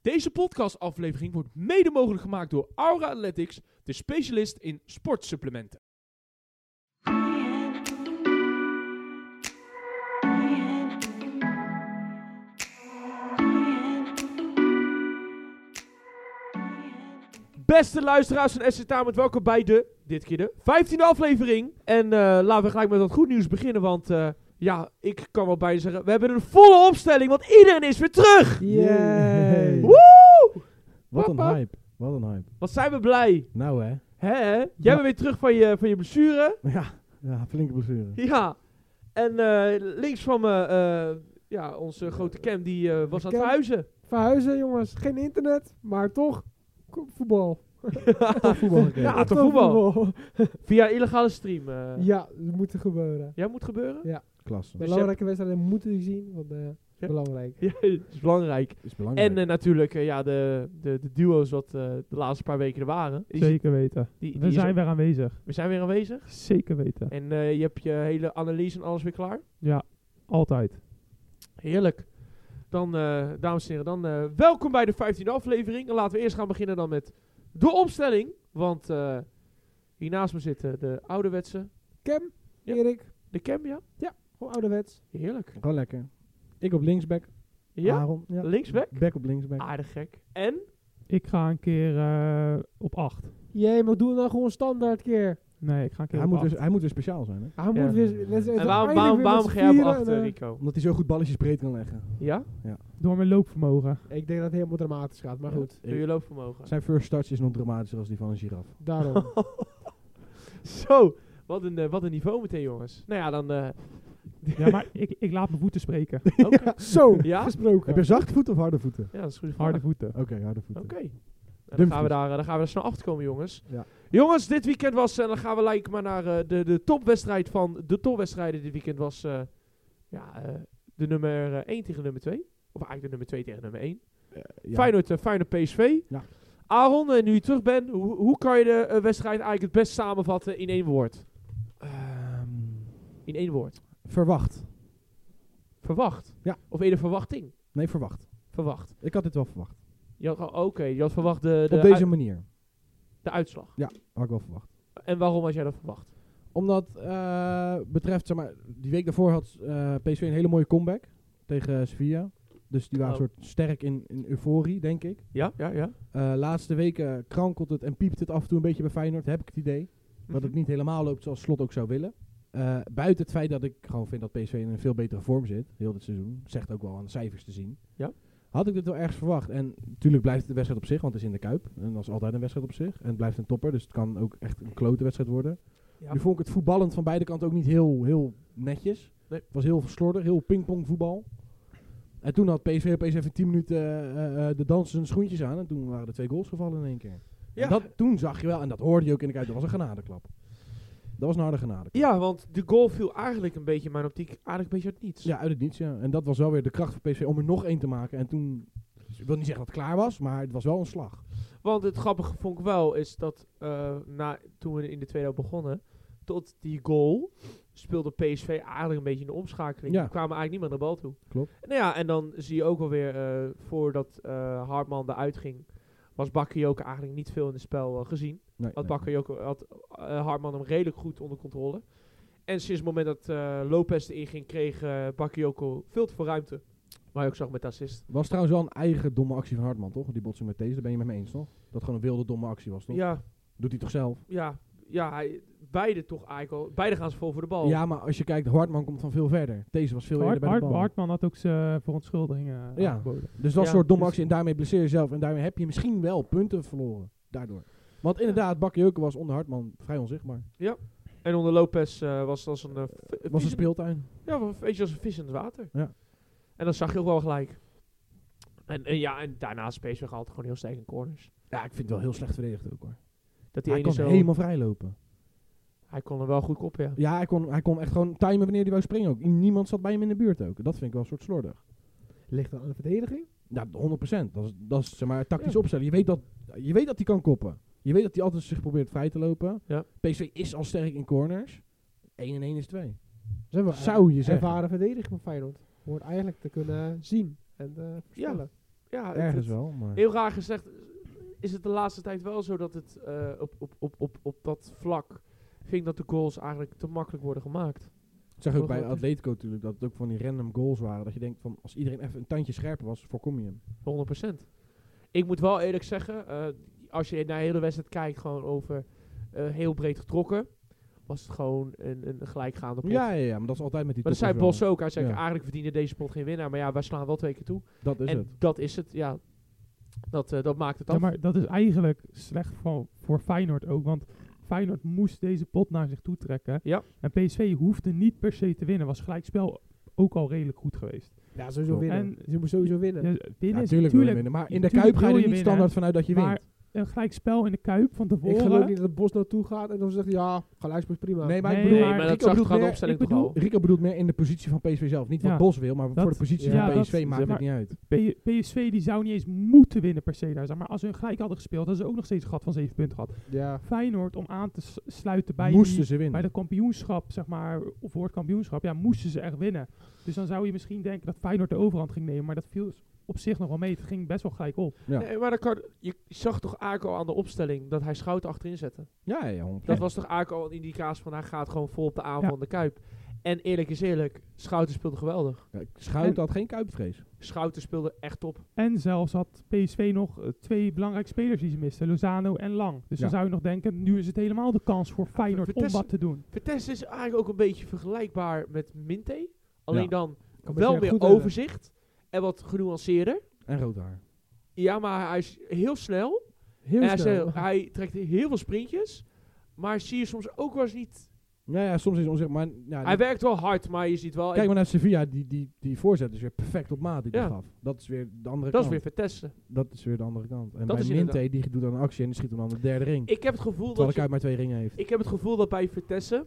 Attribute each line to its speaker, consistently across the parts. Speaker 1: Deze podcastaflevering wordt mede mogelijk gemaakt door Aura Athletics, de specialist in sportsupplementen. Beste luisteraars van SC Tamet, welkom bij de, dit keer de, 15e aflevering. En eh, laten we gelijk met wat goed nieuws beginnen, want eh, ja, ik kan wel bijna zeggen, we hebben een volle opstelling, want iedereen is weer terug!
Speaker 2: Yay.
Speaker 3: Woe!
Speaker 1: Woe!
Speaker 2: Wat een
Speaker 1: Papa.
Speaker 2: hype. Wat een hype.
Speaker 1: Wat zijn we blij!
Speaker 2: Nou hè.
Speaker 1: Hè? Jij
Speaker 2: Ja.
Speaker 1: bent weer terug van je, van je blessure.
Speaker 2: Ja, ja flinke blessure.
Speaker 1: Ja. En eh, links van me, eh, ja, onze grote Cam, die eh, was aan het
Speaker 3: Cam.
Speaker 1: verhuizen.
Speaker 3: Verhuizen, jongens. Geen internet, maar toch ko- voetbal.
Speaker 2: Toch voetbal gekeken.
Speaker 1: Ja,
Speaker 3: Echt
Speaker 1: toch voetbal. Via illegale stream. eh.
Speaker 3: Ja, dat moet er gebeuren.
Speaker 1: Jij moet gebeuren.
Speaker 2: Klasse.
Speaker 1: Dus
Speaker 3: Belangrijke wedstrijden moeten die zien, want eh
Speaker 1: Ja.
Speaker 3: belangrijk.
Speaker 1: Ja, dat is belangrijk.
Speaker 2: Is belangrijk.
Speaker 1: En eh, natuurlijk eh, ja, de, de, de duo's wat eh, de laatste paar weken er waren. Die-
Speaker 4: Zeker weten.
Speaker 1: die- die
Speaker 4: We
Speaker 1: is
Speaker 4: zijn
Speaker 1: op-
Speaker 4: weer aanwezig.
Speaker 1: we zijn weer aanwezig.
Speaker 4: Zeker weten.
Speaker 1: En eh, je hebt je hele analyse en alles weer klaar.
Speaker 4: Ja, altijd.
Speaker 1: Heerlijk. Dan, eh, dames en heren, dan eh, welkom bij de 15e aflevering. En laten we eerst gaan beginnen dan met de opstelling. Want eh, hier naast me zitten de ouderwetse.
Speaker 3: Cam,
Speaker 1: Ja.
Speaker 3: Erik,
Speaker 1: De Cam, ja?
Speaker 3: gewoon ouderwets.
Speaker 1: Heerlijk.
Speaker 2: Gewoon lekker. Ik op linksback.
Speaker 1: Ja? Ah,
Speaker 2: Aaron. Ja.
Speaker 1: Linksback?
Speaker 2: Back op linksback.
Speaker 1: Aardig gek. En?
Speaker 4: Ik ga een keer eh, op 8.
Speaker 3: Jee, maar doe het nou gewoon standaard keer.
Speaker 4: Nee, ik ga een keer
Speaker 2: hij,
Speaker 4: op
Speaker 2: moet
Speaker 4: 8.
Speaker 2: dus, hij moet weer speciaal zijn hè.
Speaker 3: Hij moet
Speaker 1: Ja.
Speaker 3: weer, let's-
Speaker 1: En
Speaker 3: het
Speaker 1: eh, waarom,
Speaker 3: eindelijk
Speaker 1: waarom,
Speaker 3: weer
Speaker 1: waarom
Speaker 3: met
Speaker 1: ga jij op
Speaker 3: vieren en,
Speaker 1: achter,
Speaker 3: eh,
Speaker 1: Rico?
Speaker 2: Omdat hij zo goed balletjes breed kan leggen.
Speaker 1: Ja?
Speaker 2: dus-
Speaker 4: Door mijn loopvermogen.
Speaker 3: Ik denk dat het helemaal dramatisch gaat, maar
Speaker 2: Ja.
Speaker 3: goed.
Speaker 1: Door je loopvermogen.
Speaker 2: Zijn first touch is nog dramatischer als die van een giraf.
Speaker 3: Daarom.
Speaker 1: Zo, wat een, eh, wat een niveau meteen, jongens. Nou ja, dan... eh,
Speaker 4: ja, maar ik, ik laat mijn voeten spreken.
Speaker 1: oké.
Speaker 3: Zo,
Speaker 1: Ja?
Speaker 3: gesproken.
Speaker 2: Heb je zachte voeten of harde voeten?
Speaker 1: Ja, dat is goed.
Speaker 4: Harde voeten.
Speaker 2: Oké, harde voeten.
Speaker 1: Oké. Nou, Dan,
Speaker 2: Dumfries.
Speaker 1: gaan we daar, eh, dan gaan we daar snel achter komen, jongens.
Speaker 2: Ja.
Speaker 1: Jongens, dit weekend was, en dan gaan we lijken maar naar eh, de, de topwedstrijd van de topwedstrijden. Dit weekend was eh, ja, eh, de nummer 1 tegen nummer 2. Of eigenlijk de nummer 2 tegen nummer 1.
Speaker 2: Ja.
Speaker 1: Feyenoord, eh, Feyenoord PSV.
Speaker 2: Ja.
Speaker 1: Aaron, eh, nu je terug bent, hoe, hoe kan je de eh, wedstrijd eigenlijk het best samenvatten in één woord?
Speaker 2: Ehm,
Speaker 1: In één woord.
Speaker 2: verwacht.
Speaker 1: Verwacht.
Speaker 2: Ja.
Speaker 1: Of eerder verwachting.
Speaker 2: Nee, verwacht.
Speaker 1: Verwacht.
Speaker 2: Ik had dit wel verwacht.
Speaker 1: Je had, gewoon- Oké, je had verwacht de, de,
Speaker 2: op deze
Speaker 1: ui-
Speaker 2: manier
Speaker 1: de uitslag.
Speaker 2: had ik wel verwacht.
Speaker 1: En waarom had jij dat verwacht?
Speaker 2: Omdat eh, betreft, zeg maar, die week daarvoor had eh, PSV een hele mooie comeback tegen Sevilla. Dus die waren
Speaker 1: Oh.
Speaker 2: een soort sterk in, in euforie, denk ik.
Speaker 1: Ja, ja, ja.
Speaker 2: Eh, laatste weken krankelt het en piept het af en toe een beetje bij Feyenoord, heb ik het idee. Dat
Speaker 1: Mhm.
Speaker 2: het niet helemaal loopt zoals Slot ook zou willen. Eh, buiten het feit dat ik gewoon vind dat PSV in een veel betere vorm zit, heel dit seizoen. Zegt ook wel aan de cijfers te zien.
Speaker 1: Ja.
Speaker 2: Had ik dit wel ergens verwacht. En natuurlijk blijft het een wedstrijd op zich, want het is in de Kuip. En dat is altijd een wedstrijd op zich. En het blijft een topper, dus het kan ook echt een klote wedstrijd worden.
Speaker 1: Ja.
Speaker 2: Nu vond ik het voetballend van beide kanten ook niet heel, heel netjes.
Speaker 1: Nee.
Speaker 2: Het was heel slordig, heel pingpong voetbal. En toen had PSV opeens even 10 minuten eh, eh, de dansen hun schoentjes aan. En toen waren er twee goals gevallen in één keer.
Speaker 1: Ja.
Speaker 2: En dat, toen zag je wel, en dat hoorde je ook in de kijk, dat was een genadeklap. Dat was een harde genadeklap.
Speaker 1: Ja, want de goal viel eigenlijk een beetje in mijn optiek eigenlijk een beetje uit niets.
Speaker 2: Ja, uit het niets. Ja. En dat was wel weer de kracht van PSV om er nog één te maken. En toen, ik wil niet zeggen dat het klaar was, maar het was wel een slag.
Speaker 1: Want het grappige vond ik wel is dat eh, na, toen we in de tweede helft begonnen, tot die goal speelde PSV eigenlijk een beetje in de omschakeling.
Speaker 2: Ja.
Speaker 1: Die kwamen eigenlijk niet meer naar de bal toe.
Speaker 2: Klopt.
Speaker 1: Nou ja, en dan zie je ook alweer, eh voordat eh Hartman eruit ging, was Bakayoko eigenlijk niet veel in het spel eh, gezien.
Speaker 2: Nee,
Speaker 1: Had,
Speaker 2: nee.
Speaker 1: Bakayoko, had eh, Hartman hem redelijk goed onder controle. En sinds het moment dat eh, Lopez erin ging, kreeg eh Bakayoko veel te veel ruimte. Waar je ook zag met de assist.
Speaker 2: was trouwens wel een eigen domme actie van Hartman, toch? Die botsing met deze, daar ben je met me eens, toch? Dat gewoon een wilde domme actie was, toch?
Speaker 1: Ja,
Speaker 2: Doet hij toch zelf?
Speaker 1: ja, ja hij, beide toch eigenlijk al. Beide gaan ze vol voor de bal.
Speaker 2: Ja, maar als je kijkt, Hartman komt van veel verder. Deze was veel
Speaker 4: Hart,
Speaker 2: eerder bij
Speaker 4: Hart,
Speaker 2: de bal.
Speaker 4: Hartman had ook zijn eh, verontschuldigingen eh,
Speaker 2: Ja.
Speaker 4: aangeboden.
Speaker 2: Dus dat is een
Speaker 1: Ja,
Speaker 2: soort domme
Speaker 1: dus-
Speaker 2: actie en daarmee blesseer je zelf. En daarmee heb je misschien wel punten verloren. Daardoor. Want inderdaad, Bakkejoken was onder Hartman vrij onzichtbaar.
Speaker 1: En onder Lopez eh, was als een, eh, vi-
Speaker 2: was een
Speaker 1: vis in-
Speaker 2: speeltuin.
Speaker 1: ja, was een beetje als een vis in het water.
Speaker 2: Ja.
Speaker 1: En dat zag je ook wel gelijk. En, en ja, en daarnaast is PSV altijd gewoon heel sterk in corners.
Speaker 2: Ja, ik vind het wel heel slecht verdedigd ook hoor.
Speaker 1: Dat die
Speaker 2: Hij
Speaker 1: ene
Speaker 2: kon
Speaker 1: zo,
Speaker 2: helemaal vrij lopen.
Speaker 1: hij kon er wel goed op, ja.
Speaker 2: Ja, hij kon, hij kon echt gewoon timen wanneer hij wou springen ook. Niemand zat bij hem in de buurt ook. Dat vind ik wel een soort slordig.
Speaker 3: Ligt dan aan de verdediging?
Speaker 2: Ja, 100%. Dat is, dat is zeg maar tactisch
Speaker 1: Ja.
Speaker 2: opstellen. Je weet, dat, je weet dat hij kan koppen. Je weet dat hij altijd zich probeert vrij te lopen.
Speaker 1: Ja.
Speaker 2: PSV is al sterk in corners. 1 en 1 is 2.
Speaker 3: Ze hebben
Speaker 2: Zou je
Speaker 3: eh,
Speaker 2: zeggen.
Speaker 3: ervaren verdediging van Feyenoord. Hoort eigenlijk te kunnen zien en eh voorspellen.
Speaker 1: ja, het-
Speaker 2: Ergens
Speaker 1: het-
Speaker 2: wel, maar...
Speaker 1: Heel raar gezegd is het de laatste tijd wel zo dat het eh, op, op, op, op, op dat vlak vind ik dat de goals eigenlijk te makkelijk worden gemaakt.
Speaker 2: Ik zag ook
Speaker 1: Wel
Speaker 2: bij
Speaker 1: groot is.
Speaker 2: Atletico natuurlijk dat het ook van die random goals waren. Dat je denkt van, als iedereen even een tandje scherper was, voorkom je hem.
Speaker 1: 100%. Ik moet wel eerlijk zeggen, eh, als je naar de hele wedstrijd kijkt, gewoon over eh, heel breed getrokken, was het gewoon een, een gelijkgaande pot.
Speaker 2: Ja, ja, ja, maar dat is altijd met die
Speaker 1: Maar dat zei
Speaker 2: toppers
Speaker 1: Bos
Speaker 2: wel.
Speaker 1: ook. Hij zei,
Speaker 2: Ja.
Speaker 1: eigenlijk verdienen deze pot geen winnaar. Maar ja, wij slaan wel twee keer toe.
Speaker 2: Dat is
Speaker 1: en
Speaker 2: het.
Speaker 1: dat is het, ja. Dat, eh, dat maakt het
Speaker 4: Ja,
Speaker 1: af.
Speaker 4: maar dat is eigenlijk slecht voor, voor Feyenoord ook. Want Feyenoord moest deze pot naar zich toe trekken.
Speaker 1: Ja.
Speaker 4: En PSV hoefde niet per se te winnen. Was gelijkspel ook al redelijk goed geweest.
Speaker 3: Ja, sowieso
Speaker 2: Klopt.
Speaker 3: winnen. Ze moeten sowieso winnen.
Speaker 4: Ja,
Speaker 2: Ja,
Speaker 4: winnen is
Speaker 2: tuurlijk wil je
Speaker 4: natuurlijk
Speaker 2: winnen. Maar in de
Speaker 4: tuurlijk
Speaker 2: Kuip ga
Speaker 4: wil
Speaker 2: je
Speaker 4: je
Speaker 2: er niet
Speaker 4: winnen,
Speaker 2: standaard vanuit dat je
Speaker 4: maar
Speaker 2: wint.
Speaker 4: een gelijkspel in de Kuip van
Speaker 3: Ik
Speaker 4: tevoren.
Speaker 3: geloof niet dat Bos naartoe gaat en dan zegt hij, ja, gelijkspel is prima.
Speaker 2: Nee, maar ik
Speaker 4: Nee,
Speaker 2: bedoel...
Speaker 4: maar
Speaker 1: dat
Speaker 2: Rico
Speaker 1: zag
Speaker 2: bedoelt
Speaker 1: toch aan de
Speaker 2: meer-
Speaker 1: opstelling
Speaker 2: ik
Speaker 1: toch al?
Speaker 2: bedoel- Rico bedoelt meer in de positie van PSV zelf. Niet
Speaker 4: Ja.
Speaker 2: wat Bos wil, maar
Speaker 4: Dat-
Speaker 2: voor de positie
Speaker 4: ja,
Speaker 2: van
Speaker 4: dat-
Speaker 2: PSV maakt
Speaker 1: maar-
Speaker 2: het niet uit.
Speaker 4: P- PSV die zou niet eens moeten winnen per se daar. zijn. Maar als ze hun gelijk hadden gespeeld, hadden ze ook nog steeds een gat van 7 punten gehad.
Speaker 3: Ja.
Speaker 4: Feyenoord om aan te s- sluiten bij, die-
Speaker 2: Moesten ze
Speaker 4: bij
Speaker 2: winnen.
Speaker 4: de kampioenschap, zeg maar, of voor het kampioenschap, ja, moesten ze echt winnen. Dus dan zou je misschien denken dat Feyenoord de overhand ging nemen, maar dat viel op zich nog wel mee. Het ging best wel gelijk op.
Speaker 2: Ja.
Speaker 1: Nee, maar dat kan, je zag toch Ako aan de opstelling dat hij Schouten achterin zette.
Speaker 2: Ja, ja, 100%.
Speaker 1: Dat was toch eigenlijk al een indicatie van hij gaat gewoon vol op de aanval
Speaker 4: Ja.
Speaker 1: van de Kuip. En eerlijk is eerlijk, Schouten speelde geweldig.
Speaker 2: Ja, Schouten had geen kuipvrees.
Speaker 1: Schouten speelde echt top.
Speaker 4: En zelfs had PSV nog eh, twee belangrijke spelers die ze misten, Lozano en Lang. Dus
Speaker 2: Ja.
Speaker 4: dan zou je nog denken, nu is het helemaal de kans voor Feyenoord om
Speaker 1: Vitesse-
Speaker 4: wat te doen.
Speaker 1: Vitesse is eigenlijk ook een beetje vergelijkbaar met Minte. Alleen
Speaker 2: Ja.
Speaker 1: dan
Speaker 3: Kan best
Speaker 1: wel
Speaker 3: erg
Speaker 1: meer
Speaker 3: goed hebben.
Speaker 1: overzicht en wat genuanceerder.
Speaker 2: En rood haar.
Speaker 1: Ja, maar hij is heel snel.
Speaker 3: Heel
Speaker 1: en hij, is
Speaker 3: snel.
Speaker 1: heel- hij trekt heel veel sprintjes. Maar zie je soms ook wel eens niet...
Speaker 2: Nou ja, soms is het onzicht, maar... Ja,
Speaker 1: Hij werkt wel hard, maar je ziet wel...
Speaker 2: Kijk maar naar Sevilla, die, die, die voorzet is weer perfect op maat die die
Speaker 1: Ja.
Speaker 2: gaf. Dat is weer de andere
Speaker 1: dat is
Speaker 2: kant.
Speaker 1: weer Vitesse.
Speaker 2: dat is weer de andere kant. En
Speaker 1: Dat
Speaker 2: bij
Speaker 1: is
Speaker 2: Minte, die doet dan een actie en die schiet hem dan de derde ring.
Speaker 1: Ik heb het gevoel dat...
Speaker 2: terwijl de
Speaker 1: je-
Speaker 2: Kuip maar twee ringen heeft.
Speaker 1: Ik heb het gevoel dat bij Vitesse...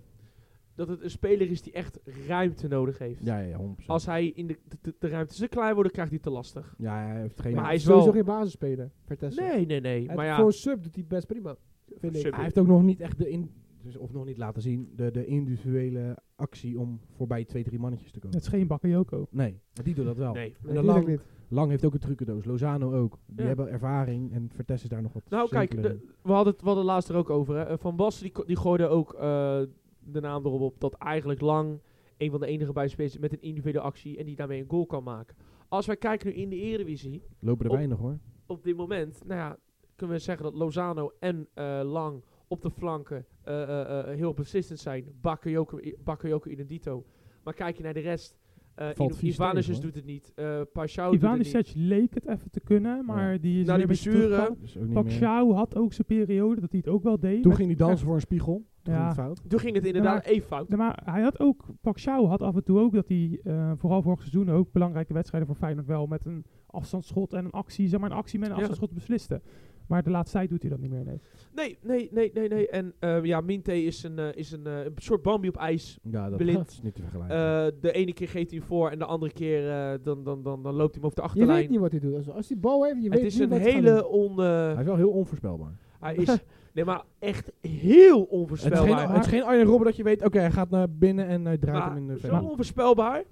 Speaker 1: dat het een speler is die echt ruimte nodig heeft.
Speaker 2: Ja, ja, ja, 100%.
Speaker 1: Als hij in de, de, de- de ruimtes te klein worden, krijgt hij te lastig.
Speaker 2: ja, hij heeft geen...
Speaker 1: Maar hij
Speaker 3: hij
Speaker 1: is
Speaker 3: is sowieso
Speaker 1: wel-
Speaker 3: geen basisspeler, Vertessen.
Speaker 1: Nee, nee, nee.
Speaker 3: Hij-
Speaker 1: Maar ja,
Speaker 3: Voor een sub doet hij best prima, vind ik.
Speaker 1: Sub.
Speaker 2: Hij heeft ook nog niet echt de... In, dus of nog niet laten zien de, de individuele actie om voorbij twee, drie mannetjes te komen.
Speaker 4: Het is geen Bakayoko.
Speaker 2: Nee, maar die doet dat wel.
Speaker 1: nee.
Speaker 2: En de
Speaker 3: Natuurlijk
Speaker 2: Lang,
Speaker 3: niet.
Speaker 2: Lang heeft ook een trucendoos, Lozano ook. Die
Speaker 1: Ja.
Speaker 2: hebben ervaring en Vertes is daar nog wat
Speaker 1: Nou, kijk,
Speaker 2: simpeler in.
Speaker 1: de- we hadden het we hadden het laatst er ook over. Hè. Eh, Van Basten die, ko- die gooide ook eh, de naam erop op dat eigenlijk Lang een van de enige buitenspelers is met een individuele actie en die daarmee een goal kan maken. Als wij kijken nu in de Eredivisie,
Speaker 2: Lopen er
Speaker 1: op-
Speaker 2: weinig hoor.
Speaker 1: op dit moment, nou ja, kunnen we zeggen dat Lozano en eh, Lang op de flanken eh, eh, eh, heel persistent zijn. Bakayoko, eh, Bakayoko Inedito. Maar kijk je naar de rest, eh
Speaker 2: Valt
Speaker 1: Ivan-
Speaker 2: vies tegen,
Speaker 1: Ivanusjes
Speaker 2: hoor.
Speaker 1: doet het niet, eh Paschal doet het niet.
Speaker 4: Ivanisevic leek het even te kunnen, maar die is
Speaker 1: Na die
Speaker 4: weer een beetje
Speaker 1: blessure-
Speaker 4: teruggevallen.
Speaker 2: Dus ook niet meer.
Speaker 4: Paxiao had ook zijn periode dat hij het ook wel deed.
Speaker 2: Toen
Speaker 4: Met-
Speaker 2: ging hij dansen voor een spiegel. Toen ging
Speaker 4: Ja.
Speaker 2: het fout.
Speaker 1: Toen ging het inderdaad even fout.
Speaker 4: Ja, maar hij had ook, Paxiao had af en toe ook dat hij, eh, vooral vorig seizoen ook, belangrijke wedstrijden voor Feyenoord wel met een afstandsschot en een actie, zeg maar een actie met een
Speaker 1: Ja.
Speaker 4: afstandsschot besliste. Maar de laatste tijd doet hij dat niet meer, nee.
Speaker 1: Nee, nee, nee, nee, nee. En eh, ja, Minte is een, eh, is een, eh, een soort Bambi op ijs.
Speaker 2: Ja, dat
Speaker 1: Blind.
Speaker 2: is niet te vergelijken.
Speaker 1: Eh, de ene keer geeft hij hem voor en de andere keer eh, dan, dan, dan, dan loopt hij hem over de
Speaker 3: Je
Speaker 1: achterlijn.
Speaker 3: weet niet wat hij doet. Als- Als hij bal heeft, je
Speaker 1: het
Speaker 3: weet
Speaker 1: is
Speaker 3: niet
Speaker 1: een
Speaker 3: wat hij gaat
Speaker 1: hele
Speaker 3: doen.
Speaker 1: on... eh,
Speaker 2: hij is wel heel onvoorspelbaar.
Speaker 1: hij is, nee, maar echt heel
Speaker 2: Het is, geen,
Speaker 1: onvoorspelbaar.
Speaker 2: het is geen Arjen Robben dat je weet, oké, hij gaat naar binnen en hij draait hem in de
Speaker 1: maar zo
Speaker 2: verre.
Speaker 1: onvoorspelbaar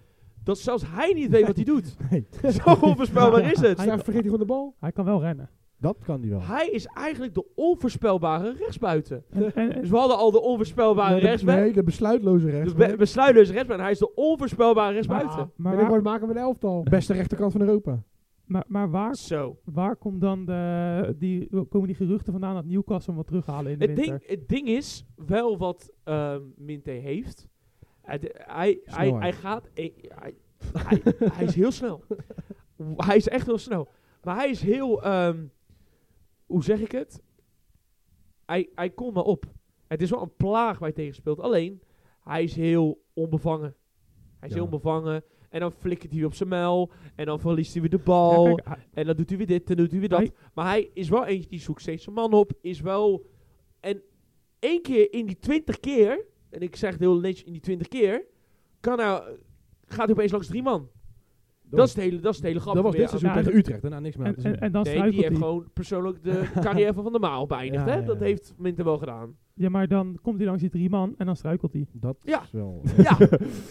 Speaker 1: dat zelfs hij niet weet wat hij doet.
Speaker 2: Nee.
Speaker 1: Zo onvoorspelbaar is het.
Speaker 4: Hij-
Speaker 3: Straks vergeet hij gewoon de bal.
Speaker 4: Hij kan wel rennen.
Speaker 2: Dat kan hij wel.
Speaker 1: Hij is eigenlijk de onvoorspelbare rechtsbuiten.
Speaker 4: En, en- en-
Speaker 1: Dus we hadden al de onvoorspelbare
Speaker 2: Nee, de-
Speaker 1: rechtsbuiten.
Speaker 2: nee, de besluitloze
Speaker 1: Dus
Speaker 2: rechtsback.
Speaker 1: we we sluiten dus rechtsbuiten. Hij is de onvoorspelbare rechtsbuiten.
Speaker 4: maar, maar,
Speaker 3: Maar
Speaker 4: waar,
Speaker 3: Binnenkort maken we een elftal.
Speaker 2: Beste rechterkant van Europa.
Speaker 4: maar, maar waar,
Speaker 1: Zo.
Speaker 4: waar komt dan de, die, komen die geruchten vandaan dat Newcastle hem wat terughalen in de
Speaker 1: Het
Speaker 4: winter?
Speaker 1: ding, het ding is wel wat ehm Minte heeft. Hij, de- hij, hij,
Speaker 2: Snelheid.
Speaker 1: hij gaat. Hij, hij, hij, hij is heel snel. Hij is echt heel snel. Maar hij is heel. ehm, hoe zeg ik het? Hij, hij komt maar op. Het is wel een plaag waar hij tegen speelt. Alleen, hij is heel onbevangen. Hij is
Speaker 2: Ja.
Speaker 1: heel onbevangen. En dan flikkert hij op zijn muil. En dan verliest hij weer de
Speaker 4: Ja,
Speaker 1: bal.
Speaker 4: kijk, hij-
Speaker 1: En dan doet hij weer dit, en doet hij weer dat.
Speaker 4: Hij-
Speaker 1: maar hij is wel eentje die zoekt steeds zijn man op. Is wel. En één keer in die twintig keer. En ik zeg het heel netjes in die twintig keer. Kan hij, gaat hij opeens langs drie man. Dat, is, het hele, dat is het hele
Speaker 2: dat
Speaker 1: grappige.
Speaker 2: was dit
Speaker 1: weer.
Speaker 2: seizoen
Speaker 4: Ja,
Speaker 2: tegen
Speaker 4: dat-
Speaker 2: Utrecht. Daarna niks meer aan
Speaker 4: en,
Speaker 2: te zien.
Speaker 4: en, en dan
Speaker 1: Nee, die
Speaker 4: struikelt
Speaker 1: heeft
Speaker 4: hij.
Speaker 1: gewoon persoonlijk de carrière van de Maal beëindigd.
Speaker 2: Ja,
Speaker 1: hè?
Speaker 2: ja,
Speaker 1: Dat
Speaker 2: ja.
Speaker 1: heeft Minter wel gedaan.
Speaker 4: Ja, maar dan komt hij langs die drie man en dan struikelt hij.
Speaker 2: dat
Speaker 1: Ja.
Speaker 2: is wel...
Speaker 1: Ja,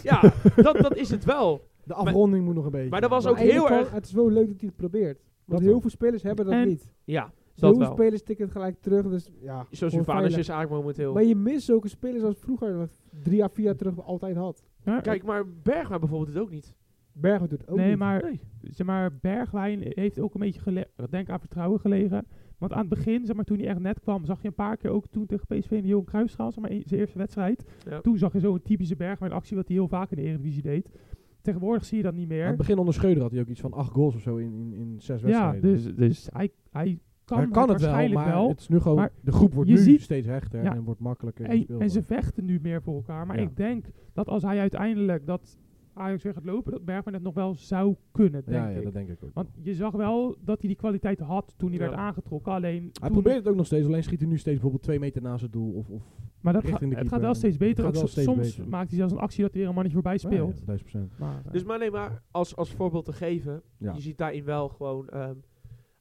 Speaker 1: ja dat, dat is het wel.
Speaker 2: De afronding moet nog een beetje.
Speaker 1: maar dat was
Speaker 3: Aan
Speaker 1: ook
Speaker 3: de ene
Speaker 1: heel
Speaker 3: kant,
Speaker 1: erg-
Speaker 3: Het is wel leuk dat hij het probeert. Want
Speaker 2: Dat
Speaker 3: heel
Speaker 2: wel.
Speaker 3: veel spelers hebben dat
Speaker 4: En-
Speaker 3: niet.
Speaker 1: Ja,
Speaker 3: Heel
Speaker 1: dat
Speaker 3: veel
Speaker 1: wel.
Speaker 3: spelers tikken het gelijk terug. Dus ja,
Speaker 1: Zoals
Speaker 3: gewoon
Speaker 1: Juventus
Speaker 3: veilig.
Speaker 1: is eigenlijk momenteel...
Speaker 3: Maar je mist zulke spelers als vroeger, nog drie à vier jaar terug altijd had.
Speaker 4: Ja,
Speaker 1: Kijk, maar Bergwijn bijvoorbeeld het ook niet.
Speaker 3: Bergen doet het ook
Speaker 2: Oh,
Speaker 4: nee,
Speaker 3: niet.
Speaker 4: maar,
Speaker 1: Nee.
Speaker 4: zeg maar Bergwijn heeft ook een beetje gele- denk aan vertrouwen gelegen. Want aan het begin, zeg maar, toen hij echt net kwam, zag je een paar keer ook toen tegen PSV in de Johan Cruijffschaal, zeg maar, in zijn eerste wedstrijd.
Speaker 1: Ja.
Speaker 4: Toen zag je zo'n typische Bergwijn actie wat hij heel vaak in de Eredivisie deed. Tegenwoordig zie je dat niet
Speaker 2: Aan het
Speaker 4: meer.
Speaker 2: begin onder Schreuder had hij ook iets van acht goals of zo in, in, in zes
Speaker 4: Ja,
Speaker 2: wedstrijden.
Speaker 4: dus, dus hij, hij kan,
Speaker 2: Hij
Speaker 4: het
Speaker 2: kan het wel,
Speaker 4: waarschijnlijk
Speaker 2: maar
Speaker 4: wel.
Speaker 2: het is nu gewoon,
Speaker 4: Maar
Speaker 2: de groep wordt
Speaker 4: je
Speaker 2: nu
Speaker 4: ziet-
Speaker 2: steeds hechter
Speaker 4: Ja.
Speaker 2: en wordt makkelijker.
Speaker 4: En,
Speaker 2: speelbaar.
Speaker 4: en ze vechten nu meer voor elkaar. Maar
Speaker 2: Ja.
Speaker 4: ik denk dat als hij uiteindelijk dat Ajax weer gaat lopen, dat Bergman het nog wel zou kunnen, denk
Speaker 2: ja, ja,
Speaker 4: ik.
Speaker 2: dat denk ik ook.
Speaker 4: Want je zag wel dat hij die kwaliteit had toen hij
Speaker 1: Ja.
Speaker 4: werd aangetrokken. Alleen
Speaker 2: hij
Speaker 4: toen-
Speaker 2: probeert het ook nog steeds, alleen schiet hij nu steeds bijvoorbeeld twee meter naast het doel. Of, of
Speaker 4: maar dat
Speaker 2: richting
Speaker 4: ga- het
Speaker 2: de
Speaker 4: gaat
Speaker 2: keeper.
Speaker 4: wel steeds
Speaker 2: Het
Speaker 4: beter.
Speaker 2: gaat
Speaker 4: Ook
Speaker 2: wel steeds
Speaker 4: soms
Speaker 2: beter.
Speaker 4: maakt hij zelfs een actie dat hij er een mannetje voorbij speelt.
Speaker 2: Ja, ja, 1000%.
Speaker 4: Maar, eh,
Speaker 1: Dus maar nee, maar als, als voorbeeld te geven,
Speaker 2: Ja.
Speaker 1: je ziet daarin wel gewoon, ehm,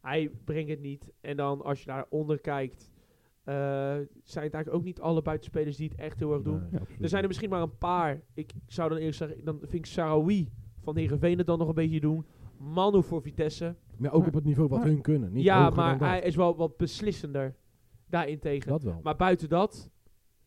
Speaker 1: hij brengt het niet. En dan als je daaronder kijkt, eh, zijn het eigenlijk ook niet alle buitenspelers die het echt heel erg doen.
Speaker 2: Nee,
Speaker 4: Ja.
Speaker 2: absoluut.
Speaker 1: Er zijn er misschien maar een paar. Ik, ik zou dan eerst zeggen, dan vind ik Sarawi van Heerenveen het dan nog een beetje doen. Manu voor Vitesse.
Speaker 2: maar ook
Speaker 4: maar-
Speaker 2: op het niveau wat
Speaker 4: maar-
Speaker 2: hun kunnen. Niet
Speaker 1: ja,
Speaker 2: hoger
Speaker 1: maar
Speaker 2: dan
Speaker 1: hij
Speaker 2: dat.
Speaker 1: is wel wat beslissender daarentegen.
Speaker 2: dat wel.
Speaker 1: Maar buiten dat,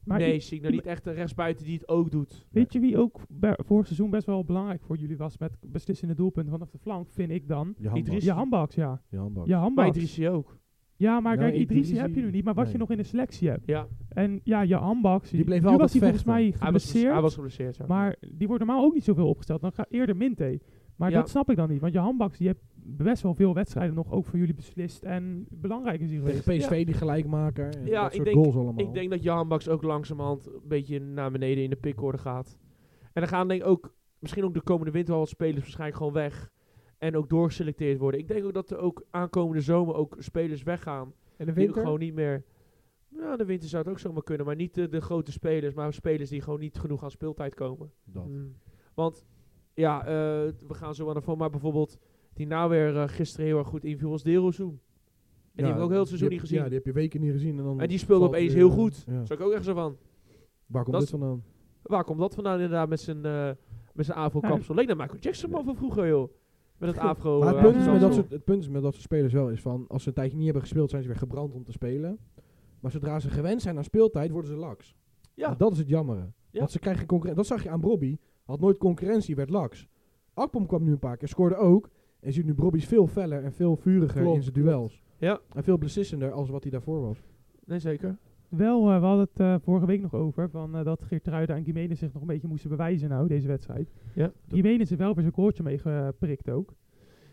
Speaker 4: maar
Speaker 1: nee,
Speaker 4: i-
Speaker 1: zie ik nou niet echt een rechtsbuiten die het ook doet.
Speaker 4: weet je wie ook bij- vorig seizoen best wel belangrijk voor jullie was met beslissende doelpunten vanaf de flank, vind ik dan?
Speaker 2: je handbak.
Speaker 1: Idrissi.
Speaker 4: Je handbaks, ja.
Speaker 2: Je handbak.
Speaker 4: Je
Speaker 1: Maar
Speaker 4: handbaks.
Speaker 1: Idrissi ook.
Speaker 4: Ja, maar
Speaker 2: Nou,
Speaker 4: kijk, Idrissi
Speaker 2: Idrissi-
Speaker 4: heb je nu niet. Maar wat
Speaker 2: nee.
Speaker 4: je nog in de selectie hebt.
Speaker 1: Ja,
Speaker 4: En ja, je handbaks.
Speaker 2: Die bleef
Speaker 4: nu
Speaker 2: altijd
Speaker 4: was hij volgens
Speaker 2: vechten.
Speaker 4: mij
Speaker 1: hij was,
Speaker 4: geblesseerd.
Speaker 1: hij was geblesseerd. ja.
Speaker 4: Maar die wordt normaal ook niet zoveel opgesteld. Dan gaat eerder Minte. Maar
Speaker 1: Ja.
Speaker 4: dat snap ik dan niet. Want je handbaks, die hebt best wel veel wedstrijden nog ook voor jullie beslist. En belangrijk is die
Speaker 2: Tegen
Speaker 4: geweest.
Speaker 2: PSV die gelijkmaker. En
Speaker 1: Ja,
Speaker 2: dat
Speaker 1: ik
Speaker 2: soort
Speaker 1: denk-
Speaker 2: goals allemaal.
Speaker 1: Ik denk dat Jan Baks ook langzamerhand een beetje naar beneden in de pickorde gaat. En dan gaan denk ik ook, misschien ook de komende winter al wat spelers waarschijnlijk gewoon weg. En ook doorgeselecteerd worden. Ik denk ook dat er ook aankomende zomer ook spelers weggaan.
Speaker 3: en de
Speaker 1: Die ook
Speaker 3: winter?
Speaker 1: gewoon niet meer... Nou, de winter zou het ook zomaar kunnen. Maar niet de, de grote spelers, maar spelers die gewoon niet genoeg aan speeltijd komen. Hmm.
Speaker 2: Dat.
Speaker 3: Mm.
Speaker 1: Want, ja, eh, we gaan zo aan de van. Maar bijvoorbeeld, die nou weer eh, gisteren heel erg goed inviel was Derozoen. En die heb ik ook heel het seizoen
Speaker 2: die
Speaker 1: niet
Speaker 2: heb-
Speaker 1: gezien.
Speaker 2: Ja, die heb je weken niet gezien. En, dan
Speaker 1: en die speelde
Speaker 2: valt
Speaker 1: opeens
Speaker 2: weer,
Speaker 1: heel
Speaker 2: eh,
Speaker 1: goed.
Speaker 2: ja.
Speaker 1: Zou ik ook echt zo van...
Speaker 2: Waar komt
Speaker 1: Dat
Speaker 2: dit
Speaker 1: is-
Speaker 2: vandaan?
Speaker 1: Waar komt dat vandaan inderdaad met zijn, eh met zijn afro-kapsel? Leek naar Michael Jackson man van vroeger, joh. Met het afro
Speaker 2: Maar het,
Speaker 1: eh,
Speaker 2: punt is
Speaker 4: ja,
Speaker 2: met
Speaker 1: afro-
Speaker 2: dat soort, het punt is met dat soort spelers wel is van... Als ze een tijdje niet hebben gespeeld, zijn ze weer gebrand om te spelen. Maar zodra ze gewend zijn aan speeltijd, worden ze laks.
Speaker 1: Ja,
Speaker 2: En dat is het jammere.
Speaker 1: Ja.
Speaker 2: Want ze krijgen concurrentie. Dat zag je aan Bobby. Had nooit concurrentie, werd laks. Akpom kwam nu een paar keer, scoorde ook. En je ziet nu Bobby is veel feller en veel vuriger
Speaker 1: Klopt,
Speaker 2: in zijn duels.
Speaker 1: Ja.
Speaker 2: En veel beslissender als wat hij daarvoor was.
Speaker 1: nee zeker.
Speaker 4: Wel, eh, we hadden het eh, vorige week nog over. Van, eh, dat Geertruida en Gimenez zich nog een beetje moesten bewijzen nou, deze wedstrijd.
Speaker 1: Ja.
Speaker 4: Gimenez heeft wel weer zijn koortje meegeprikt ook.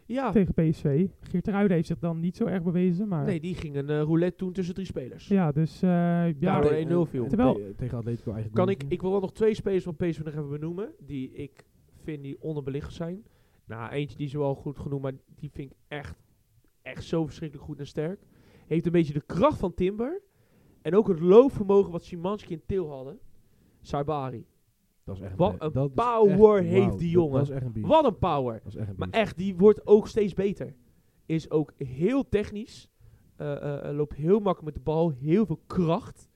Speaker 1: Ja,
Speaker 4: Tegen PSV. Geertruida heeft zich dan niet zo erg bewezen. Maar
Speaker 1: nee, die ging een eh, roulette toen tussen drie spelers.
Speaker 4: ja, dus eh, ja,
Speaker 1: Daar
Speaker 2: Tegen-
Speaker 1: alleen 1-0 Nou, viel.
Speaker 2: en
Speaker 4: Terwijl-
Speaker 2: te- tegen Atletico eigenlijk
Speaker 1: Kan
Speaker 2: niet.
Speaker 1: ik, ik wil wel nog twee spelers van PSV nog even benoemen, die ik vind die onderbelicht zijn. Nou, eentje die is wel goed genoemd, maar die vind ik echt, echt zo verschrikkelijk goed en sterk. Heeft een beetje de kracht van Timber en ook het loopvermogen wat Simanski en Til hadden. Saibari.
Speaker 2: Dat is echt
Speaker 1: Wat
Speaker 2: be-
Speaker 1: een
Speaker 2: dat is
Speaker 1: power
Speaker 2: echt-
Speaker 1: heeft
Speaker 2: wauw,
Speaker 1: die
Speaker 2: dat-
Speaker 1: jongen.
Speaker 2: Dat is echt een beest.
Speaker 1: Wat een power!
Speaker 2: Dat is echt een
Speaker 1: Maar
Speaker 2: beest.
Speaker 1: echt, die wordt ook steeds beter. Is ook heel technisch. eh, eh, eh, loopt heel makkelijk met de bal. Heel veel kracht.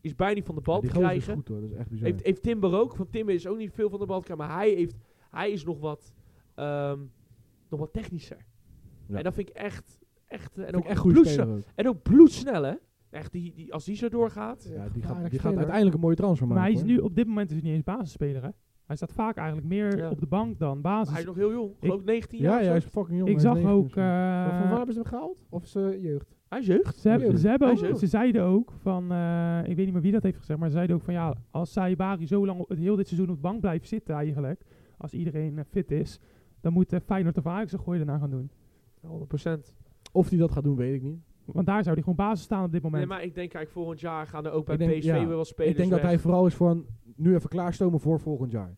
Speaker 1: Is bijna niet van de bal
Speaker 2: Ja, die
Speaker 1: te
Speaker 2: gozer
Speaker 1: krijgen.
Speaker 2: is goed hoor, dat is echt bizar.
Speaker 1: Heeft, heeft Timber ook. Van Timber is ook niet veel van de bal te krijgen. Maar hij, heeft, hij is nog wat, ehm, nog wat technischer.
Speaker 2: Ja.
Speaker 1: En dat vind ik echt... echt eh, en,
Speaker 2: Vind
Speaker 1: ook
Speaker 2: ik echt
Speaker 1: echt
Speaker 2: goede
Speaker 1: bloedsnel,
Speaker 2: speler ook.
Speaker 1: en ook bloedsnel, hè. Echt, die, die, als die zo doorgaat.
Speaker 2: Ja, die
Speaker 3: Gevaarlijk
Speaker 2: gaat, die gaat
Speaker 3: speler.
Speaker 2: uiteindelijk een mooie transfer maken.
Speaker 4: maar hij is
Speaker 2: hoor.
Speaker 4: nu op dit moment is hij niet eens basisspeler. Hè? Hij staat vaak eigenlijk meer
Speaker 1: Ja.
Speaker 4: op de bank dan basis.
Speaker 1: Hij is nog heel jong. Geloof ik 19
Speaker 2: Ja,
Speaker 1: jaar
Speaker 2: ja, hij
Speaker 1: of
Speaker 2: is
Speaker 1: zo.
Speaker 2: fucking jong.
Speaker 4: ik
Speaker 2: hij is
Speaker 4: zag
Speaker 2: 19
Speaker 4: ook.
Speaker 2: misschien.
Speaker 4: eh,
Speaker 3: Maar van waar hebben ze hem gehaald? Of ze jeugd?
Speaker 1: Hij is jeugd.
Speaker 4: Ze, hebben,
Speaker 2: Jeugd.
Speaker 4: ze, hebben
Speaker 1: Hij
Speaker 4: ook,
Speaker 1: is jeugd.
Speaker 4: ze zeiden ook van, eh, ik weet niet meer wie dat heeft gezegd, maar ze zeiden ook van ja, als Saibari zo lang op, het heel dit seizoen op de bank blijft zitten eigenlijk, als iedereen eh, fit is, dan moet eh, Feyenoord of Ajax een gooi erna gaan doen.
Speaker 1: 100%.
Speaker 2: Of hij dat gaat doen, weet ik niet.
Speaker 4: Want daar zou hij gewoon basis staan op dit moment.
Speaker 1: Nee, maar ik denk eigenlijk volgend jaar gaan er ook bij
Speaker 2: Ik denk-
Speaker 1: PSV
Speaker 2: ja.
Speaker 1: weer wat spelers
Speaker 2: ik denk dat
Speaker 1: weg.
Speaker 2: hij vooral is van nu even klaarstomen voor volgend jaar.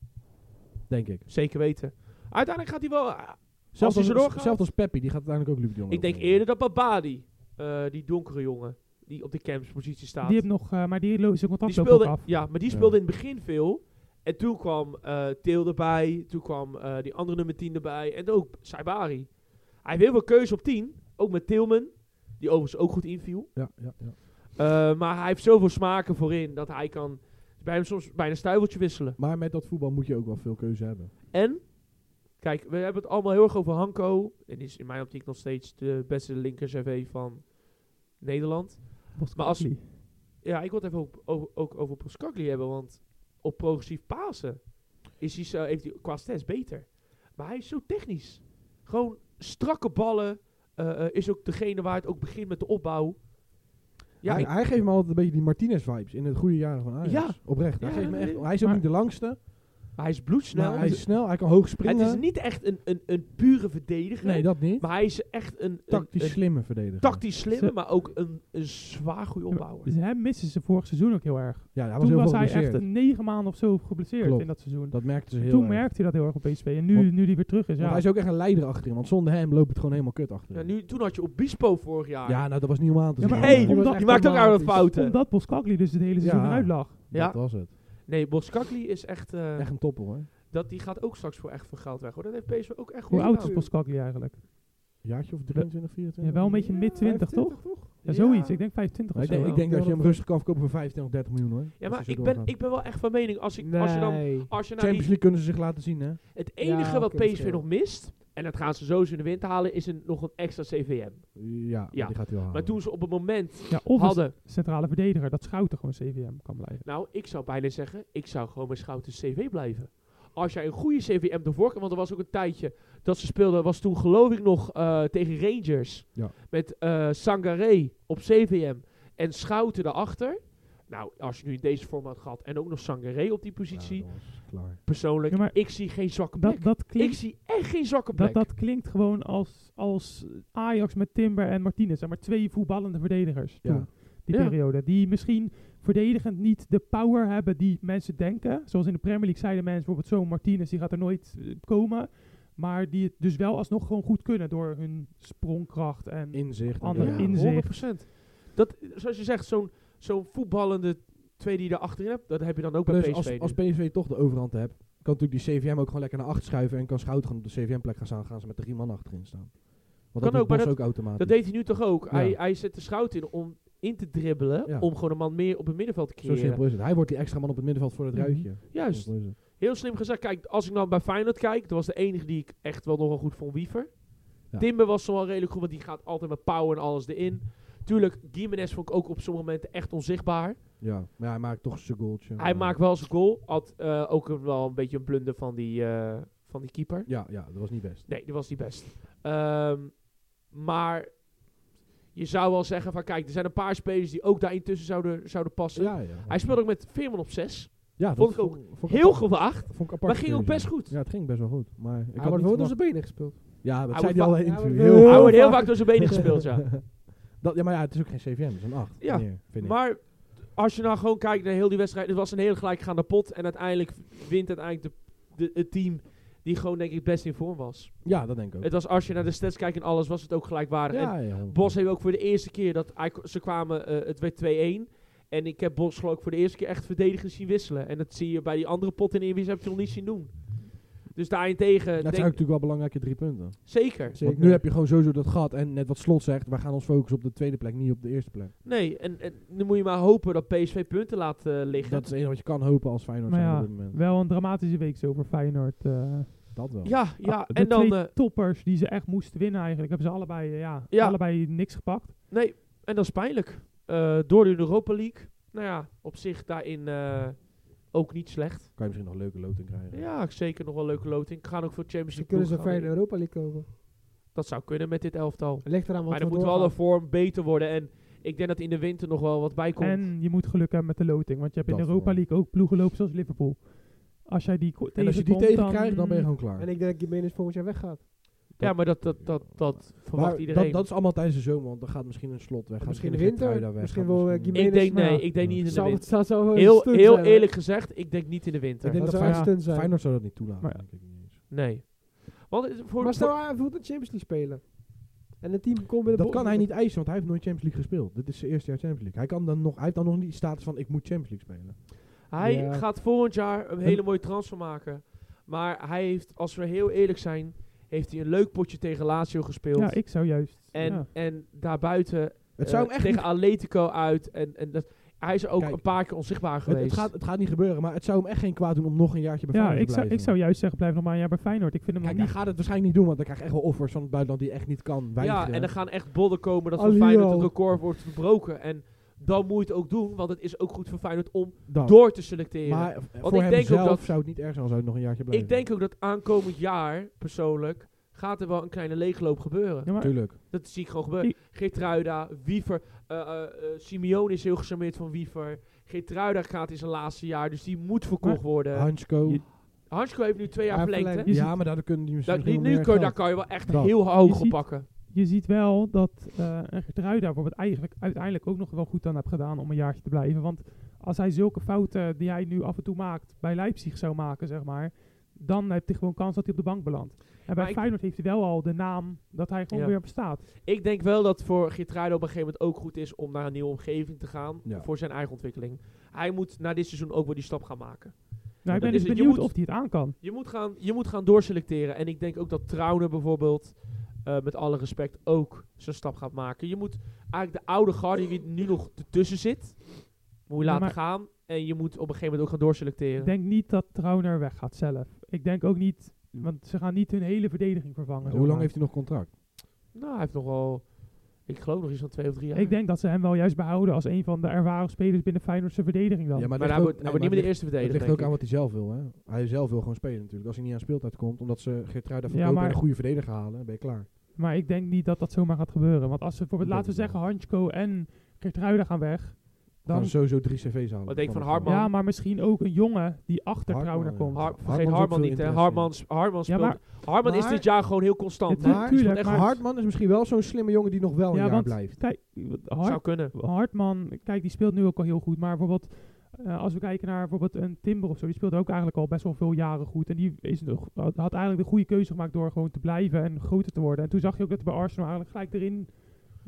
Speaker 2: Denk ik.
Speaker 1: Zeker weten. Uiteindelijk gaat hij wel... ah,
Speaker 2: Zelfs
Speaker 1: hij
Speaker 2: als,
Speaker 1: zo doorgaat?
Speaker 2: zelfs als Peppi, die gaat uiteindelijk ook Luc de Jong
Speaker 1: ik denk
Speaker 2: overnemen.
Speaker 1: eerder dat Babadi, eh, die donkere jongen, die op de campspositie staat.
Speaker 4: die heeft nog, eh, maar die loopt zijn
Speaker 1: die
Speaker 4: contact loopt ook
Speaker 1: speelde,
Speaker 4: af.
Speaker 1: ja, maar die
Speaker 2: Ja.
Speaker 1: speelde in het begin veel. En toen kwam eh Til erbij. Toen kwam eh, die andere nummer 10 erbij. En ook Saibari. Hij heeft heel veel keuze op 10. Ook met Tilman. Die overigens ook goed inviel.
Speaker 2: Ja, ja, ja.
Speaker 1: Eh, maar hij heeft zoveel smaken voorin. Dat hij kan bij hem soms bijna stuiveltje wisselen.
Speaker 2: Maar met dat voetbal moet je ook wel veel keuze hebben.
Speaker 1: En, Kijk, we hebben het allemaal heel erg over Hanko. En die is in mijn optiek nog steeds de beste linker CV van Nederland. Maar als-
Speaker 4: Boskakli.
Speaker 1: Ja, ik wil het even ook, ook, ook over Poskakli hebben. Want op progressief Pasen is hij zo, heeft hij qua stats beter. Maar hij is zo technisch. Gewoon strakke ballen. eh, eh, is ook degene waar het ook begint met de opbouw. Ja,
Speaker 2: hij,
Speaker 1: ik-
Speaker 2: hij geeft me altijd een beetje die Martinez-vibes in het goede jaren van Ajax.
Speaker 1: Ja.
Speaker 2: Oprecht.
Speaker 1: Ja,
Speaker 2: hij, geeft me
Speaker 1: nee,
Speaker 2: echt,
Speaker 1: nee.
Speaker 2: hij is ook
Speaker 4: Maar-
Speaker 2: niet de langste,
Speaker 1: hij is bloedsnel.
Speaker 2: maar hij is snel, hij kan hoog
Speaker 1: het
Speaker 2: springen.
Speaker 1: is niet echt een, een, een pure verdediger.
Speaker 2: nee, dat niet.
Speaker 1: maar hij is echt een, een,
Speaker 2: Tactisch
Speaker 1: een
Speaker 2: slimme verdediger.
Speaker 1: tactisch slimme,
Speaker 4: Ze-
Speaker 1: maar ook een, een zwaar goede opbouwer.
Speaker 4: Dus hem missen ze vorig seizoen ook heel erg.
Speaker 2: Ja, hij was
Speaker 4: Toen
Speaker 2: heel
Speaker 4: was
Speaker 2: veel
Speaker 4: hij echt
Speaker 2: geblesseerd.
Speaker 4: een negen maanden of zo geblesseerd
Speaker 2: Klopt.
Speaker 4: in dat seizoen.
Speaker 2: Dat merkte ze heel
Speaker 4: Toen
Speaker 2: erg.
Speaker 4: merkte hij dat heel erg op PSV. En nu,
Speaker 2: Want-
Speaker 4: nu die weer terug is,
Speaker 2: Want
Speaker 4: ja.
Speaker 2: hij is ook echt een leider achterin, want zonder hem loopt het gewoon helemaal kut achterin.
Speaker 1: Ja, nu, toen had je Obispo vorig jaar.
Speaker 2: Ja, nou dat was niet om aan te
Speaker 4: Ja,
Speaker 2: zien.
Speaker 4: maar
Speaker 1: hey,
Speaker 4: omdat-
Speaker 2: was
Speaker 4: die
Speaker 2: echt
Speaker 1: die maakt ook oude
Speaker 2: dramatisch.
Speaker 1: fouten.
Speaker 4: Omdat Boskakli dus het hele seizoen
Speaker 2: Ja.
Speaker 4: eruit lag.
Speaker 1: Ja.
Speaker 2: Dat was het.
Speaker 1: Nee, Boskakli is echt, eh,
Speaker 2: Echt een topper hoor.
Speaker 1: Dat, die gaat ook straks voor echt voor geld weg. Hoor. Dat heeft PSV ook echt goed
Speaker 4: Hoe oud is
Speaker 1: gedaan.
Speaker 4: Boskakli eigenlijk?
Speaker 2: Jaartje of 23, 24?
Speaker 4: Ja, wel een beetje mid 20 toch? Ja, zoiets. Ik denk 25
Speaker 2: Maar
Speaker 4: of
Speaker 2: ik
Speaker 4: zo.
Speaker 2: denk,
Speaker 4: wel.
Speaker 2: ik denk dat je hem rustig kan verkopen voor 25 of 30 miljoen
Speaker 1: Ja,
Speaker 2: hoor. Als hij
Speaker 1: maar
Speaker 2: zo
Speaker 1: ik ben,
Speaker 2: doorgaat.
Speaker 1: ik ben wel echt van mening. Als, ik,
Speaker 3: Nee.
Speaker 1: als je dan... Als je nou
Speaker 2: Champions
Speaker 1: die-
Speaker 2: League kunnen ze zich laten zien hè.
Speaker 1: het enige
Speaker 3: Ja,
Speaker 1: wat
Speaker 3: oké,
Speaker 1: PSV
Speaker 3: sure.
Speaker 1: nog mist... En dat gaan ze sowieso in de wind halen... Is een, nog een extra CVM.
Speaker 2: Oh. Ja,
Speaker 1: Ja.
Speaker 2: die gaat hij wel halen.
Speaker 1: Maar toen ze op het moment
Speaker 4: Ja, of een
Speaker 1: hadden...
Speaker 4: centrale verdediger, dat Schouten gewoon CVM kan blijven.
Speaker 1: Nou, ik zou bijna zeggen... Ik zou gewoon bij Schouten CV blijven. Als jij een goede CVM ervoor kan... Want er was ook een tijdje dat ze speelden... Was toen geloof ik nog eh, tegen Rangers.
Speaker 2: Ja.
Speaker 1: Met eh Sangaré op CVM. En Schouten daarachter. Nou, als je nu in deze vorm had gehad... En ook nog Sangaré op die positie...
Speaker 2: Ja, dat was klaar.
Speaker 1: persoonlijk,
Speaker 4: Ja, maar
Speaker 1: ik zie geen zwakke plek.
Speaker 4: Dat, dat,
Speaker 1: ik
Speaker 4: klinkt,
Speaker 1: zie echt geen zwakke plek.
Speaker 4: dat, dat klinkt gewoon als, als Ajax met Timber en Martinez. Zeg maar twee voetballende verdedigers
Speaker 2: Ja.
Speaker 4: toen, die
Speaker 1: Ja.
Speaker 4: periode. Die misschien verdedigend niet de power hebben die mensen denken. Zoals in de Premier League zeiden mensen bijvoorbeeld zo'n Martinez, die gaat er nooit eh, komen. Maar die het dus wel alsnog gewoon goed kunnen door hun sprongkracht. En
Speaker 2: Inzicht. en-
Speaker 4: Andere
Speaker 2: ja.
Speaker 4: inzicht.
Speaker 1: 100%. Dat, zoals je zegt, zo'n zo'n voetballende twee die je achterin hebt, dat heb je dan ook bij
Speaker 2: Plus,
Speaker 1: PSV.
Speaker 2: Dus als,
Speaker 1: nu.
Speaker 2: als PSV toch de overhand hebt, kan natuurlijk die CVM ook gewoon lekker naar achter schuiven en kan Schout gewoon op de CVM-plek gaan staan. Gaan ze met drie man achterin staan. Want
Speaker 1: Kan
Speaker 2: dat
Speaker 1: ook,
Speaker 2: ook,
Speaker 1: maar
Speaker 2: Bos ook automatisch.
Speaker 1: dat deed hij nu toch ook.
Speaker 2: Ja.
Speaker 1: Hij, hij zet de schout in om in te dribbelen,
Speaker 2: Ja.
Speaker 1: om gewoon een man meer op het middenveld te
Speaker 2: Zo
Speaker 1: creëren.
Speaker 2: simpel is het. Hij wordt die extra man op het middenveld voor het
Speaker 4: Mhm.
Speaker 2: ruitje.
Speaker 1: Juist.
Speaker 2: Simpel is het.
Speaker 1: Heel slim gezegd. Kijk, als ik dan bij Feyenoord kijk, dat was de enige die ik echt wel nogal goed vond, Wiever.
Speaker 2: Ja.
Speaker 1: Timber was wel redelijk goed, want die gaat altijd met power en alles erin. Tuurlijk, Gimenez vond ik ook op sommige momenten echt onzichtbaar.
Speaker 2: Ja, maar hij maakt toch zijn goaltje.
Speaker 1: Hij maakt wel zijn goal. Had eh, ook een- wel een beetje een blunder van die, eh, van die keeper.
Speaker 2: Ja, ja, dat was niet best.
Speaker 1: Nee, die was niet best. Ehm, maar je zou wel zeggen van... Kijk, er zijn een paar spelers die ook daar intussen zouden, zouden passen.
Speaker 2: Ja, ja.
Speaker 1: Hij speelde ook met Veerman op 6.
Speaker 2: ja, dat
Speaker 1: vond ik ook
Speaker 2: vond ik
Speaker 1: Heel
Speaker 2: apart.
Speaker 1: gewaagd,
Speaker 2: Vond ik apart.
Speaker 1: maar ging ook best goed.
Speaker 2: Ja, het ging best wel goed. Maar ik
Speaker 3: Hij
Speaker 2: had
Speaker 3: wordt
Speaker 2: niet
Speaker 3: wel door
Speaker 2: verwacht-
Speaker 3: zijn benen gespeeld.
Speaker 2: Ja, dat
Speaker 1: Hij
Speaker 2: zei
Speaker 1: wordt
Speaker 2: hij al
Speaker 3: wel-
Speaker 2: in het
Speaker 3: hij
Speaker 2: interview.
Speaker 3: wordt wel-
Speaker 2: Heel
Speaker 1: Hij
Speaker 2: vaak.
Speaker 1: wordt heel vaak door zijn benen gespeeld, ja.
Speaker 2: dat, ja, maar ja, het is ook geen CVM, het is een 8.
Speaker 1: Ja,
Speaker 2: vind ik.
Speaker 1: Maar als je nou gewoon kijkt naar heel die wedstrijd... Het was een hele gelijkgaande pot. En uiteindelijk wint uiteindelijk de, de, het team... Die gewoon denk ik best in vorm was.
Speaker 2: Ja, dat denk ik ook.
Speaker 1: Het was als je naar de stats kijkt en alles, was het ook gelijkwaardig. En
Speaker 2: Ja, ja, honderd.
Speaker 1: Bos heeft eh, ook voor de eerste keer dat hij- ze kwamen, eh, het werd 2-1. En ik heb Bos geloof ik voor de eerste keer echt verdedigend zien wisselen. En dat zie je bij die andere pot in Eredivisie heb je nog niet zien doen. Dus daarentegen,
Speaker 2: Dat
Speaker 1: denk,
Speaker 2: zijn natuurlijk wel belangrijke drie punten.
Speaker 1: zeker.
Speaker 2: Want
Speaker 3: Zeker.
Speaker 2: nu heb je gewoon sowieso dat gat. En net wat Slot zegt, wij gaan ons focussen op de tweede plek, niet op de eerste plek.
Speaker 1: Nee, en, en nu moet je maar hopen dat PSV punten laat eh, liggen.
Speaker 2: Dat is het enige wat je kan hopen als Feyenoord
Speaker 4: Maar
Speaker 2: zijn
Speaker 4: ja,
Speaker 2: op dit moment.
Speaker 4: wel een dramatische week zo voor Feyenoord. eh.
Speaker 2: Dat wel.
Speaker 1: ja, ja.
Speaker 4: Ah, de
Speaker 1: en dan,
Speaker 4: twee
Speaker 1: eh,
Speaker 4: toppers die ze echt moesten winnen eigenlijk, hebben ze allebei, eh, ja,
Speaker 1: Ja.
Speaker 4: allebei niks gepakt.
Speaker 1: nee, en dat is pijnlijk. Eh, door de Europa League. Nou ja, op zich daarin eh, ook niet slecht.
Speaker 2: Kan je misschien nog een leuke loting krijgen.
Speaker 1: Ja, zeker nog wel een leuke loting. Gaan ook voor Champions
Speaker 3: Ze
Speaker 1: League.
Speaker 3: kunnen zo
Speaker 1: ploegen
Speaker 3: ver in
Speaker 1: Dus gaan
Speaker 3: de
Speaker 1: mee.
Speaker 3: Europa League komen.
Speaker 1: Dat zou kunnen met dit elftal.
Speaker 3: Het ligt eraan wat
Speaker 1: Maar dan
Speaker 3: er
Speaker 1: moet wel de
Speaker 3: doorgaat.
Speaker 1: vorm beter worden. En ik denk dat in de winter nog wel wat bij komt.
Speaker 4: En je moet geluk hebben met de loting, want je hebt in
Speaker 2: Dat
Speaker 4: de Europa
Speaker 2: wel.
Speaker 4: League ook ploegen lopen zoals Liverpool. Als jij die ko-
Speaker 2: En als je die
Speaker 4: tegenkomt,
Speaker 2: tegenkrijgt, dan ben je gewoon klaar.
Speaker 3: En ik denk dat Jiménez volgend jaar weggaat.
Speaker 1: ja, maar dat, dat, dat, dat verwacht
Speaker 2: Maar
Speaker 1: iedereen.
Speaker 2: dat, dat is allemaal tijdens de zomer, want dan gaat misschien een slot weg. gaat
Speaker 3: Misschien
Speaker 2: misschien een
Speaker 3: winter,
Speaker 2: Geertruida weg,
Speaker 3: misschien
Speaker 2: gaat
Speaker 3: wel, eh,
Speaker 1: ik
Speaker 2: misschien-
Speaker 1: denk
Speaker 3: Jiménez,
Speaker 1: nee,
Speaker 3: nou,
Speaker 1: ik denk niet in de
Speaker 3: Zou,
Speaker 1: winter.
Speaker 3: het zou zo een
Speaker 1: Heel,
Speaker 3: stunt
Speaker 1: heel
Speaker 3: zijn, hè?
Speaker 1: eerlijk gezegd, ik denk niet in de
Speaker 2: Ik
Speaker 1: winter.
Speaker 2: denk
Speaker 3: Dat
Speaker 2: dat
Speaker 3: zou een
Speaker 2: Feyenoord,
Speaker 3: stunt zijn.
Speaker 2: Feyenoord zou dat niet toelaten.
Speaker 4: Maar-
Speaker 2: denk ik niet eens.
Speaker 1: Nee. Want het- voor,
Speaker 3: Maar
Speaker 1: voor-
Speaker 3: stel hij voelt een Champions League spelen. En het team komt met de
Speaker 2: Dat
Speaker 3: bo-
Speaker 2: kan hij niet eisen, want hij heeft nooit Champions League gespeeld. Dit is zijn eerste jaar Champions League. Hij, kan dan nog, hij heeft dan nog niet die status van ik moet Champions League spelen.
Speaker 1: hij
Speaker 3: Ja.
Speaker 1: gaat volgend jaar een hele mooie transfer maken. Maar hij heeft, als we heel eerlijk zijn, heeft hij een leuk potje tegen Lazio gespeeld.
Speaker 4: Ja, ik zou juist.
Speaker 1: en,
Speaker 4: ja.
Speaker 1: en daarbuiten
Speaker 2: Het zou
Speaker 1: eh,
Speaker 2: hem echt
Speaker 1: tegen
Speaker 2: niet-
Speaker 1: Atletico uit. En, en dat, hij is ook
Speaker 2: Kijk,
Speaker 1: een paar keer onzichtbaar
Speaker 2: Het,
Speaker 1: geweest.
Speaker 2: het, gaat, het gaat niet gebeuren, maar het zou hem echt geen kwaad doen om nog een jaartje bij
Speaker 4: Ja,
Speaker 2: Feyenoord
Speaker 4: ik
Speaker 2: te
Speaker 4: zou,
Speaker 2: blijven.
Speaker 4: ik zou juist zeggen, blijf nog maar een jaar bij Feyenoord. Ik vind hem
Speaker 2: Kijk,
Speaker 4: ook
Speaker 2: hij
Speaker 4: niet...
Speaker 2: gaat het waarschijnlijk niet doen, want dan krijg je echt wel offers van het buitenland die echt niet kan
Speaker 1: ja,
Speaker 2: weigeren.
Speaker 1: en er gaan echt bollen komen dat
Speaker 3: Alio.
Speaker 1: voor Feyenoord het record wordt verbroken. En dan moet je het ook doen, want het is ook goed voor Feyenoord om
Speaker 2: Dat.
Speaker 1: door te selecteren.
Speaker 2: Oh. Maar voor
Speaker 1: ik
Speaker 2: hem
Speaker 1: denk ook
Speaker 2: zelf
Speaker 1: dat-
Speaker 2: zou het niet erg zijn als hij nog een jaartje blijft.
Speaker 1: ik denk ook dat aankomend jaar, persoonlijk, gaat er wel een kleine leegloop gebeuren.
Speaker 4: Ja, maar
Speaker 2: Tuurlijk.
Speaker 1: Dat zie ik gewoon gebeuren. Geertruida, Wiever. eh eh, eh, Simeone is heel gecharmeerd van Wiever. Geertruida gaat in zijn laatste jaar, dus die moet verkocht worden.
Speaker 2: Hansko.
Speaker 4: je-
Speaker 1: Hansko heeft nu twee jaar
Speaker 3: Ja,
Speaker 1: verlengd, hè?
Speaker 3: verlengd.
Speaker 4: je
Speaker 2: Ja, maar daardoor kunnen die misschien
Speaker 1: Dat,
Speaker 2: nog
Speaker 1: die,
Speaker 2: wel
Speaker 1: nu
Speaker 2: meer
Speaker 1: kun, daar
Speaker 2: geld.
Speaker 1: kan je wel echt
Speaker 2: Dat.
Speaker 1: heel hoog
Speaker 4: ziet-
Speaker 1: op pakken.
Speaker 4: je ziet wel dat eh een Gertruida bijvoorbeeld eigenlijk uiteindelijk ook nog wel goed aan heeft gedaan om een jaartje te blijven. Want als hij zulke fouten die hij nu af en toe maakt bij Leipzig zou maken, zeg maar, dan heb je gewoon kans dat hij op de bank belandt. En bij
Speaker 1: ik-
Speaker 4: Feyenoord heeft hij wel al de naam dat hij gewoon
Speaker 1: Ja.
Speaker 4: weer bestaat. Nou,
Speaker 1: Ik denk wel dat voor Geertruida op een gegeven moment ook goed is om naar een nieuwe omgeving te gaan.
Speaker 2: Ja.
Speaker 1: Voor zijn eigen ontwikkeling. Hij moet na dit seizoen ook wel die stap gaan maken.
Speaker 4: Nou, ik
Speaker 1: dat
Speaker 4: ben
Speaker 1: is
Speaker 4: dus
Speaker 1: het. Je
Speaker 4: benieuwd
Speaker 1: moet-
Speaker 4: of hij het aan kan.
Speaker 1: Je moet gaan, je moet gaan doorselecteren. En ik denk ook dat Trauner bijvoorbeeld, eh, met alle respect, ook zijn stap gaat maken. Je moet eigenlijk de oude garde die nu nog ertussen zit, moet je
Speaker 4: Ja,
Speaker 1: laten
Speaker 4: maar-
Speaker 1: gaan. En je moet op een gegeven moment ook gaan doorselecteren.
Speaker 4: Ik denk niet dat Trauner weggaat zelf. Ik denk ook niet, want ze gaan niet hun hele verdediging vervangen.
Speaker 2: Hoe lang
Speaker 4: zomaar.
Speaker 2: heeft hij nog contract?
Speaker 1: Nou, hij heeft nog wel, ik geloof nog iets van twee of drie jaar.
Speaker 4: Ik denk dat ze hem wel juist behouden als een van de ervaren spelers binnen Feyenoordse verdediging dan.
Speaker 1: maar
Speaker 2: het
Speaker 1: hij
Speaker 2: ligt
Speaker 1: wordt
Speaker 2: ook-
Speaker 1: hij
Speaker 2: nee,
Speaker 1: wordt niet meer de
Speaker 2: maar
Speaker 1: eerste
Speaker 2: het ligt-
Speaker 1: verdediger,
Speaker 2: Het ligt
Speaker 1: denk
Speaker 2: ook
Speaker 1: ik.
Speaker 2: aan wat hij zelf wil. Hè. Hij zelf wil gewoon spelen natuurlijk. Als hij niet aan speeltijd komt, omdat ze Geertruida
Speaker 4: Ja,
Speaker 2: verkopen
Speaker 4: maar-
Speaker 2: en een goede verdediger halen, ben je klaar.
Speaker 4: Maar ik denk niet dat dat zomaar gaat gebeuren. Want als ze bijvoorbeeld,
Speaker 2: Ik
Speaker 4: laten we
Speaker 2: denk het
Speaker 4: zeggen, Hansko en Gertruida gaan weg.
Speaker 2: Dan
Speaker 4: Dan,
Speaker 2: gaan sowieso drie cv's halen.
Speaker 1: Wat denk je van
Speaker 2: het
Speaker 1: Hartman?
Speaker 2: wel.
Speaker 4: ja, maar misschien ook een jongen die achter
Speaker 2: Hartman,
Speaker 4: Trauner
Speaker 2: ja.
Speaker 4: komt.
Speaker 1: Har-
Speaker 2: Hartman
Speaker 1: vergeet
Speaker 2: is ook
Speaker 1: Hartman
Speaker 2: veel
Speaker 1: niet, hè.
Speaker 2: interesse.
Speaker 1: Hartman, sp- Hartman
Speaker 4: Ja,
Speaker 1: speelt...
Speaker 4: maar-
Speaker 1: Hartman is
Speaker 4: maar-
Speaker 1: dit jaar gewoon heel constant.
Speaker 4: Het-
Speaker 1: hè. Die
Speaker 4: tuurlijk,
Speaker 1: speelt echt
Speaker 4: maar-
Speaker 1: goed.
Speaker 2: Hartman is misschien wel zo'n slimme jongen die nog wel een
Speaker 4: ja,
Speaker 2: jaar
Speaker 4: want
Speaker 2: blijft.
Speaker 4: kijk, wat Hart-
Speaker 1: Zou kunnen.
Speaker 4: Hartman, kijk, die speelt nu ook al heel goed. Maar bijvoorbeeld, eh, als we kijken naar bijvoorbeeld een Timber of zo, die speelt ook eigenlijk al best wel veel jaren goed. En die is nog, had had eigenlijk de goede keuze gemaakt door gewoon te blijven en groter te worden. En toen zag je ook dat hij bij Arsenal eigenlijk gelijk erin,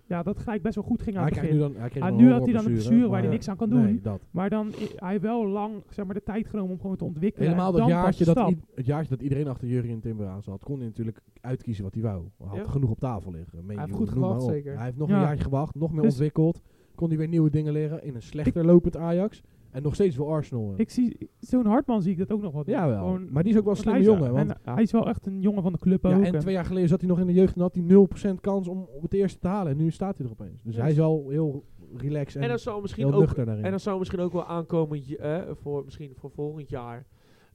Speaker 4: ja, dat gelijk best wel goed ging aan
Speaker 2: Hij
Speaker 4: het
Speaker 2: krijgt
Speaker 4: begin.
Speaker 2: nu dan hij kreeg
Speaker 4: Ah,
Speaker 2: een
Speaker 4: nu had hij dan een
Speaker 2: horrorblessure,
Speaker 4: blessure waar
Speaker 2: maar-
Speaker 4: hij niks aan kan doen.
Speaker 2: Nee, dat.
Speaker 4: Maar dan i- hij heeft wel lang zeg maar, de tijd genomen om gewoon te ontwikkelen.
Speaker 2: Helemaal
Speaker 4: En
Speaker 2: dat
Speaker 4: dan pas
Speaker 2: jaartje
Speaker 4: de
Speaker 2: dat,
Speaker 4: stap.
Speaker 2: i- het jaartje dat iedereen achter Jurgen Timber aan zat, kon hij natuurlijk uitkiezen wat hij wou. Hij had
Speaker 1: Ja.
Speaker 2: genoeg op tafel liggen. Menu,
Speaker 3: Hij heeft goed
Speaker 2: noem maar
Speaker 3: gewacht,
Speaker 2: op.
Speaker 3: zeker.
Speaker 2: Hij heeft nog
Speaker 4: Ja.
Speaker 2: een jaartje gewacht, nog meer
Speaker 4: Dus-
Speaker 2: ontwikkeld. Kon hij weer nieuwe dingen leren in een slechter lopend Ajax. En nog steeds voor Arsenal. eh,
Speaker 4: Ik zie zo'n Hartman zie ik dat ook nog wat. doen.
Speaker 2: Jawel,
Speaker 4: Gewoon-
Speaker 2: maar die is ook wel een
Speaker 4: want hij
Speaker 2: slimme
Speaker 4: is-
Speaker 2: jongen. Want,
Speaker 4: en hij is wel echt een jongen van de club
Speaker 2: ja,
Speaker 4: ook.
Speaker 2: en
Speaker 4: En-
Speaker 2: twee jaar geleden zat hij nog in de jeugd en had hij 0% kans om op het eerste te halen. En nu staat hij er opeens. Dus
Speaker 1: Ja.
Speaker 2: hij is al heel relaxed
Speaker 1: En
Speaker 2: en,
Speaker 1: dat zou misschien
Speaker 2: heel
Speaker 1: ook
Speaker 2: nuchter daarin.
Speaker 1: En dan zou er misschien ook wel aankomen j- eh, voor, misschien voor volgend jaar.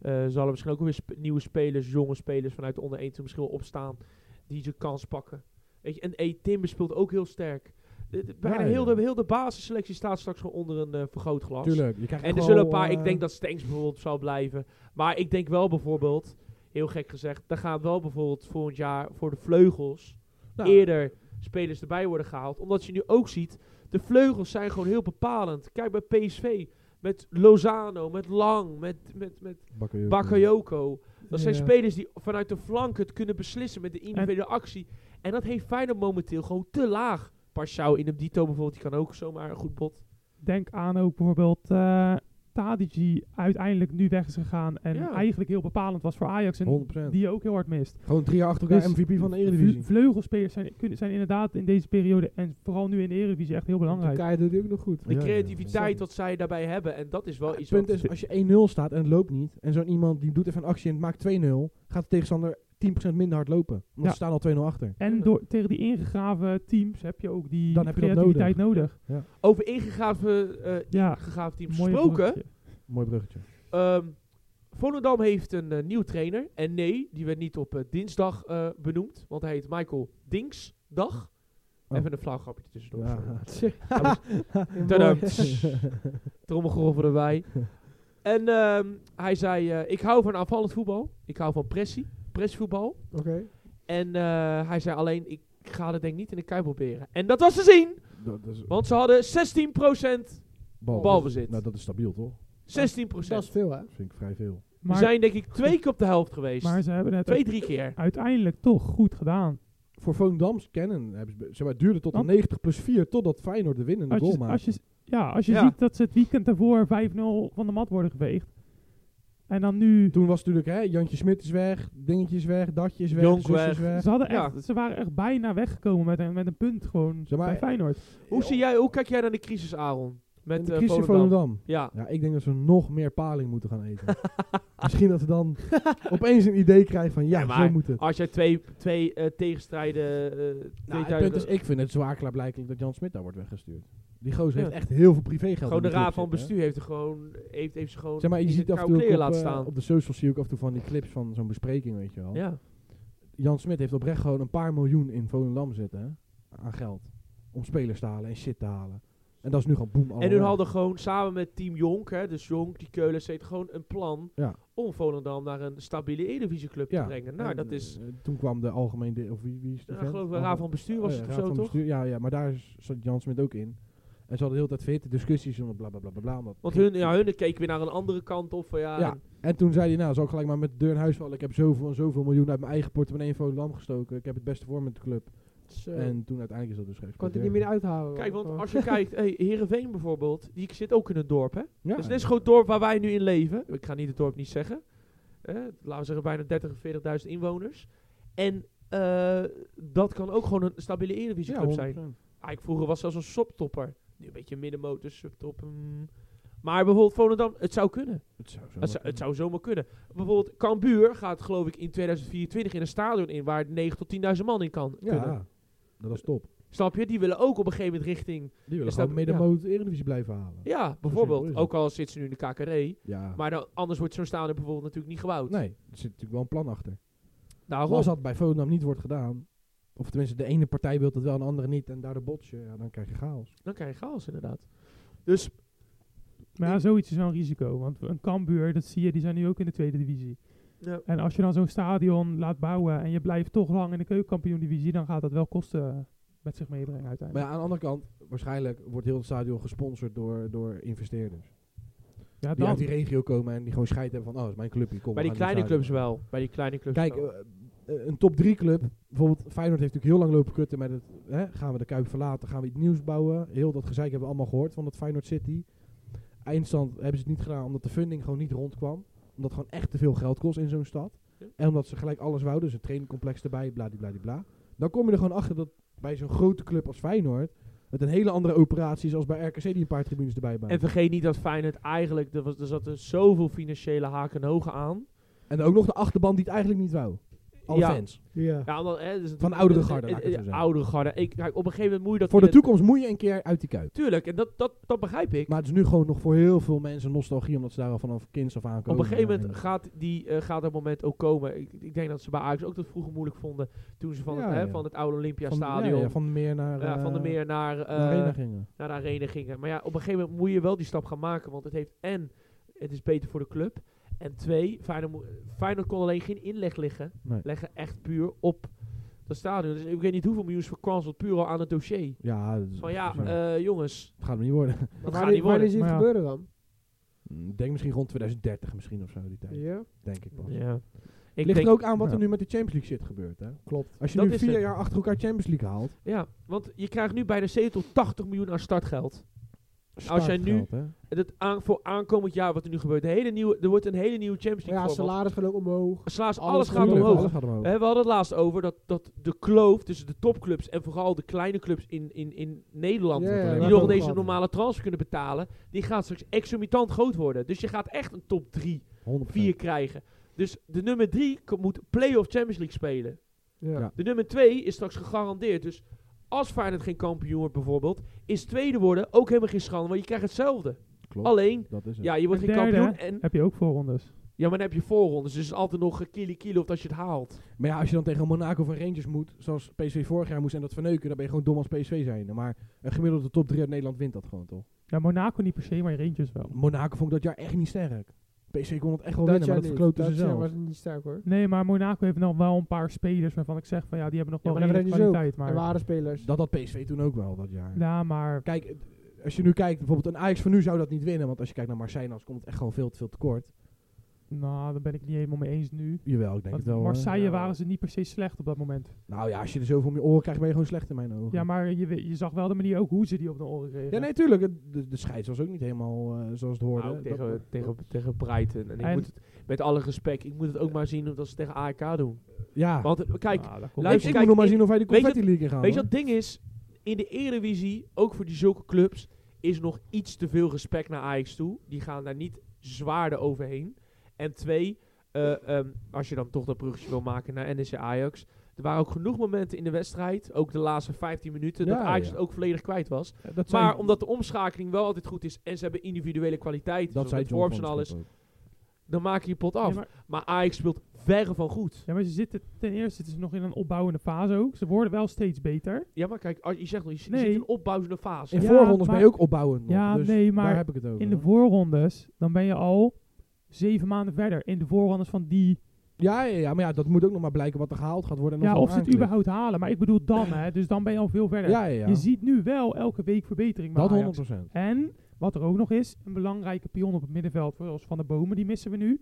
Speaker 1: eh zal er misschien ook weer sp- nieuwe spelers, jonge spelers vanuit de onder 1 misschien wel opstaan. Die ze kans pakken. Weet je, en E. Timber speelt ook heel sterk. De- de- bijna
Speaker 2: Ja,
Speaker 1: heel,
Speaker 2: ja.
Speaker 1: De, heel de basisselectie staat straks gewoon onder een eh, vergrootglas.
Speaker 2: Tuurlijk, je krijgt
Speaker 1: En er
Speaker 2: gewoon,
Speaker 1: zullen een paar,
Speaker 2: eh,
Speaker 1: ik denk dat Stengs bijvoorbeeld zal blijven. Maar ik denk wel bijvoorbeeld, heel gek gezegd, daar gaan wel bijvoorbeeld volgend jaar voor de vleugels
Speaker 2: Nou,
Speaker 1: eerder spelers erbij worden gehaald. Omdat je nu ook ziet, de vleugels zijn gewoon heel bepalend. Kijk bij PSV, met Lozano, met Lang, met, met, met
Speaker 2: Bakayoko.
Speaker 1: Bakayoko. Dat zijn
Speaker 4: Ja.
Speaker 1: spelers die vanuit de flank het kunnen beslissen met de individuele actie. En dat heeft Feyenoord momenteel gewoon te laag. Parsau in hem Dito bijvoorbeeld, die kan ook zomaar een goed bot.
Speaker 4: Denk aan ook bijvoorbeeld eh Tadici uiteindelijk nu weg is gegaan. En
Speaker 1: Ja.
Speaker 4: eigenlijk heel bepalend was voor Ajax. En
Speaker 2: 100%.
Speaker 4: die je ook heel hard mist.
Speaker 2: Gewoon drie jaar achter elkaar
Speaker 4: Dus
Speaker 2: MVP van de
Speaker 4: Vle-
Speaker 2: Eredivisie.
Speaker 4: Vleugelspelers zijn, kunnen, zijn inderdaad in deze periode en vooral nu in de Eredivisie echt heel belangrijk.
Speaker 3: Turkije doet hij ook nog goed.
Speaker 1: De
Speaker 2: Ja, ja, ja.
Speaker 1: creativiteit wat zij daarbij hebben. En dat is wel iets
Speaker 2: Het punt
Speaker 1: wat...
Speaker 2: is, als je 1-0 staat en het loopt niet, en zo'n iemand die doet even een actie en het maakt 2-0, gaat de tegenstander 10% minder hard lopen. Want
Speaker 4: Ja.
Speaker 2: ze staan al 2-0 achter.
Speaker 4: En door, tegen die ingegraven teams heb je ook die
Speaker 2: Dan heb je dat
Speaker 4: creativiteit nodig.
Speaker 1: Over ingegraven, eh,
Speaker 4: Ja.
Speaker 1: ingegraven teams
Speaker 4: Mooi
Speaker 1: gesproken.
Speaker 4: bruggetje.
Speaker 2: Mooi bruggetje.
Speaker 1: Ehm Volendam heeft een eh, nieuwe trainer. En nee, die werd niet op eh, dinsdag eh, benoemd. Want hij heet Michael Dingsdag.
Speaker 2: Oh.
Speaker 1: Even een flauw grapje tussendoor. sorry.
Speaker 2: Ja.
Speaker 1: Tadam. Trommelgroffel erbij. En ehm, hij zei, eh, ik hou van aanvallend voetbal. Ik hou van pressie, pressvoetbal.
Speaker 3: Oké.
Speaker 1: En eh, hij zei alleen, ik ga dat denk ik niet in de Kuip proberen. En dat was te zien,
Speaker 2: Dat is
Speaker 1: want ze hadden 16%.
Speaker 2: bal,
Speaker 1: balbezit.
Speaker 2: Nou, dat is stabiel toch?
Speaker 1: 16%.
Speaker 3: Dat is veel, hè?
Speaker 2: vind ik vrij veel.
Speaker 1: We
Speaker 4: Maar,
Speaker 1: zijn denk ik twee keer op de helft geweest.
Speaker 4: maar ze hebben het
Speaker 1: twee, drie keer.
Speaker 4: uiteindelijk toch goed gedaan.
Speaker 2: Voor Volendams kennen, hebben ze, be- zeg maar, het duurde tot de
Speaker 4: Want-
Speaker 2: 90 plus 4 totdat Feyenoord de winnende
Speaker 4: Als
Speaker 2: goal
Speaker 4: je,
Speaker 2: maakt.
Speaker 4: als je, ja, als je
Speaker 1: Ja.
Speaker 4: ziet dat ze het weekend daarvoor 5-0 van de mat worden geveegd. En dan nu...
Speaker 2: Toen was natuurlijk, hè, Jantje Smit is weg, dingetjes weg, datjes weg,
Speaker 1: Jonk
Speaker 2: zusjes
Speaker 1: weg.
Speaker 2: weg.
Speaker 4: Ze, hadden
Speaker 1: Ja.
Speaker 4: echt, ze waren echt bijna weggekomen met een, met een punt gewoon
Speaker 2: Zeg maar,
Speaker 4: bij Feyenoord.
Speaker 1: Hoe, zie jij, hoe kijk jij naar de crisis, Aaron? Met
Speaker 2: de
Speaker 1: eh,
Speaker 2: crisis
Speaker 1: Volendam.
Speaker 2: Volendam.
Speaker 1: Ja,
Speaker 2: Ja, ik denk dat ze nog meer paling moeten gaan eten. Misschien dat ze dan opeens een idee krijgen van ja,
Speaker 1: Ja, maar-
Speaker 2: zo moet het.
Speaker 1: als jij twee, twee eh, tegenstrijden... eh,
Speaker 2: Nou, het
Speaker 1: tegenstrijden-
Speaker 2: punt is, ik vind het zwaar klaarblijkelijk dat Jan Smit daar wordt weggestuurd. Die gozer
Speaker 1: Ja.
Speaker 2: heeft echt heel veel privégeld. in
Speaker 1: gewoon de
Speaker 2: die club
Speaker 1: raad van
Speaker 2: zitten, hè.
Speaker 1: bestuur heeft, er gewoon, heeft, heeft ze gewoon
Speaker 2: Zeg maar, je
Speaker 1: in
Speaker 2: ziet
Speaker 1: de
Speaker 2: af en
Speaker 1: koude
Speaker 2: toe
Speaker 1: kleren
Speaker 2: ook op,
Speaker 1: laten
Speaker 2: eh,
Speaker 1: staan.
Speaker 2: op de socials zie ik af en toe van die clips van zo'n bespreking, weet je wel.
Speaker 1: ja.
Speaker 2: Jan Smit heeft oprecht gewoon een paar miljoen in Volendam zitten hè, aan geld. Om spelers te halen en shit te halen. En dat is nu gewoon boem.
Speaker 1: En hun
Speaker 2: allemaal.
Speaker 1: hadden gewoon samen met Team Jonk, hè, dus Jonk, die Keulen, zeet gewoon een plan
Speaker 2: Ja.
Speaker 1: om Volendam naar een stabiele Eredivisieclub
Speaker 2: Ja,
Speaker 1: te brengen. Nou,
Speaker 2: en,
Speaker 1: dat is,
Speaker 2: eh, toen kwam de algemeen... De, of wie, wie is die
Speaker 1: nou,
Speaker 2: vent?
Speaker 1: geloof ik,
Speaker 2: Algemeen-
Speaker 1: raad van bestuur was
Speaker 2: Oh ja,
Speaker 1: het of
Speaker 2: raad
Speaker 1: zo,
Speaker 2: van
Speaker 1: toch?
Speaker 2: bestuur, ja, ja, maar daar is- zat Jan Smit ook in. En ze hadden de hele tijd verhitte discussies en bla bla bla bla. bla omdat-
Speaker 1: Want hun, ja, hun keken weer naar een andere kant op. Van, ja,
Speaker 2: Ja.
Speaker 1: en-
Speaker 2: En toen zei hij, nou, zal ik gelijk maar met de deur in huis vallen. Ik heb zoveel en zoveel miljoen uit mijn eigen portemonnee in Volendam gestoken. Ik heb het beste voor met de club.
Speaker 3: En
Speaker 2: En toen uiteindelijk is dat dus geen
Speaker 3: kon het er eh, niet meer uithalen.
Speaker 1: Kijk, want
Speaker 3: Oh.
Speaker 1: als je kijkt, hey, Heerenveen bijvoorbeeld, die zit ook in een dorp, hè?
Speaker 2: Ja,
Speaker 1: Dus dit is gewoon het dorp waar wij nu in leven. Ik ga niet het dorp niet zeggen. Eh, laten we zeggen bijna 30.000 of 40.000 inwoners. En eh, dat kan ook gewoon een stabiele
Speaker 2: ja,
Speaker 1: Eredivisieclub zijn.
Speaker 2: 100%.
Speaker 1: Eigenlijk vroeger was zelfs een subtopper. Nu een beetje middenmotor, subtop. mm. Maar bijvoorbeeld Volendam, het zou kunnen.
Speaker 2: Het zou zo
Speaker 1: Het zou, het zou zomaar kunnen. Bijvoorbeeld Cambuur gaat geloof ik in 2024 in een stadion in waar 9 tot 10.000 man in kan
Speaker 2: Ja, Nou,
Speaker 1: kunnen.
Speaker 2: dat is top.
Speaker 1: Snap je? Die willen ook op een gegeven moment richting...
Speaker 2: Die willen
Speaker 1: dat-
Speaker 2: gewoon mede
Speaker 1: ja.
Speaker 2: mode Eredivisie blijven halen.
Speaker 1: Ja,
Speaker 2: is
Speaker 1: bijvoorbeeld.
Speaker 2: het.
Speaker 1: Ook al zitten ze nu in de KKD.
Speaker 2: Ja.
Speaker 1: Maar dan, anders wordt zo'n stadion bijvoorbeeld natuurlijk niet gebouwd. Nou,
Speaker 2: nee, er zit natuurlijk wel een plan achter.
Speaker 1: Daarom.
Speaker 2: Als dat bij Volendam niet wordt gedaan, of tenminste de ene partij wil dat wel en de andere niet en daardoor botsen, ja, dan krijg je chaos.
Speaker 1: Dan krijg je chaos inderdaad. Dus
Speaker 4: Maar ja, zoiets is wel een risico. Want een Cambuur, dat zie je, die zijn nu ook in de tweede divisie.
Speaker 1: ja,
Speaker 4: En als je dan zo'n stadion laat bouwen en je blijft toch lang in de keukenkampioen divisie, dan gaat dat wel kosten met zich meebrengen
Speaker 2: Maar
Speaker 4: uiteindelijk.
Speaker 2: ja, aan de andere kant, waarschijnlijk wordt heel het stadion gesponsord door, door investeerders.
Speaker 4: Ja,
Speaker 2: Die
Speaker 4: dan.
Speaker 2: uit die regio komen en die gewoon scheid hebben van, oh, dat is mijn clubje, kom. we
Speaker 1: bij die
Speaker 2: gaan naar
Speaker 1: kleine
Speaker 2: het
Speaker 1: clubs
Speaker 2: stadion.
Speaker 1: wel. Bij die kleine clubs
Speaker 2: Kijk,
Speaker 1: wel.
Speaker 2: eh, eh, een top 3 club, bijvoorbeeld Feyenoord heeft natuurlijk heel lang lopen kutten met het, hè, gaan we de Kuip verlaten, gaan we iets nieuws bouwen. Heel dat gezeik hebben we allemaal gehoord van dat Feyenoord City. Eindstand hebben ze het niet gedaan omdat de funding gewoon niet rondkwam. Omdat het gewoon echt te veel geld kost in zo'n stad.
Speaker 1: Ja.
Speaker 2: En omdat ze gelijk alles wouden, dus een trainingcomplex erbij, bladibladibla. Dan kom je er gewoon achter dat bij zo'n grote club als Feyenoord het een hele andere operatie is als bij RKC die een paar tribunes erbij bouwt.
Speaker 1: en vergeet niet dat Feyenoord eigenlijk, er, was, er zaten zoveel financiële haken en ogen aan.
Speaker 2: En ook nog de achterban die het eigenlijk niet wou. Alle
Speaker 1: Ja.
Speaker 2: fans.
Speaker 3: Ja.
Speaker 1: Ja, omdat, hè, dus het-
Speaker 2: Van oudere
Speaker 1: eh,
Speaker 2: garde,
Speaker 1: eh,
Speaker 2: laat ik het zo
Speaker 1: eh,
Speaker 2: zeggen.
Speaker 1: Oudere garde. Ik, kijk, op een gegeven moment moet je dat...
Speaker 2: Voor
Speaker 1: in
Speaker 2: de toekomst moet je een keer uit die kuip.
Speaker 1: Tuurlijk, en dat, dat, dat begrijp ik.
Speaker 2: Maar het is nu gewoon nog voor heel veel mensen nostalgie, omdat ze daar al vanaf kinds af aankomen.
Speaker 1: op een gegeven moment
Speaker 2: En-
Speaker 1: gaat, die, eh, gaat dat moment ook komen. Ik, ik denk dat ze bij Ajax ook dat vroeger moeilijk vonden. Toen ze van,
Speaker 2: Ja,
Speaker 1: het, hè,
Speaker 2: ja.
Speaker 1: van het oude
Speaker 2: van, ja,
Speaker 1: Olympiastadion,
Speaker 2: ja, van de meer naar...
Speaker 1: ja,
Speaker 2: eh,
Speaker 1: van de meer naar... eh,
Speaker 2: naar Arena gingen.
Speaker 1: naar de arena gingen. Maar ja, op een gegeven moment moet je wel die stap gaan maken. Want het heeft en het is beter voor de club. En twee, Feyenoord, moet- Feyenoord kon alleen geen inleg leggen.
Speaker 2: Nee.
Speaker 1: Leggen echt puur op dat stadion. Dus ik weet niet hoeveel miljoen verkwanseld puur al aan het dossier.
Speaker 2: Ja, dat is-
Speaker 1: Van ja,
Speaker 2: dat
Speaker 1: eh, jongens,
Speaker 2: gaat hem niet worden.
Speaker 1: dat
Speaker 3: Maar
Speaker 1: gaat niet
Speaker 3: wanneer, wanneer
Speaker 1: worden.
Speaker 3: ziet het
Speaker 4: Maar ja.
Speaker 3: gebeuren dan?
Speaker 2: Ik denk misschien rond 2030 misschien of zo, die tijd.
Speaker 3: Ja.
Speaker 2: Denk ik pas.
Speaker 1: Ja. Ik
Speaker 2: Ligt
Speaker 1: denk,
Speaker 2: er ook aan wat er
Speaker 4: Ja.
Speaker 2: nu met de Champions League shit gebeurt, hè?
Speaker 3: Klopt.
Speaker 2: Als je
Speaker 1: Dat
Speaker 2: nu
Speaker 1: is
Speaker 2: vier
Speaker 1: het.
Speaker 2: jaar achter elkaar Champions League haalt...
Speaker 1: ja, want je krijgt nu bijna 70 tot 80 miljoen aan startgeld. Als jij nu-
Speaker 2: startgeld, hè?
Speaker 1: En dat aan, voor aankomend jaar wat er nu gebeurt. Een hele nieuwe, er wordt een hele nieuwe Champions
Speaker 3: Maar ja,
Speaker 1: League format.
Speaker 3: salaris gaat ook omhoog.
Speaker 1: Salaris,
Speaker 3: alles
Speaker 1: alles gaat
Speaker 3: natuurlijk,
Speaker 1: omhoog.
Speaker 2: Alles gaat omhoog.
Speaker 1: Hè, we hadden het laatst over dat, dat de kloof tussen de topclubs en vooral de kleine clubs in, in, in Nederland,
Speaker 3: Ja,
Speaker 2: wordt
Speaker 3: ja,
Speaker 1: die
Speaker 3: dat
Speaker 2: alleen maar
Speaker 1: nog
Speaker 3: ook
Speaker 1: deze
Speaker 3: gehad.
Speaker 1: normale transfer kunnen betalen, die gaat straks exorbitant groot worden. Dus je gaat echt een top 3,
Speaker 2: 100%.
Speaker 1: 4 krijgen. Dus de nummer 3 moet play-off Champions League spelen.
Speaker 3: Ja.
Speaker 2: Ja.
Speaker 1: De nummer 2 is straks gegarandeerd. Dus als Feyenoord geen kampioen wordt bijvoorbeeld, is tweede worden ook helemaal geen schande, want je krijgt hetzelfde.
Speaker 2: Klopt.
Speaker 1: Alleen,
Speaker 2: Dat is het.
Speaker 1: ja, je wordt
Speaker 4: En
Speaker 1: geen
Speaker 4: derde,
Speaker 1: kampioen en
Speaker 4: Heb je ook voorrondes.
Speaker 1: ja, maar dan heb je voorrondes. Dus het is altijd nog eh, kilo kilo of als je het haalt.
Speaker 2: Maar ja, als je dan tegen Monaco of een Rangers moet, zoals PSV vorig jaar moest en dat verneuken, dan ben je gewoon dom als PSV zijn. Maar een gemiddelde top 3 uit Nederland wint dat gewoon, toch?
Speaker 4: Ja, Monaco niet per se, maar Rangers wel.
Speaker 2: Monaco vond ik dat jaar echt niet sterk. PSV kon het echt wel
Speaker 3: Dat
Speaker 2: winnen,
Speaker 3: jaar
Speaker 2: maar dat
Speaker 3: niet.
Speaker 2: verkloten ze
Speaker 3: Dat jaar
Speaker 2: zelf.
Speaker 3: was niet sterk hoor.
Speaker 4: Nee, maar Monaco heeft nog wel een paar spelers waarvan ik zeg van ja, die hebben nog
Speaker 3: Ja,
Speaker 4: wel
Speaker 3: maar dat
Speaker 4: redelijk
Speaker 3: Rangers ook.
Speaker 4: kwaliteit.
Speaker 3: Er
Speaker 4: Maar,
Speaker 3: waren spelers.
Speaker 2: Dat had PSV toen ook wel dat jaar.
Speaker 4: ja, maar
Speaker 2: Kijk, eh, als je nu kijkt, bijvoorbeeld een Ajax van nu zou dat niet winnen. Want als je kijkt naar Marseille, dan komt het echt gewoon veel te veel tekort.
Speaker 4: nou, daar ben ik het niet helemaal mee eens nu.
Speaker 2: Jawel, ik denk
Speaker 4: Want
Speaker 2: het wel. hoor.
Speaker 4: Marseille
Speaker 1: Ja.
Speaker 4: waren ze niet per se slecht op dat moment.
Speaker 2: Nou ja, als je er zoveel om je oren krijgt, ben je gewoon slecht in mijn ogen.
Speaker 4: Ja, maar je, we- je zag wel de manier ook hoe ze die op de oren kregen.
Speaker 2: Ja, nee, tuurlijk. het- De, de scheids was ook niet helemaal eh, zoals het hoorde.
Speaker 1: Nou, ook
Speaker 2: Dat-
Speaker 1: tegen, tegen, tegen Brighton. En, ik
Speaker 4: En-
Speaker 1: moet het, met alle respect, ik moet het ook maar zien dat ze tegen AEK doen.
Speaker 2: ja,
Speaker 1: Want eh, kijk,
Speaker 4: Ah, daar
Speaker 2: Ik-
Speaker 4: komt-
Speaker 1: luister,
Speaker 2: ik
Speaker 1: kijk,
Speaker 2: moet nog maar
Speaker 1: ik-
Speaker 2: zien of wij de
Speaker 1: weet je
Speaker 2: confetti league in gaan.
Speaker 1: weet je
Speaker 2: hoor.
Speaker 1: wat het ding is? In de Eredivisie, ook voor die zulke clubs, is nog iets te veel respect naar Ajax toe. Die gaan daar niet zwaarder overheen. En twee, eh, ehm, als je dan toch dat bruggetje wil maken naar NEC Ajax. Er waren ook genoeg momenten in de wedstrijd, ook de laatste 15 minuten, dat
Speaker 2: Ja,
Speaker 1: Ajax
Speaker 2: ja.
Speaker 1: het ook volledig kwijt was.
Speaker 2: Eh, Dat
Speaker 1: Maar
Speaker 2: zei-
Speaker 1: omdat de omschakeling wel altijd goed is en ze hebben individuele kwaliteit,
Speaker 2: dat
Speaker 1: dat
Speaker 2: zei
Speaker 1: met
Speaker 2: John
Speaker 1: Forbes en
Speaker 2: van
Speaker 1: alles,
Speaker 2: Schip ook.
Speaker 1: dan maak je je pot af.
Speaker 4: Ja,
Speaker 1: maar,
Speaker 4: maar-
Speaker 1: Ajax speelt verre van goed.
Speaker 4: Ja, maar ze zitten, ten eerste zitten ze nog in een opbouwende fase ook. Ze worden wel steeds beter.
Speaker 1: Ja, maar kijk, als je zegt al, je, z- je
Speaker 4: Nee.
Speaker 1: zit in een opbouwende fase.
Speaker 2: In
Speaker 4: Ja,
Speaker 2: voorrondes ben je
Speaker 4: maar-
Speaker 2: ook opbouwend nog,
Speaker 4: Ja,
Speaker 2: dus
Speaker 4: nee, maar
Speaker 2: daar heb ik het over.
Speaker 4: In de voorrondes, dan ben je al zeven maanden verder. In de voorrondes van die...
Speaker 2: ja, ja, ja, maar ja, dat moet ook nog maar blijken wat er gehaald gaat worden. En
Speaker 4: Ja,
Speaker 2: dan
Speaker 4: of ze het
Speaker 2: aanklikt.
Speaker 4: überhaupt halen. Maar ik bedoel dan, hè. Dus dan ben je al veel verder.
Speaker 2: Ja, ja, ja.
Speaker 4: Je ziet nu wel elke week verbetering bij
Speaker 2: dat
Speaker 4: Ajax.
Speaker 2: 100%.
Speaker 4: En wat er ook nog is, een belangrijke pion op het middenveld, zoals Van de Bomen, die missen we nu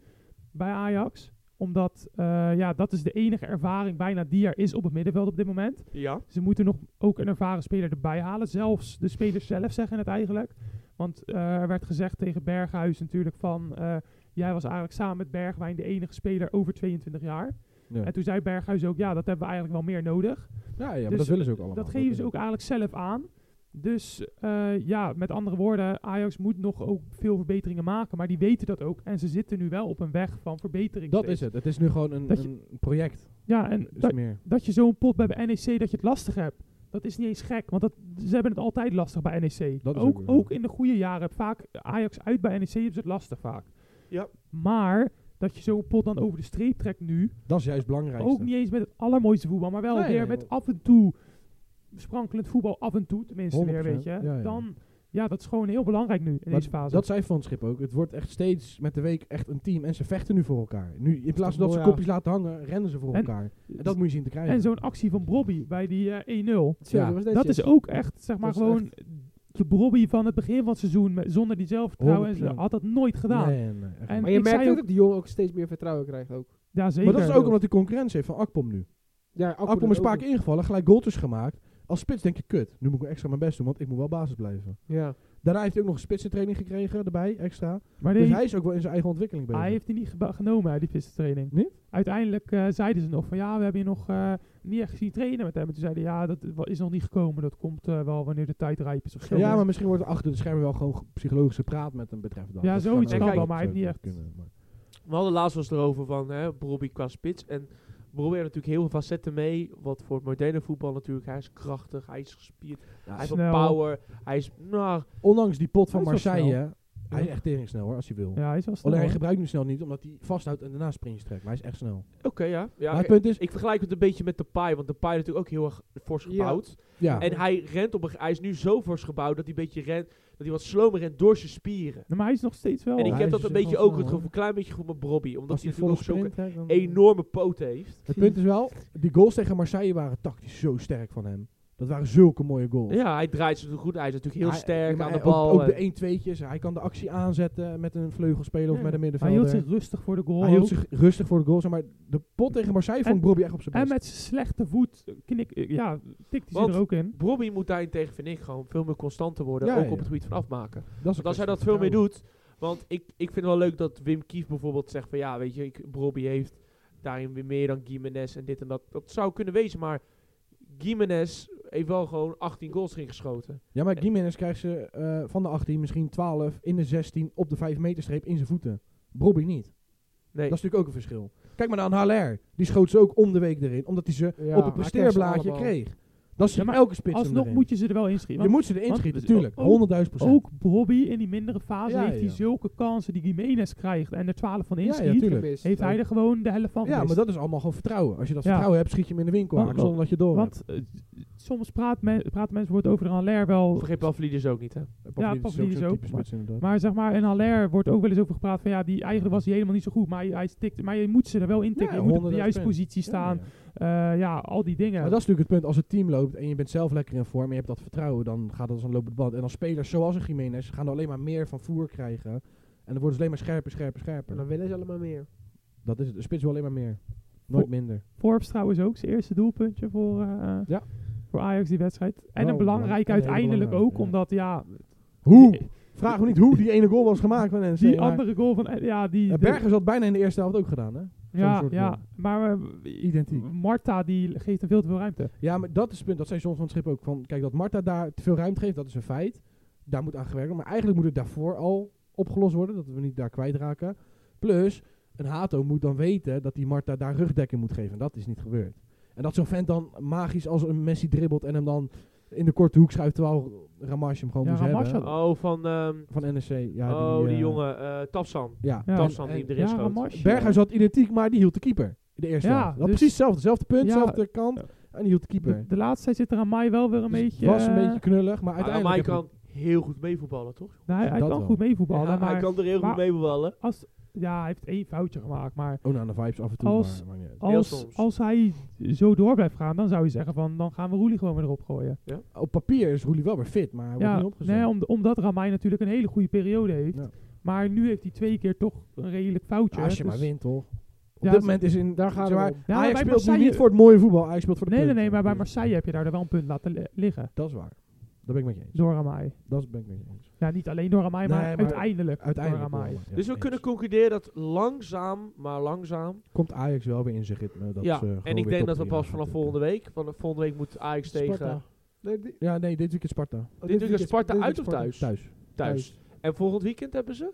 Speaker 4: bij Ajax. Omdat, eh, ja, dat is de enige ervaring bijna die er is op het middenveld op dit moment.
Speaker 1: Ja.
Speaker 4: Ze moeten nog ook een ervaren speler erbij halen. Zelfs de spelers zelf zeggen het eigenlijk. Want eh, er werd gezegd tegen Berghuis natuurlijk van... eh, jij was eigenlijk samen met Bergwijn de enige speler over 22 jaar.
Speaker 2: Ja.
Speaker 4: En toen zei Berghuis ook, ja, dat hebben we eigenlijk wel meer nodig.
Speaker 2: Ja, ja, maar
Speaker 4: Dus
Speaker 2: dat willen ze ook allemaal.
Speaker 4: Dat geven ze
Speaker 2: is-
Speaker 4: ook eigenlijk zelf aan. Dus eh, ja, met andere woorden, Ajax moet nog ook veel verbeteringen maken. Maar die weten dat ook. En ze zitten nu wel op een weg van verbetering.
Speaker 2: Dat
Speaker 4: steeds.
Speaker 2: is het. Het is nu gewoon een,
Speaker 4: Dat je-
Speaker 2: een project.
Speaker 4: Ja, en
Speaker 2: Dus
Speaker 4: dat,
Speaker 2: meer.
Speaker 4: dat je zo'n pot bij bij NEC, dat je het lastig hebt. Dat is niet eens gek, want dat, ze hebben het altijd lastig bij NEC.
Speaker 2: Dat is ook
Speaker 4: ook,
Speaker 2: weer zo.
Speaker 4: ook in de goede jaren. hebt Vaak Ajax uit bij NEC hebben ze het lastig vaak.
Speaker 1: Ja.
Speaker 4: Maar dat je zo'n pot dan over de streep trekt nu,
Speaker 2: Dat is juist belangrijk.
Speaker 4: Ook niet eens met het allermooiste voetbal, maar wel
Speaker 2: Nee,
Speaker 4: weer
Speaker 2: nee,
Speaker 4: met
Speaker 2: wel.
Speaker 4: af en toe sprankelend voetbal, af en toe tenminste weer,
Speaker 2: 100%,
Speaker 4: weet je.
Speaker 2: ja, ja.
Speaker 4: Dan, ja, dat is gewoon heel belangrijk nu in
Speaker 2: Maar
Speaker 4: deze fase.
Speaker 2: Dat zei Van Schip ook. Het wordt echt steeds met de week echt een team. En ze vechten nu voor elkaar. Nu, in plaats
Speaker 4: toch
Speaker 2: van dat ze
Speaker 4: mooi,
Speaker 2: kopjes laten hangen, rennen ze voor
Speaker 4: En-
Speaker 2: elkaar. En dat moet je zien te krijgen.
Speaker 4: Dus en zo'n actie van Brobby bij die eh, 1-0,
Speaker 2: Ja,
Speaker 3: was
Speaker 4: dat is ook echt, zeg maar,
Speaker 2: is
Speaker 4: gewoon de Brobby van het begin van het seizoen, met, zonder die zelfvertrouwen, en ze
Speaker 2: 100%.
Speaker 4: had dat nooit gedaan.
Speaker 2: Nee, nee, echt
Speaker 4: En
Speaker 2: niet.
Speaker 3: Maar je
Speaker 4: ik
Speaker 3: merkt
Speaker 4: zei
Speaker 3: ook
Speaker 4: ook-
Speaker 3: dat die jongen ook steeds meer vertrouwen krijgt ook.
Speaker 4: Ja, zeker.
Speaker 2: maar dat is ook omdat hij concurrentie heeft van Akpom nu.
Speaker 3: Ja,
Speaker 2: Akpom
Speaker 3: doet
Speaker 2: is een paar
Speaker 3: ook
Speaker 2: keer ingevallen, gelijk goaltjes gemaakt. Als spits denk je, kut, nu moet ik extra mijn best doen, want ik moet wel basis blijven.
Speaker 3: nog. Ja.
Speaker 2: Daarna heeft hij ook nog een spitsentraining gekregen, erbij, extra.
Speaker 4: maar
Speaker 2: Dus
Speaker 4: nee,
Speaker 2: hij is ook wel in zijn eigen ontwikkeling bezig.
Speaker 4: Hij heeft die niet geba- genomen uit die vissentraining.
Speaker 2: Niet?
Speaker 4: Uiteindelijk eh, zeiden ze nog van ja, we hebben je nog eh, niet echt gezien trainen met hem. En toen zeiden ja, dat wa- is nog niet gekomen. Dat komt eh, wel wanneer de tijd rijp is of zo.
Speaker 2: ja, maar misschien wordt er achter de schermen wel gewoon ge- psychologisch gepraat met een betreffende.
Speaker 4: Ja,
Speaker 2: Dat
Speaker 4: zoiets
Speaker 1: kan
Speaker 2: ook
Speaker 1: wel,
Speaker 4: maar hij heeft niet
Speaker 2: zou
Speaker 4: echt-
Speaker 2: kunnen, maar-
Speaker 1: We hadden laatst was erover van hè, Brobby qua spits. En Brobby heeft natuurlijk heel veel facetten mee. Wat voor het moderne voetbal natuurlijk. Hij is krachtig, hij is gespierd, hij heeft wat
Speaker 4: snel.
Speaker 1: power. Hij is, nou,
Speaker 2: Ondanks die pot van
Speaker 4: Hij is wel
Speaker 2: Marseille, hij is
Speaker 4: Ja.
Speaker 2: echt tering snel hoor, als hij wil.
Speaker 4: Ja, hij is wel snel.
Speaker 2: Alleen hij
Speaker 4: hoor.
Speaker 2: gebruikt hem snel niet, omdat hij vasthoudt en daarna sprintjes trekt. Maar hij is echt snel.
Speaker 1: oké ja. ja
Speaker 2: maar het
Speaker 1: ik,
Speaker 2: punt is,
Speaker 1: ik vergelijk het een beetje met de Depay. Want de Depay is natuurlijk ook heel erg fors
Speaker 3: Ja.
Speaker 1: gebouwd.
Speaker 2: ja,
Speaker 1: En hij rent op een, hij is nu zo fors gebouwd dat hij een beetje rent, dat hij wat slomer rent door zijn spieren.
Speaker 4: Nee, Nou, maar hij is nog steeds wel.
Speaker 1: en ik
Speaker 2: hij
Speaker 1: heb
Speaker 2: is
Speaker 1: dat een
Speaker 2: dus
Speaker 1: beetje
Speaker 2: wel
Speaker 1: ook
Speaker 2: snel,
Speaker 1: het gevoel,
Speaker 2: hoor.
Speaker 1: een klein beetje gevoel met Brobby, omdat
Speaker 2: als
Speaker 1: hij
Speaker 2: hij
Speaker 1: natuurlijk
Speaker 2: volle
Speaker 1: ook zo'n
Speaker 2: sprint trekt, dan...
Speaker 1: enorme poot heeft.
Speaker 2: Het punt is wel, die goals tegen Marseille waren tactisch zo sterk van hem. Dat waren zulke mooie goals.
Speaker 1: Ja, hij draait ze goed. Hij is natuurlijk heel
Speaker 2: Hij-
Speaker 1: sterk
Speaker 2: maar
Speaker 1: aan de
Speaker 2: ook-
Speaker 1: bal.
Speaker 2: Ook,
Speaker 1: en-
Speaker 2: de 1-2'tjes. Hij kan de actie aanzetten met een vleugelspeler of
Speaker 4: Ja,
Speaker 2: met een
Speaker 4: hij
Speaker 2: middenvelder.
Speaker 4: hield zich rustig voor de goal.
Speaker 2: Hij hield
Speaker 4: ook.
Speaker 2: zich rustig voor de goals. Maar de pot tegen Marseille vond
Speaker 4: En-
Speaker 2: Bobby echt op zijn
Speaker 4: en
Speaker 2: best.
Speaker 4: met zijn slechte voet eh, knik, eh, ja, tikt hij
Speaker 1: Want-
Speaker 4: ze er ook in.
Speaker 1: Brobby moet daarentegen, vind ik, gewoon veel meer constanter worden.
Speaker 2: Ja,
Speaker 1: ook
Speaker 2: ja.
Speaker 1: op het gebied van afmaken.
Speaker 2: dat is een
Speaker 1: Want als hij
Speaker 2: kwestie
Speaker 1: dat
Speaker 2: van
Speaker 1: veel meer
Speaker 2: vertrouwen.
Speaker 1: doet. Want ik, ik vind wel leuk dat Wim Kief bijvoorbeeld zegt van ja, weet je, ik, Brobby heeft daarin weer meer dan Gimenez en dit en dat. Dat zou kunnen wezen, maar Gimenez heeft wel gewoon 18 goals erin geschoten.
Speaker 2: Ja, maar Gimenez krijgt ze eh, van de 18 misschien 12 in de 16 op de 5 meterstreep in zijn voeten. Bobby niet.
Speaker 1: Nee.
Speaker 2: Dat is natuurlijk ook een verschil. Kijk maar naar een HLR. Die schoot ze ook om de week erin. Omdat hij ze
Speaker 3: Ja,
Speaker 2: op het
Speaker 3: hij
Speaker 2: presteerblaadje
Speaker 3: krijgt ze allemaal.
Speaker 2: kreeg. Dat is
Speaker 4: Ja, maar
Speaker 2: elke spits hem
Speaker 4: Alsnog
Speaker 2: erin.
Speaker 4: moet je ze er wel inschieten.
Speaker 2: je moet ze erin
Speaker 4: want-
Speaker 2: schieten,
Speaker 4: dus
Speaker 2: tuurlijk.
Speaker 4: ook-
Speaker 2: 100.000 procent.
Speaker 4: Ook Bobby in die mindere fase
Speaker 2: Ja,
Speaker 4: heeft hij
Speaker 2: ja.
Speaker 4: zulke kansen die Jiménez krijgt en er 12 van
Speaker 2: ja,
Speaker 4: inschiet.
Speaker 2: ja, tuurlijk.
Speaker 3: Gemist.
Speaker 4: heeft hij er gewoon de helft van
Speaker 2: Ja,
Speaker 4: gemist.
Speaker 2: maar dat is allemaal gewoon vertrouwen. Als je dat
Speaker 4: Ja.
Speaker 2: vertrouwen hebt, schiet je hem in de winkel
Speaker 4: Want-
Speaker 2: aan, zonder dat je het door hebt.
Speaker 4: Want eh, soms praat men, praten mensen wordt over een Haller
Speaker 2: Oh.
Speaker 4: wel.
Speaker 1: Vergeet Pavlidis ook niet, hè?
Speaker 2: Pavlidis
Speaker 4: Pavlidis
Speaker 2: zo'n
Speaker 4: ook,
Speaker 2: type spits inderdaad.
Speaker 4: Maar zeg maar, een Haller wordt ook wel eens over gepraat van ja, die eigenlijk was hij helemaal niet zo goed. Maar hij, hij stikt, maar je moet ze er wel in tikken.
Speaker 2: Ja,
Speaker 4: je moet op de
Speaker 2: 100%
Speaker 4: juiste positie staan.
Speaker 2: Ja, ja.
Speaker 4: Ja, ja al die dingen.
Speaker 2: Maar dat is natuurlijk het punt. Als het team loopt en je bent zelf lekker in vorm en je hebt dat vertrouwen, dan gaat dat als een lopend band. En als spelers zoals een Jiménez gaan er alleen maar meer van voer krijgen. En dan worden ze alleen maar scherper, scherper,
Speaker 3: En
Speaker 2: scherper.
Speaker 3: dan willen ze allemaal meer.
Speaker 2: Dat is het. De spits wil alleen maar meer. Nooit
Speaker 4: Oh.
Speaker 2: minder.
Speaker 4: Forbes trouwens ook zijn eerste doelpuntje voor, eh,
Speaker 2: Ja. Oh,
Speaker 4: voor Ajax die wedstrijd. En
Speaker 2: Wel
Speaker 4: een belangrijk
Speaker 2: belangrijk. En heel
Speaker 4: uiteindelijk
Speaker 2: belangrijk,
Speaker 4: ook,
Speaker 2: ja.
Speaker 4: omdat ja,
Speaker 2: Hoe? Vraag me niet hoe die ene goal was gemaakt. Van NEC,
Speaker 4: die
Speaker 2: maar-
Speaker 4: andere goal van eh, ja, die
Speaker 2: Ja, Bergers had bijna in de eerste helft ook gedaan, hè?
Speaker 4: ja,
Speaker 2: soort
Speaker 4: ja,
Speaker 2: goal.
Speaker 4: maar eh,
Speaker 2: Identiek.
Speaker 4: Marta die geeft hem veel te veel ruimte.
Speaker 2: Ja, maar dat is het punt. Dat zei John van het Schip ook. Van, kijk, dat Marta daar te veel ruimte geeft, dat is een feit. daar moet aan gewerkt worden. Maar eigenlijk moet het daarvoor al opgelost worden, dat we niet daar kwijtraken. Plus, een Hato moet dan weten dat die Marta daar rugdekking moet geven. En dat is niet gebeurd. En dat zo'n vent dan magisch als een Messi dribbelt en hem dan in de korte hoek schuift, terwijl Ramash hem gewoon
Speaker 4: Ja,
Speaker 2: moest
Speaker 4: Ramash
Speaker 2: hebben.
Speaker 4: had-
Speaker 1: Oh, van... ehm,
Speaker 2: Van NSC. Ja,
Speaker 1: oh, die,
Speaker 2: eh,
Speaker 1: jongen. eh Tafsan.
Speaker 2: Ja.
Speaker 4: Ja.
Speaker 1: Tafsan
Speaker 2: en-
Speaker 1: die hem erin
Speaker 4: ja,
Speaker 1: schoot.
Speaker 4: Ramash,
Speaker 2: Berghuis had identiek, maar die hield de keeper. De eerste
Speaker 4: Ja,
Speaker 2: helft. Dat
Speaker 4: dus-
Speaker 2: precies hetzelfde. Hetzelfde punt,
Speaker 4: Ja.
Speaker 2: dezelfde kant.
Speaker 4: Ja.
Speaker 2: En die hield de keeper.
Speaker 4: De, de laatste tijd zit er aan mij wel weer een
Speaker 2: Dus het
Speaker 4: beetje...
Speaker 2: was een
Speaker 4: eh,
Speaker 2: beetje knullig, maar
Speaker 1: Maar
Speaker 2: uiteindelijk...
Speaker 1: Amai
Speaker 2: heb
Speaker 1: kan heel goed meevoetballen, toch?
Speaker 4: nou, hij, hij
Speaker 2: Dat
Speaker 4: kan
Speaker 2: wel.
Speaker 4: goed meevoetballen,
Speaker 1: Ja,
Speaker 4: maar...
Speaker 1: hij kan er heel goed
Speaker 4: maar-
Speaker 1: meevoetballen.
Speaker 4: Als, ja, hij heeft één foutje gemaakt, maar...
Speaker 2: je- Oh, nou, de vibes af en toe,
Speaker 4: Als-
Speaker 2: maar, maakt niet uit.
Speaker 1: Heel
Speaker 4: Als,
Speaker 1: soms.
Speaker 4: als hij zo door blijft gaan, dan zou je zeggen van... Dan gaan we Roelie gewoon weer erop gooien.
Speaker 2: Op papier is Roelie wel weer fit, maar hij wordt niet opgezet.
Speaker 4: nee, om, omdat Ramai natuurlijk een hele goede periode heeft.
Speaker 2: Ja.
Speaker 4: Maar nu heeft hij twee keer toch een redelijk
Speaker 2: Ja,
Speaker 4: foutje.
Speaker 2: als je
Speaker 4: dus-
Speaker 2: maar wint, toch? Op
Speaker 4: Ja,
Speaker 2: dit
Speaker 4: ze-
Speaker 2: moment is in... Daar
Speaker 3: gaan
Speaker 2: zeg
Speaker 3: we
Speaker 2: maar,
Speaker 3: om. Ja,
Speaker 4: maar
Speaker 2: Ajax
Speaker 4: bij
Speaker 2: speelt nu
Speaker 4: Marseille-
Speaker 2: niet voor het mooie voetbal. Ajax speelt voor de
Speaker 4: Nee, nee,
Speaker 2: punten.
Speaker 4: nee, maar bij Marseille heb je daar wel een punt laten li- liggen.
Speaker 2: Dat is waar. Dat ben ik met je eens.
Speaker 4: Door Ramai.
Speaker 2: Dat ben ik met je eens.
Speaker 4: Ja, niet alleen door Ramai, maar,
Speaker 2: Nee, maar
Speaker 4: uiteindelijk,
Speaker 2: Uiteindelijk...
Speaker 4: door Ramai.
Speaker 2: wel, ja,
Speaker 1: Dus we
Speaker 2: eens.
Speaker 1: kunnen concluderen dat langzaam, maar langzaam...
Speaker 2: Komt Ajax wel weer in zijn ritme. Dat
Speaker 1: ja,
Speaker 2: ze gewoon
Speaker 1: en ik
Speaker 2: weer
Speaker 1: denk
Speaker 2: top
Speaker 1: dat we
Speaker 2: drie
Speaker 1: pas
Speaker 2: gaan
Speaker 1: vanaf
Speaker 2: natuurlijk.
Speaker 1: volgende week... Vanaf volgende week moet Ajax tegen eh,
Speaker 3: Sparta. Nee, die-
Speaker 2: Ja, nee, dit weekend Sparta.
Speaker 3: oh,
Speaker 1: Dit
Speaker 3: weekend-
Speaker 1: is Sparta
Speaker 3: dit
Speaker 1: uit of
Speaker 3: Sparta.
Speaker 1: thuis?
Speaker 2: Thuis.
Speaker 1: Thuis. En volgend weekend hebben ze?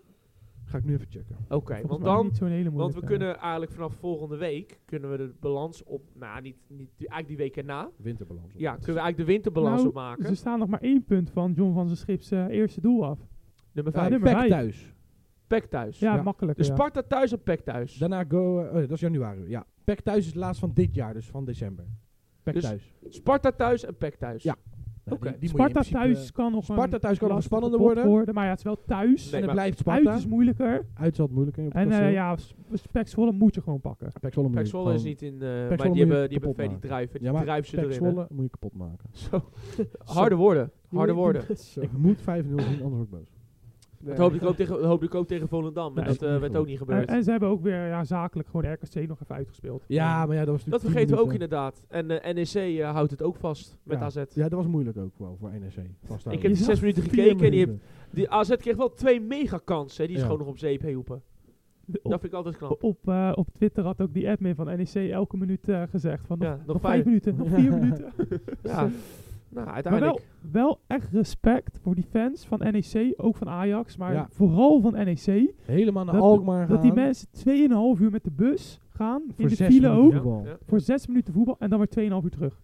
Speaker 2: Ga ik nu even checken.
Speaker 1: Oké,
Speaker 4: Volgens
Speaker 1: want
Speaker 4: mij
Speaker 1: dan...
Speaker 4: niet zo'n hele
Speaker 1: Want we
Speaker 4: moeilijke.
Speaker 1: kunnen eigenlijk vanaf volgende week... Kunnen we de balans op... Nou, niet, niet, eigenlijk die week erna.
Speaker 2: Winterbalans.
Speaker 1: Ja, kunnen we eigenlijk de winterbalans
Speaker 4: Nou,
Speaker 1: opmaken.
Speaker 4: Ze staan nog maar één punt van John van zijn Schip's eh, eerste doel af.
Speaker 1: Nummer
Speaker 4: Ja,
Speaker 1: 5.
Speaker 4: nummer vijf.
Speaker 2: thuis.
Speaker 1: Pek thuis.
Speaker 4: Ja,
Speaker 2: Ja.
Speaker 4: makkelijk.
Speaker 1: Dus
Speaker 4: ja.
Speaker 1: Sparta thuis en Pek thuis.
Speaker 2: Daarna Go... eh, oh, dat is januari. Ja. Pek thuis is de laatste van dit jaar, dus van december. Pek
Speaker 1: Dus-
Speaker 2: thuis.
Speaker 1: Sparta thuis en Pek thuis.
Speaker 2: Ja.
Speaker 1: Oké.
Speaker 2: Nou, die- die moet je in
Speaker 4: Sparta
Speaker 2: principe-
Speaker 4: thuis kan nog
Speaker 2: Sparta
Speaker 4: een
Speaker 2: thuis kan nog
Speaker 4: lastige
Speaker 2: spannender
Speaker 4: pot
Speaker 2: worden.
Speaker 4: Maar ja, het is wel thuis.
Speaker 1: Nee,
Speaker 2: en het
Speaker 1: maar
Speaker 2: blijft Sparta.
Speaker 4: Uit
Speaker 2: Uit,
Speaker 4: is moeilijker.
Speaker 2: zal het moeilijker. op het
Speaker 4: En eh,
Speaker 2: kasteel.
Speaker 4: ja, speksvolle moet je gewoon pakken.
Speaker 2: Pek Zwolle moet
Speaker 1: Pek
Speaker 2: je Oh.
Speaker 1: Zwolle is
Speaker 2: gewoon-
Speaker 1: niet in... eh
Speaker 2: Zwolle
Speaker 1: maar
Speaker 2: moet
Speaker 1: die
Speaker 2: je
Speaker 1: hebben, die
Speaker 2: kapot
Speaker 1: hebben Freddy
Speaker 2: maken.
Speaker 1: Druiven.
Speaker 2: Ja, maar
Speaker 1: Druiven ze
Speaker 2: Pek
Speaker 1: erin. hè.
Speaker 2: Zwolle moet je kapot maken.
Speaker 1: Zo. Harde woorden.
Speaker 3: Die
Speaker 1: Harde
Speaker 3: moet-
Speaker 1: woorden.
Speaker 3: Zo.
Speaker 2: Ik moet 5-0 zien, anders word ik boos.
Speaker 3: Nee.
Speaker 1: Dat hoopte ik ook tegen, dat hoopte ik ook tegen Volendam. Maar
Speaker 2: Nee,
Speaker 1: dat eh, werd ook niet
Speaker 4: En,
Speaker 1: gebeurd.
Speaker 4: en ze hebben ook weer ja, zakelijk gewoon RKC nog even uitgespeeld.
Speaker 2: Ja, maar ja, dat was natuurlijk
Speaker 1: dat
Speaker 2: tien
Speaker 1: vergeten we ook
Speaker 2: minuten.
Speaker 1: inderdaad. En eh, NEC eh, houdt het ook vast met
Speaker 2: Ja.
Speaker 1: AZ.
Speaker 2: Ja, dat was moeilijk ook wel voor NEC. vasthouden.
Speaker 1: Ik heb
Speaker 4: Je zag
Speaker 1: zes minuten
Speaker 2: Vier
Speaker 1: gekeken en die,
Speaker 2: minuten.
Speaker 1: heeft- die AZ kreeg wel twee megakansen. hè, Die is
Speaker 2: Ja.
Speaker 1: gewoon nog op zeep hielpen.
Speaker 4: Op,
Speaker 1: Dat vind ik altijd knap.
Speaker 4: op, eh, op Twitter had ook die admin van NEC elke minuut eh, gezegd van nog,
Speaker 1: Ja, nog
Speaker 4: nog vijf
Speaker 1: vijf.
Speaker 4: minuten, nog vier minuten.
Speaker 1: Ja. Nou,
Speaker 4: Maar wel,
Speaker 1: uiteindelijk.
Speaker 4: wel echt respect voor die fans van NEC, ook van Ajax, maar
Speaker 2: Ja.
Speaker 4: vooral van NEC.
Speaker 2: Helemaal naar
Speaker 4: Dat-
Speaker 2: Alkmaar
Speaker 4: Dat die
Speaker 2: gaan.
Speaker 4: mensen 2,5 uur met de bus gaan, in
Speaker 2: Voor
Speaker 4: de
Speaker 2: zes
Speaker 4: file
Speaker 2: minuten.
Speaker 4: ook,
Speaker 1: Ja,
Speaker 2: voetbal.
Speaker 1: ja.
Speaker 4: voor zes minuten voetbal en dan weer 2,5 uur terug.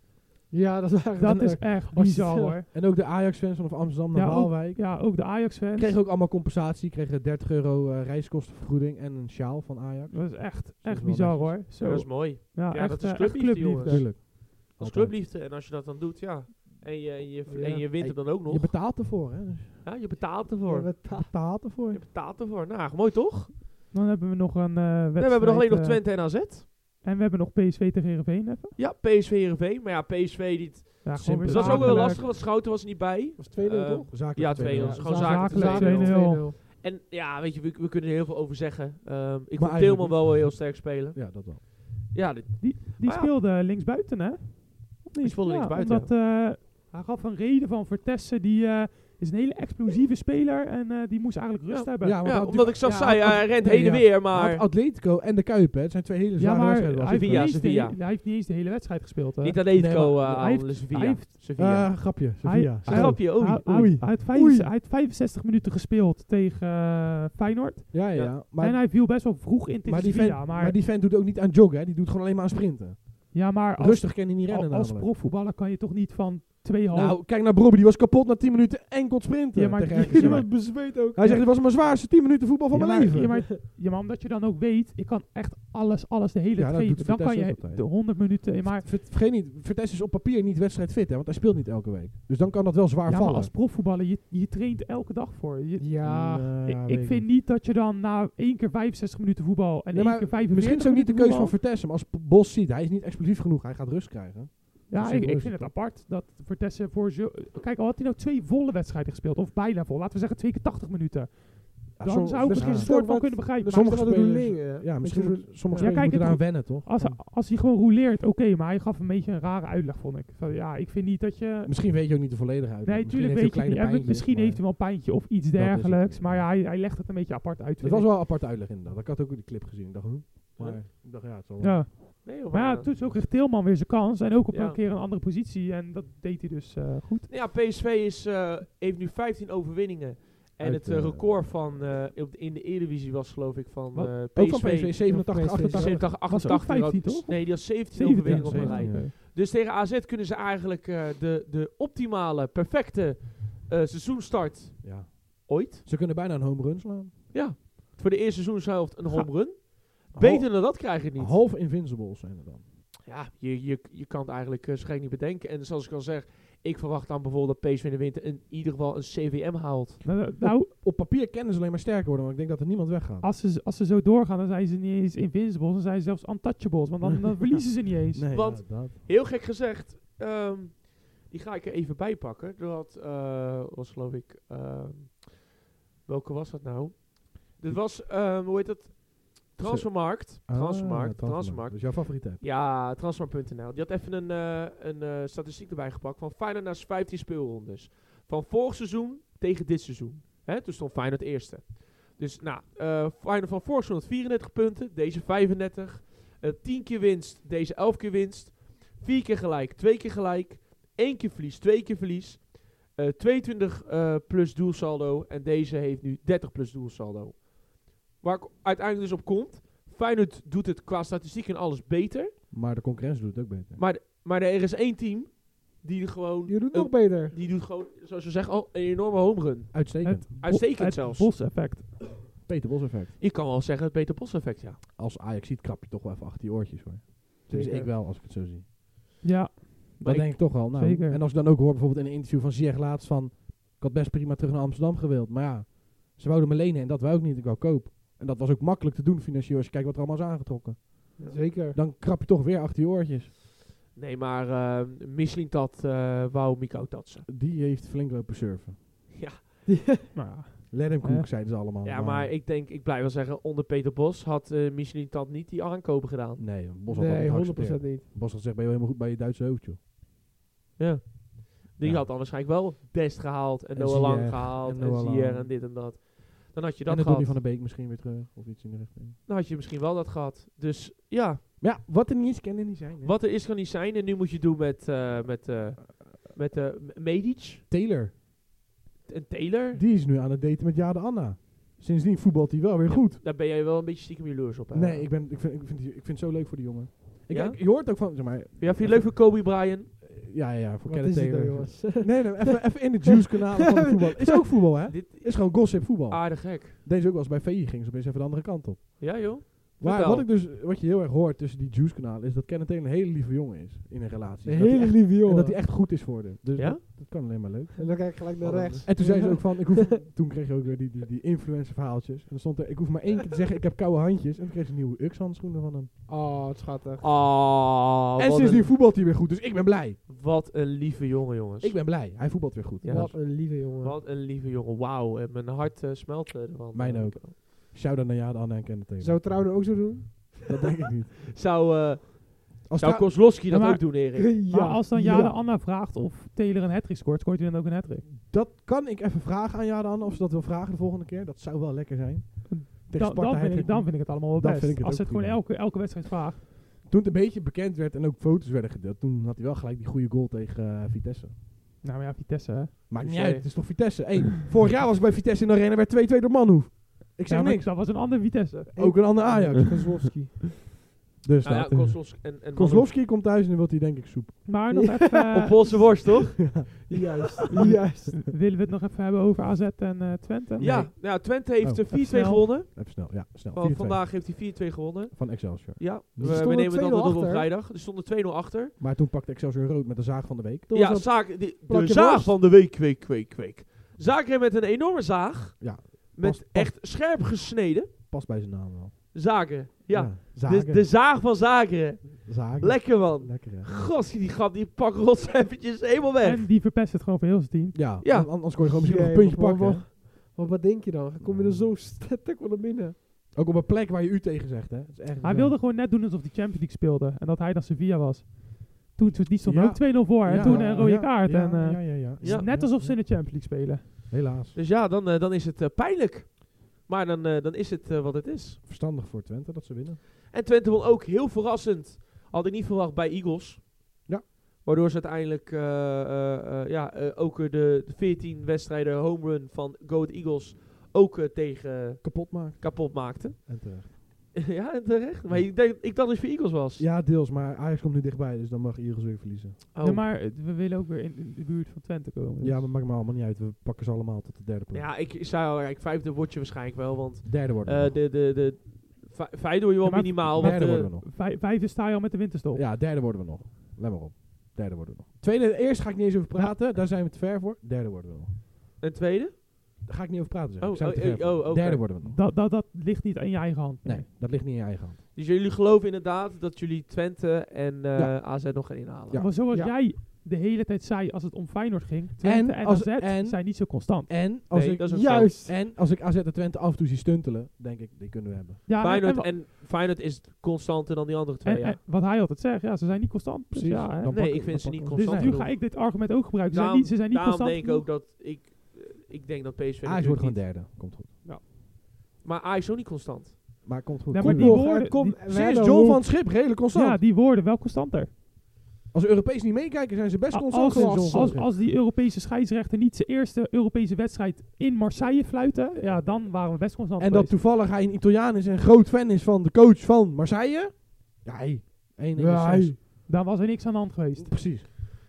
Speaker 3: Ja, dat is
Speaker 4: Dat
Speaker 3: eigenlijk...
Speaker 4: is echt
Speaker 3: Als-
Speaker 4: bizar hoor.
Speaker 2: En ook de Ajax-fans vanaf Amsterdam naar
Speaker 4: Ja, ook-
Speaker 2: Waalwijk.
Speaker 4: Ja, ook de Ajax-fans.
Speaker 2: Kregen ook allemaal compensatie. Kregen 30 euro eh, reiskostenvergoeding en een sjaal van Ajax.
Speaker 4: Dat is echt,
Speaker 2: is
Speaker 4: echt
Speaker 2: wel
Speaker 4: bizar
Speaker 2: netjes.
Speaker 4: hoor. Zo.
Speaker 1: Dat is mooi.
Speaker 4: Ja,
Speaker 1: Ja,
Speaker 4: echt,
Speaker 1: dat
Speaker 4: eh,
Speaker 1: is
Speaker 4: echt
Speaker 1: clubliefde,
Speaker 4: clubliefde.
Speaker 1: jongens.
Speaker 2: Tuurlijk.
Speaker 1: Als
Speaker 2: Altijd.
Speaker 1: clubliefde. En als je dat dan doet, ja. En je, en je,
Speaker 3: Ja.
Speaker 1: en je wint het dan ook nog.
Speaker 2: Je betaalt ervoor, hè? Dus
Speaker 1: ja, je betaalt ervoor.
Speaker 3: Ja,
Speaker 1: Je
Speaker 3: dat-
Speaker 2: je betaalt ervoor.
Speaker 1: betaalt ervoor. Nou, mooi toch?
Speaker 4: Dan hebben we nog een eh wedstrijd.
Speaker 1: Nee, we hebben nog alleen nog
Speaker 4: eh,
Speaker 1: Twente en AZ.
Speaker 4: En we hebben nog PSV tegen Heerenveen even.
Speaker 1: Ja, PSV Heerenveen. Maar ja, PSV... Die t-
Speaker 4: Ja, gewoon
Speaker 2: Simpel.
Speaker 4: weer
Speaker 1: dat was ook wel
Speaker 4: zakelijk.
Speaker 1: lastig, want Schouten was er niet bij.
Speaker 3: was 2-0
Speaker 1: Eh,
Speaker 3: toch?
Speaker 2: Zakelijk
Speaker 1: ja,
Speaker 2: 2-0.
Speaker 1: 2-0.
Speaker 3: Ja,
Speaker 1: is gewoon
Speaker 3: zakelijk
Speaker 1: zakelijk
Speaker 4: 2-0.
Speaker 3: 2-0.
Speaker 1: En ja, weet je, we, we kunnen er heel veel over zeggen. Ehm, ik
Speaker 2: Maar
Speaker 1: vond Tilman
Speaker 2: eigenlijk-
Speaker 1: wel heel sterk spelen.
Speaker 2: Ja, dat wel.
Speaker 1: Ja, dit-
Speaker 4: Die
Speaker 1: Ah, ja.
Speaker 4: speelde linksbuiten, hè? Of niet?
Speaker 1: speelde linksbuiten.
Speaker 4: Omdat, eh, hij gaf een reden van Vertessen. Die eh, is een hele explosieve speler. En eh, die moest eigenlijk rust
Speaker 1: Ja.
Speaker 4: hebben.
Speaker 2: Ja,
Speaker 4: Ja,
Speaker 2: maar
Speaker 1: ja,
Speaker 2: dat-
Speaker 1: omdat ik zelf
Speaker 2: ja,
Speaker 1: zei,
Speaker 2: dat-
Speaker 1: hij rent
Speaker 2: nee,
Speaker 1: heen en
Speaker 2: ja.
Speaker 1: weer,
Speaker 2: Maar
Speaker 1: maar...
Speaker 2: Atletico en de Kuip, hè? Het zijn twee hele zware
Speaker 4: maar hij
Speaker 2: wedstrijden.
Speaker 4: heeft,
Speaker 2: als
Speaker 4: niet
Speaker 1: Sevilla,
Speaker 4: eens de
Speaker 1: Sevilla.
Speaker 4: hele- hij heeft niet eens de hele wedstrijd gespeeld, hè?
Speaker 1: Niet
Speaker 2: Nee,
Speaker 1: Atletico
Speaker 2: maar-
Speaker 1: eh,
Speaker 4: hij heeft-
Speaker 1: aan de
Speaker 4: hij
Speaker 1: Sevilla.
Speaker 4: heeft-
Speaker 1: Sevilla.
Speaker 2: Eh, grapje,
Speaker 4: Hij-
Speaker 2: Sevilla.
Speaker 4: hij-
Speaker 2: Zo.
Speaker 1: Grapje, Oh, oei.
Speaker 4: hij, hij-
Speaker 2: oei.
Speaker 4: hij had
Speaker 2: Oei.
Speaker 4: 65, hij had 65 minuten gespeeld tegen eh, Feyenoord.
Speaker 2: Ja, ja,
Speaker 1: Ja.
Speaker 2: ja. Maar,
Speaker 4: en hij viel best wel vroeg in tegen
Speaker 2: maar, die
Speaker 4: Sevilla.
Speaker 2: vent,
Speaker 4: maar,
Speaker 2: maar... die vent doet ook niet aan joggen, hè? Die doet gewoon alleen maar aan sprinten.
Speaker 4: ja, maar als,
Speaker 2: Rustig kan hij niet rennen
Speaker 4: al- als
Speaker 2: namelijk.
Speaker 4: profvoetballer kan je toch niet van 2,5
Speaker 2: Nou, kijk naar Bobby, die was kapot na 10 minuten en kon sprinten.
Speaker 4: Ja, maar
Speaker 2: tegen
Speaker 4: die-
Speaker 2: RKC.
Speaker 3: Die was bezweet ook.
Speaker 2: Hij zegt, dit was mijn zwaarste 10 minuten voetbal van
Speaker 4: ja,
Speaker 2: mijn
Speaker 4: maar,
Speaker 2: leven.
Speaker 4: Ja maar, ja, maar omdat je dan ook weet, ik kan echt alles, alles de hele
Speaker 2: Ja, dat
Speaker 4: tijd
Speaker 2: doet
Speaker 4: Dan kan
Speaker 2: Vitesse
Speaker 4: je
Speaker 2: ook altijd.
Speaker 4: de 100 minuten. in, Maar,
Speaker 2: Ver- Vergeet niet, Vertessen is op papier niet wedstrijdfit, hè, want hij speelt niet elke week. Dus dan kan dat wel zwaar
Speaker 4: ja, maar
Speaker 2: vallen.
Speaker 4: als profvoetballer, je, je traint elke dag voor. Je,
Speaker 3: Ja.
Speaker 2: Nee,
Speaker 4: ik,
Speaker 2: weet
Speaker 4: ik vind niet dat je dan na één keer 65 minuten voetbal en
Speaker 2: Nee, maar
Speaker 4: één keer 45
Speaker 2: Misschien is ook niet de
Speaker 4: minuten
Speaker 2: keuze van
Speaker 4: voetbal-
Speaker 2: Vertessen, maar als P- Bos ziet, hij is niet explosief genoeg, hij gaat rust krijgen.
Speaker 4: Ja,
Speaker 2: Simpel
Speaker 4: ik, ik
Speaker 2: Dus is
Speaker 4: vind
Speaker 2: het
Speaker 4: het apart dat Vertessen voor zo... Kijk, al had hij nou twee volle wedstrijden gespeeld, of bijna vol. Laten we zeggen twee keer 80 minuten.
Speaker 2: Ja, dus
Speaker 4: Dan
Speaker 2: som-
Speaker 4: zou ik
Speaker 2: ja.
Speaker 4: misschien een
Speaker 3: misschien
Speaker 4: soort
Speaker 3: ook
Speaker 4: van
Speaker 3: wat-
Speaker 4: kunnen begrijpen.
Speaker 2: sommige
Speaker 3: sommige
Speaker 2: spelers-
Speaker 3: spelers...
Speaker 2: Ja, misschien moet, sommige
Speaker 4: Ja,
Speaker 2: spelers
Speaker 4: kijk,
Speaker 2: moeten
Speaker 4: het-
Speaker 2: eraan wennen, toch?
Speaker 4: Als, hij- als hij gewoon rouleert, oké. maar hij gaf een beetje een rare uitleg, vond ik. Van, ja, ik vind niet dat je...
Speaker 2: Misschien weet je ook niet de volledige uit.
Speaker 4: Nee, tuurlijk weet je het niet. Ja, misschien heeft hij wel een pijntje of iets
Speaker 2: Dat is het.
Speaker 4: dergelijks. Maar ja, hij, hij legt het een beetje apart uit.
Speaker 2: Het
Speaker 4: vind
Speaker 2: was
Speaker 4: ik.
Speaker 2: wel een aparte uitleg inderdaad. Ik had ook in de clip gezien, ik dacht, hm? Maar
Speaker 1: Ja.
Speaker 2: ik dacht, ja, het zal wel.
Speaker 4: Ja.
Speaker 1: Nee, joh,
Speaker 4: Maar ja,
Speaker 1: maar, eh,
Speaker 4: toen is ook kreeg Tilman weer zijn kans. En ook op
Speaker 1: Ja.
Speaker 4: een keer een andere positie. En dat deed hij dus eh, goed.
Speaker 1: Ja, PSV is, eh, heeft nu 15 overwinningen. En
Speaker 2: Uit,
Speaker 1: het eh,
Speaker 2: eh,
Speaker 1: record van, eh, op de- in de Eredivisie was geloof ik van
Speaker 2: Wat?
Speaker 1: eh, PSV.
Speaker 2: Ook van PSV 87,
Speaker 3: PSV
Speaker 2: 88.
Speaker 1: 70,
Speaker 4: was ook
Speaker 1: 88.
Speaker 4: 15
Speaker 1: had-
Speaker 4: toch?
Speaker 1: Nee, die had 17,
Speaker 4: 17,
Speaker 1: overwinningen op een
Speaker 2: 17,
Speaker 1: rij.
Speaker 2: ja.
Speaker 4: Oké.
Speaker 1: Dus tegen AZ kunnen ze eigenlijk eh, de, de optimale, perfecte eh, seizoenstart
Speaker 2: Ja.
Speaker 1: ooit.
Speaker 2: Ze kunnen bijna een home run slaan.
Speaker 1: Voor de eerste seizoenshelft een home run.
Speaker 2: Hal-
Speaker 1: Beter dan dat krijg je het niet.
Speaker 2: Half invincibles zijn er dan.
Speaker 1: Ja, je, je, je kan het eigenlijk eh, waarschijnlijk niet bedenken. En zoals ik al zeg, ik verwacht dan bijvoorbeeld dat PSV in de winter in ieder geval een CVM haalt.
Speaker 4: Nou, nou,
Speaker 2: Op papier kennen ze alleen maar sterker worden, maar ik denk dat er niemand weggaat.
Speaker 4: als ze, als ze zo doorgaan, dan zijn ze niet eens invincibles. Dan zijn ze zelfs untouchables. Want dan, dan verliezen ze niet eens.
Speaker 2: Nee,
Speaker 1: Want-
Speaker 2: ja, dat.
Speaker 1: Heel gek gezegd, ehm, die ga ik er even bij pakken. Er had, eh, was geloof ik, ehm, welke was dat nou? Dit was, ehm, hoe heet dat? Transfermarkt.
Speaker 2: Ah,
Speaker 1: Transfermarkt.
Speaker 2: Dat
Speaker 1: Transfermarkt.
Speaker 2: is jouw favoriete app.
Speaker 1: Ja, transfermarkt.nl. Die had even een, eh, een eh, statistiek erbij gepakt van Feyenoord na 15 speelrondes. Van vorig seizoen tegen dit seizoen. Hè? Toen stond Feyenoord eerste. Dus nou, eh Feyenoord van vorig seizoen had 34 punten, deze 35. Eh 10 keer winst, deze 11 keer winst. 4 keer gelijk, 2 keer gelijk. 1 keer verlies, 2 keer verlies. Eh 22 eh, plus doelsaldo en deze heeft nu 30 plus doelsaldo. Waar ik uiteindelijk dus op komt, Feyenoord doet het qua statistiek en alles beter.
Speaker 2: Maar de concurrentie doet het ook beter.
Speaker 1: Maar er is één team die er gewoon,
Speaker 3: Je doet het
Speaker 1: Eh,
Speaker 3: nog beter.
Speaker 1: die doet gewoon, zoals ze zeggen, al een enorme home run.
Speaker 2: Uitstekend.
Speaker 1: Uitstekend
Speaker 4: Bo- het
Speaker 1: zelfs.
Speaker 4: Bos-effect.
Speaker 2: Peter Bos effect.
Speaker 1: Je kan wel zeggen het Peter Bos effect, ja.
Speaker 2: Als Ajax ziet, krap je toch wel even achter je oortjes hoor. Dus
Speaker 3: Zeker.
Speaker 2: ik wel, als ik het zo zie.
Speaker 4: Ja,
Speaker 2: Dat
Speaker 1: ik-
Speaker 2: denk ik toch wel. Nou,
Speaker 4: Zeker.
Speaker 2: En als ik dan ook hoor bijvoorbeeld in een interview van Ziyech laatst van... Ik had best prima terug naar Amsterdam gewild. Maar ja, ze wouden me lenen en dat wou ik niet. Ik wou koop. En dat was ook makkelijk te doen financieel als je kijkt wat er allemaal is aangetrokken.
Speaker 3: Zeker.
Speaker 2: Dan krap je toch weer achter je oortjes.
Speaker 1: Nee, maar eh Michelin dat eh wou Mikau tatsen.
Speaker 2: Die heeft flink lopen surfen.
Speaker 1: Ja.
Speaker 4: nou ja.
Speaker 2: Let hem
Speaker 4: Eh.
Speaker 2: koek, zeiden ze allemaal.
Speaker 1: ja, maar ik denk, ik blijf wel zeggen, onder Peter Bos had eh Michelin dat niet die aankopen gedaan.
Speaker 2: Nee, Bos had
Speaker 3: Nee, 100%
Speaker 2: dat niet 100%.
Speaker 3: niet.
Speaker 2: Bos had gezegd, ben je wel helemaal goed bij je Duitse hoofdje.
Speaker 1: Ja. Die
Speaker 2: Ja.
Speaker 1: had dan waarschijnlijk wel Dest gehaald en,
Speaker 2: En
Speaker 1: Noah Lang
Speaker 2: Ziyech,
Speaker 1: gehaald
Speaker 2: en
Speaker 1: en,
Speaker 2: Noah Lang.
Speaker 1: Zier en dit en dat. Dan had je dat
Speaker 2: en dan doet
Speaker 1: gehad.
Speaker 2: hij van de Beek misschien weer terug. Of iets in de richting.
Speaker 1: Dan had je misschien wel dat gehad. Dus ja,
Speaker 2: Maar ja, wat er niet is, kan er niet zijn. Hè?
Speaker 1: wat er is kan niet zijn. En nu moet je doen met, eh met, eh met eh, M- Medic
Speaker 2: Taylor,
Speaker 1: en Taylor.
Speaker 2: die is nu aan het daten met Jade Anna. Sindsdien voetbalt hij wel weer
Speaker 1: Ja,
Speaker 2: goed.
Speaker 1: Daar ben jij wel een beetje stiekem jaloers op. hè?
Speaker 2: Nee, ik, ben, ik, vind, ik, vind, die- ik vind het zo leuk voor die jongen. Ik,
Speaker 1: Ja?
Speaker 2: ik- je hoort ook van, zeg maar...
Speaker 1: Ja, vind je het leuk voor Kobe Bryant?
Speaker 2: Ja, ja, ja, voor
Speaker 3: Wat
Speaker 2: Kenneth
Speaker 3: is het nou,
Speaker 2: Taylor.
Speaker 3: jongens?
Speaker 2: Nee, nee, even, even in de juice-kanalen van het voetbal. Is ook voetbal, hè?
Speaker 1: Dit
Speaker 2: Is gewoon gossip voetbal.
Speaker 3: Ah.
Speaker 1: aardig gek.
Speaker 2: Deze ook wel eens bij VI ging, ze opeens even de andere kant op.
Speaker 1: Ja joh.
Speaker 2: Maar
Speaker 1: Vertel.
Speaker 2: wat, ik dus, wat je heel erg hoort tussen die juice-kanalen is dat Kenneth Taylor een hele lieve jongen is in een relatie.
Speaker 3: Een
Speaker 2: Dat hij
Speaker 3: hele
Speaker 2: echt-
Speaker 3: lieve jongen.
Speaker 2: En dat hij echt goed is voor hem. Dus
Speaker 1: Ja?
Speaker 2: dat, dat kan alleen maar leuk.
Speaker 3: En dan kijk ik gelijk naar
Speaker 1: Wat een-
Speaker 3: rechts.
Speaker 2: En toen zei ze ook van, ik hoef, toen kreeg je ook weer die, die, die influencer verhaaltjes. En dan stond er, ik hoef maar één keer te zeggen, ik heb koude handjes. En toen kreeg ze nieuwe Ux-handschoenen van hem.
Speaker 3: Oh, wat schattig.
Speaker 1: Ah, Oh,
Speaker 2: en
Speaker 1: wat,
Speaker 2: sindsdien
Speaker 1: een,
Speaker 2: voetbalt hij weer goed, dus ik ben blij.
Speaker 1: wat een lieve jongen jongens.
Speaker 2: Ik ben blij, hij voetbalt weer goed.
Speaker 1: Ja.
Speaker 3: Wat een lieve jongen.
Speaker 1: Wat een lieve jongen. Wauw. En Mijn hart eh, smelt eh, ervan.
Speaker 2: Mijn ook. Shout-out naar Jade, Anne en Kenneth Taylor.
Speaker 3: Zou Trouwen ook zo doen?
Speaker 2: Dat denk ik niet.
Speaker 1: Zou, eh
Speaker 2: Als
Speaker 1: zou
Speaker 2: Trau-
Speaker 1: Kozlowski dat
Speaker 4: Ja, maar-
Speaker 1: ook doen Erik?
Speaker 4: Maar als dan Jade
Speaker 2: ja.
Speaker 4: Anna vraagt of Taylor een hat scoort, scoort hij dan ook een hat
Speaker 2: dat kan ik even vragen aan Jade, Anne, of ze dat wil vragen de volgende keer. Dat zou wel lekker zijn. Tegen
Speaker 4: Dan,
Speaker 2: Sparta
Speaker 4: dan, vind ik,
Speaker 2: hat-trick.
Speaker 4: dan vind ik het allemaal wel
Speaker 2: Dan
Speaker 4: best.
Speaker 2: vind ik het
Speaker 4: als ze
Speaker 2: ook
Speaker 4: het gewoon
Speaker 2: prima.
Speaker 4: elke, elke wedstrijd vraagt.
Speaker 2: Toen het een beetje bekend werd en ook foto's werden gedeeld, toen had hij wel gelijk die goede goal tegen eh, Vitesse.
Speaker 4: Nou maar ja, Vitesse hè.
Speaker 2: Maakt niet
Speaker 1: Dus,
Speaker 2: uit,
Speaker 1: eh,
Speaker 2: het is toch Vitesse. Hey, vorig jaar was ik bij Vitesse in de arena, werd 2-2 door Manhoef. Ik zeg
Speaker 4: Ja, maar
Speaker 2: niks.
Speaker 4: Dat was een ander Vitesse.
Speaker 2: Ook een ander Ajax.
Speaker 3: Kozlowski.
Speaker 2: Dus
Speaker 1: Nou ja,
Speaker 2: dat, eh,
Speaker 1: Kozlowski en, en
Speaker 2: Kozlowski komt thuis en dan wil hij denk ik soep.
Speaker 4: Maar nog even, eh,
Speaker 1: Op Poolse worst toch?
Speaker 3: Juist. Juist.
Speaker 4: willen we het nog even hebben over AZ en eh, Twente?
Speaker 1: Ja. Nou, Twente heeft
Speaker 2: Oh,
Speaker 1: er 4-2
Speaker 4: snel.
Speaker 1: gewonnen.
Speaker 2: Even snel, ja, snel.
Speaker 1: Van,
Speaker 2: 4-2.
Speaker 1: vandaag heeft hij 4-2 gewonnen.
Speaker 2: Van Excelsior.
Speaker 1: Ja, we,
Speaker 2: Dus
Speaker 1: we
Speaker 3: er stonden
Speaker 1: nemen het
Speaker 3: 2-0
Speaker 1: allemaal door op
Speaker 3: achter.
Speaker 1: vrijdag. Er stonden 2-0 achter.
Speaker 2: Maar toen pakte Excelsior rood met de zaag van de week.
Speaker 3: Toen
Speaker 1: ja,
Speaker 3: was dat-
Speaker 1: zaak, die, de
Speaker 3: plakje
Speaker 1: zaag
Speaker 3: worst.
Speaker 1: van de week, week, week, week. Zaak er met een enorme zaag.
Speaker 2: Ja,
Speaker 1: met
Speaker 2: past-
Speaker 1: echt scherp gesneden.
Speaker 2: Past bij zijn naam wel.
Speaker 1: Zaken. Ja.
Speaker 2: zagen.
Speaker 1: de, de zaag van Zakeren.
Speaker 2: zagen.
Speaker 1: Lekker man.
Speaker 2: Lekker, hè.
Speaker 1: God, die gaf die pak rots eventjes helemaal weg.
Speaker 4: En die verpest het gewoon voor heel zijn team.
Speaker 2: Ja,
Speaker 1: Ja.
Speaker 2: an- anders kon je gewoon misschien nog
Speaker 3: Jee,
Speaker 2: een puntje
Speaker 3: maar-
Speaker 2: pakken.
Speaker 3: maar- Maar wat denk je dan? Kom je er zo sterk onder binnen?
Speaker 2: hè. Ook op een plek waar je u tegen zegt, hè. Dat is echt
Speaker 4: Hij
Speaker 2: zo.
Speaker 4: wilde gewoon net doen alsof hij Champions League speelde. En dat hij dan Sevilla was. Toen, toen die stond
Speaker 2: Ja.
Speaker 4: ook 2-0 voor. En
Speaker 2: Ja,
Speaker 4: toen een rode
Speaker 2: ja,
Speaker 4: kaart.
Speaker 2: ja,
Speaker 4: en, eh,
Speaker 2: ja, ja, ja.
Speaker 4: het is net alsof ze in de Champions League spelen.
Speaker 2: Helaas.
Speaker 1: Dus ja, dan, eh, dan is het eh, pijnlijk. Maar dan, eh, dan is het eh, wat het is.
Speaker 2: Verstandig voor Twente dat ze winnen.
Speaker 1: En Twente wil ook heel verrassend Had ik niet verwacht bij Eagles.
Speaker 2: Ja.
Speaker 1: Waardoor ze uiteindelijk eh, eh, eh, ja, eh, ook eh, de 14 wedstrijden home run van Goat Eagles ook eh, tegen
Speaker 2: Kapot maakt.
Speaker 1: kapot maakten.
Speaker 2: En terecht.
Speaker 1: ja, terecht. Maar ik, denk, ik dacht dat het voor Eagles was.
Speaker 2: Ja, deels, maar Ajax komt nu dichtbij, dus dan mag Eagles weer verliezen.
Speaker 1: Oh.
Speaker 4: Ja, maar eh, we willen ook weer in, in de buurt van Twente komen. dus.
Speaker 2: Ja, maar maakt me allemaal niet uit. We pakken ze allemaal tot de derde plek.
Speaker 1: Ja, ik ik zou eigenlijk vijfde word je waarschijnlijk wel, want
Speaker 2: Derde worden we
Speaker 1: eh
Speaker 2: nog.
Speaker 1: de, de, de vij- vijfde word je wel
Speaker 4: Ja, maar
Speaker 1: minimaal.
Speaker 4: de
Speaker 1: Want,
Speaker 2: Derde
Speaker 1: eh,
Speaker 2: worden we nog.
Speaker 4: Vij- vijfde sta je al met de winterstop.
Speaker 2: Nou, Ja, derde worden we nog. Let maar op. Derde worden we nog. Tweede, eerst ga ik niet eens over praten. Daar zijn we te ver voor. Derde worden we nog.
Speaker 1: en tweede?
Speaker 2: Daar ga ik niet over praten. Zeg.
Speaker 1: Oh,
Speaker 2: ik zijn we
Speaker 1: oh,
Speaker 2: te ver
Speaker 1: oh,
Speaker 2: voor.
Speaker 1: oh, oké.
Speaker 2: Derde worden we nog.
Speaker 4: Dat, dat, dat ligt niet aan je eigen hand.
Speaker 2: Nee, dat ligt niet in je eigen hand.
Speaker 1: Dus jullie geloven inderdaad dat jullie Twente en eh,
Speaker 2: Ja.
Speaker 1: AZ nog gaan inhalen.
Speaker 2: Ja.
Speaker 4: Maar zoals
Speaker 1: Ja.
Speaker 4: jij de hele tijd zei als het om Feyenoord ging, Twente en,
Speaker 2: als-
Speaker 4: AZ
Speaker 2: en-
Speaker 4: zijn niet zo constant.
Speaker 2: En als,
Speaker 1: Nee,
Speaker 2: ik,
Speaker 1: dat is ook zo.
Speaker 2: juist. en als ik AZ en Twente af en toe zie stuntelen, denk ik, die kunnen we hebben.
Speaker 4: Ja, en- en,
Speaker 1: Feyenoord,
Speaker 4: wa-
Speaker 1: en, Feyenoord is constanter dan die andere twee,
Speaker 4: en-
Speaker 1: ja.
Speaker 4: en wat hij altijd zegt, ja, ze zijn niet constant. Dus
Speaker 2: Precies.
Speaker 4: ja, hè.
Speaker 2: Dan
Speaker 1: nee,
Speaker 2: pakken-
Speaker 1: ik vind
Speaker 2: dan
Speaker 1: ze niet
Speaker 2: pakken
Speaker 4: dus
Speaker 1: constant
Speaker 4: nu
Speaker 1: genoeg.
Speaker 4: ga ik dit argument ook gebruiken. Ze zijn
Speaker 1: Daarom-
Speaker 4: niet, ze zijn niet
Speaker 1: Daarom
Speaker 4: constant.
Speaker 1: denk ik ook dat ik... eh, Ik denk dat PSV
Speaker 2: Ajax
Speaker 1: natuurlijk
Speaker 2: Ah, wordt gewoon
Speaker 1: niet-
Speaker 2: derde. Komt goed.
Speaker 1: Maar Ajax is ook niet constant.
Speaker 2: Maar komt goed.
Speaker 4: Ja, maar
Speaker 2: Komt
Speaker 4: die
Speaker 2: goed.
Speaker 4: woorden-
Speaker 3: er kom,
Speaker 4: die-
Speaker 3: we
Speaker 2: Sinds
Speaker 3: hebben
Speaker 2: John
Speaker 3: hoe-
Speaker 2: van het Schip, redelijk constant.
Speaker 4: Ja, die worden wel constanter.
Speaker 2: Als Europees niet meekijken, zijn ze best
Speaker 4: Als,
Speaker 2: constant.
Speaker 4: als,
Speaker 2: sinds John
Speaker 4: als,
Speaker 2: van het
Speaker 4: als,
Speaker 2: Schip.
Speaker 4: die Europese scheidsrechter niet zijn eerste Europese wedstrijd in Marseille fluiten, ja, dan waren we best constant.
Speaker 2: en dat
Speaker 4: geweest.
Speaker 2: toevallig hij een Italiaan is en een groot fan is van de coach van Marseille. Ja, hey. Eén in de
Speaker 4: Ja,
Speaker 2: zes.
Speaker 4: hey. dan was er niks aan de hand geweest.
Speaker 2: Precies.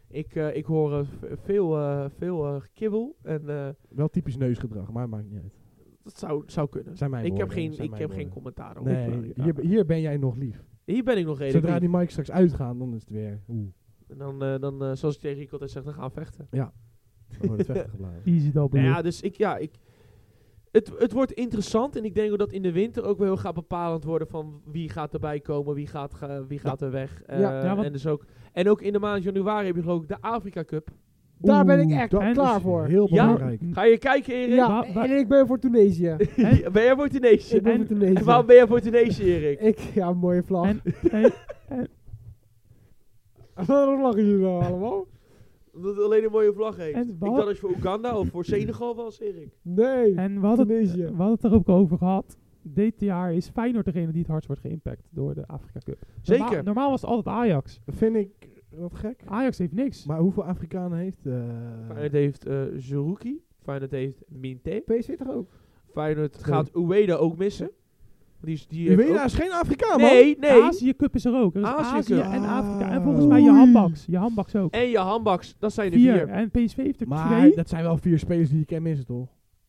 Speaker 1: Ik, eh, ik hoor eh, v- veel, eh, veel eh, gekibbel en eh,
Speaker 2: Wel typisch neusgedrag, maar maakt niet uit.
Speaker 1: dat zou, zou kunnen.
Speaker 2: Zijn mijn
Speaker 1: Ik heb
Speaker 2: woorden,
Speaker 1: geen,
Speaker 2: zijn
Speaker 1: ik
Speaker 2: mijn
Speaker 1: heb geen
Speaker 2: woorden.
Speaker 1: commentaar op.
Speaker 2: Nee, hier, hier ben jij nog lief.
Speaker 1: Hier ben ik nog redelijk.
Speaker 2: Zodra
Speaker 1: lief.
Speaker 2: die mic straks uitgaan, dan is het weer. Oeh,
Speaker 1: En dan, eh, dan eh, zoals ik tegen Rico altijd zeg, dan gaan we vechten.
Speaker 2: dan wordt het weggeblazen.
Speaker 4: Easy double.
Speaker 1: Nou ja, dus ik, ja, ik... Het, het wordt interessant en ik denk ook dat in de winter ook wel heel gaat bepalend worden van wie gaat erbij komen, wie gaat, ge- wie gaat er weg. eh,
Speaker 3: Ja,
Speaker 4: ja, want-
Speaker 1: en, dus ook, en ook in de maand januari heb je geloof ik de Afrika Cup.
Speaker 3: Daar ben ik
Speaker 2: Oeh,
Speaker 3: echt
Speaker 2: dat
Speaker 4: en
Speaker 3: klaar
Speaker 2: is
Speaker 3: voor.
Speaker 2: Heel
Speaker 1: Ja.
Speaker 2: belangrijk.
Speaker 1: Ga je kijken Erik?
Speaker 3: ja,
Speaker 4: Wa- wa-
Speaker 3: en ik ben voor Tunesië.
Speaker 1: Hey, ben jij voor Tunesië?
Speaker 3: ik ben
Speaker 4: en-
Speaker 3: voor
Speaker 1: En waarom
Speaker 3: Tunesië.
Speaker 1: ben jij voor Tunesië Erik?
Speaker 3: Ik, ja, mooie vlag.
Speaker 4: En-
Speaker 3: Waarom lachen jullie nou allemaal?
Speaker 1: Omdat het alleen een mooie vlag heeft.
Speaker 4: En
Speaker 1: ik
Speaker 4: wat-
Speaker 1: dacht dat je voor Oeganda of voor Senegal was Erik.
Speaker 3: Nee,
Speaker 4: En we hadden, het,
Speaker 3: Tunesië.
Speaker 4: we hadden het er ook over gehad. Dit jaar is Feyenoord degene die het hardst wordt geïmpact door de Afrika Cup. Normaal-
Speaker 1: Zeker.
Speaker 4: normaal was het altijd Ajax.
Speaker 2: Vind ik wat gek.
Speaker 4: Ajax heeft niks.
Speaker 2: Maar hoeveel Afrikanen heeft? eh,
Speaker 1: Feyenoord heeft eh Zerouki, Feyenoord heeft Minte,
Speaker 3: PSV toch ook?
Speaker 1: Feyenoord
Speaker 2: Twee.
Speaker 1: gaat Ueda ook missen. Die is, die heeft
Speaker 2: Uweda
Speaker 1: ook-
Speaker 2: is geen Afrikaan, man.
Speaker 1: Nee,
Speaker 4: De
Speaker 1: nee.
Speaker 4: Azië Cup is er ook. Er is
Speaker 1: Azië
Speaker 4: Azië,
Speaker 1: Cup.
Speaker 4: en Afrika. En
Speaker 2: Ah.
Speaker 4: volgens mij je
Speaker 2: Oei.
Speaker 4: handbaks. Je handbaks ook.
Speaker 1: En je handbaks, dat zijn er
Speaker 4: vier.
Speaker 1: vier.
Speaker 4: En PSV heeft er
Speaker 2: Maar
Speaker 4: twee.
Speaker 2: dat zijn wel vier spelers die je kan missen, toch?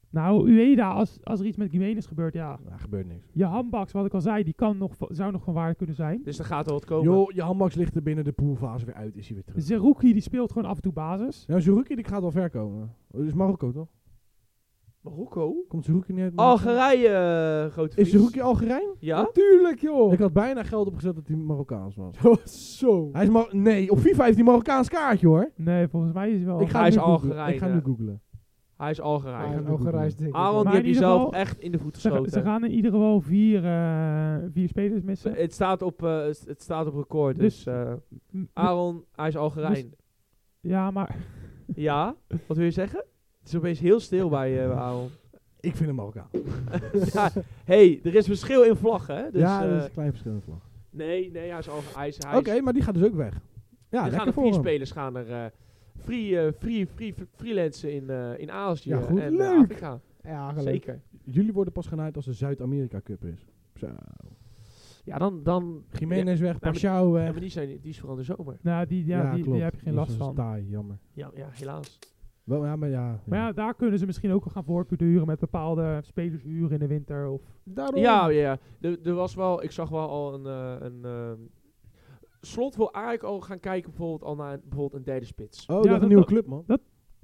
Speaker 4: Nou, Ueda, als, als er iets met Gimenez gebeurt, ja.
Speaker 2: Nou, gebeurt niks.
Speaker 4: Je handbaks, wat ik al zei, die kan nog, va- zou nog van waarde kunnen zijn.
Speaker 1: Dus er gaat wel wat komen.
Speaker 2: Joh, je handbaks ligt er binnen de poolfase weer uit, is hij weer terug.
Speaker 4: Zerouki, die speelt gewoon af en toe basis.
Speaker 2: Nou, Zerouki, die gaat wel ver komen. Dat is Marokko, toch?
Speaker 1: Marokko?
Speaker 2: Komt Zerouki niet uit Marokko?
Speaker 1: Algerije, eh, grote
Speaker 2: Is
Speaker 1: vriend.
Speaker 2: Zerouki Algerijn?
Speaker 1: Ja?
Speaker 3: Natuurlijk, joh.
Speaker 2: Ik had bijna geld opgezet dat hij Marokkaans was.
Speaker 1: Oh,
Speaker 3: Zo.
Speaker 2: Hij is Mar- nee, op FIFA heeft hij Marokkaans kaartje, hoor.
Speaker 4: Nee, volgens mij is hij wel...
Speaker 2: Ik ga
Speaker 1: Oh, hij is
Speaker 2: nu googlen.
Speaker 1: Algerijn,
Speaker 2: Ik ga
Speaker 1: ja.
Speaker 2: nu googlen.
Speaker 1: Hij is
Speaker 3: Hij
Speaker 1: Algerije.
Speaker 3: is
Speaker 2: Hij
Speaker 3: ook gereisd, denk ik.
Speaker 1: Aaron, die
Speaker 4: Maar
Speaker 1: heb
Speaker 4: in
Speaker 1: je
Speaker 4: ieder
Speaker 1: zelf
Speaker 4: geval-
Speaker 1: echt in de voeten
Speaker 4: ze, ga- ze
Speaker 1: geschoten.
Speaker 4: gaan in ieder geval vier, eh, vier spelers missen.
Speaker 1: Het staat op, eh, het- het staat op record, dus...
Speaker 4: Dus-
Speaker 1: eh,
Speaker 4: M- m-
Speaker 1: Aaron, hij is Algerijn.
Speaker 4: Ja, maar
Speaker 1: Ja? Wat wil je zeggen? Het is opeens heel stil bij eh, bij Aaron.
Speaker 2: Ik vind hem Marokkaan.
Speaker 1: ja, hey, er is verschil in vlaggen, hè? Dus,
Speaker 2: ja,
Speaker 1: eh,
Speaker 2: dat is een klein verschil in vlag.
Speaker 1: Nee, nee, hij is Algerijn. Hij is, hij
Speaker 2: Oké,
Speaker 1: is-
Speaker 2: maar die gaat dus ook weg. Ja,
Speaker 1: er gaan
Speaker 2: lekker
Speaker 1: er
Speaker 2: voor
Speaker 1: vier
Speaker 2: hem.
Speaker 1: spelers gaan er... eh, Free, eh, free, free, freelancen in, eh, in Azië
Speaker 2: Ja, goed.
Speaker 1: en eh,
Speaker 3: Leuk.
Speaker 1: Afrika.
Speaker 3: Ja, gelijk.
Speaker 1: Zeker.
Speaker 2: Jullie worden pas genaaid als de Zuid-Amerika Cup is. Zo.
Speaker 1: Ja, dan... dan
Speaker 2: Jiménez weg,
Speaker 1: maar-
Speaker 2: Pashao
Speaker 1: ja,
Speaker 4: eh.
Speaker 2: weg.
Speaker 1: maar die, zijn, die is vooral in de zomer.
Speaker 4: nou, die, ja, die,
Speaker 2: klopt.
Speaker 4: die heb je geen
Speaker 2: Die is
Speaker 4: last
Speaker 2: wel
Speaker 4: van.
Speaker 2: Taai, jammer.
Speaker 1: Ja, ja helaas.
Speaker 2: Wel, ja, maar ja.
Speaker 4: Maar ja, daar kunnen ze misschien ook al gaan voortbeduren met bepaalde spelershuren in de winter. Of
Speaker 3: Daarom.
Speaker 1: Ja, ja. Er, er was wel, ik zag wel al een. eh, een eh, slot wil eigenlijk al gaan kijken, bijvoorbeeld al naar een- bijvoorbeeld een derde spits.
Speaker 2: Oh, ik
Speaker 4: Ja,
Speaker 2: dacht
Speaker 4: dat-
Speaker 2: een nieuwe
Speaker 4: dat-
Speaker 2: club, man.
Speaker 4: dat-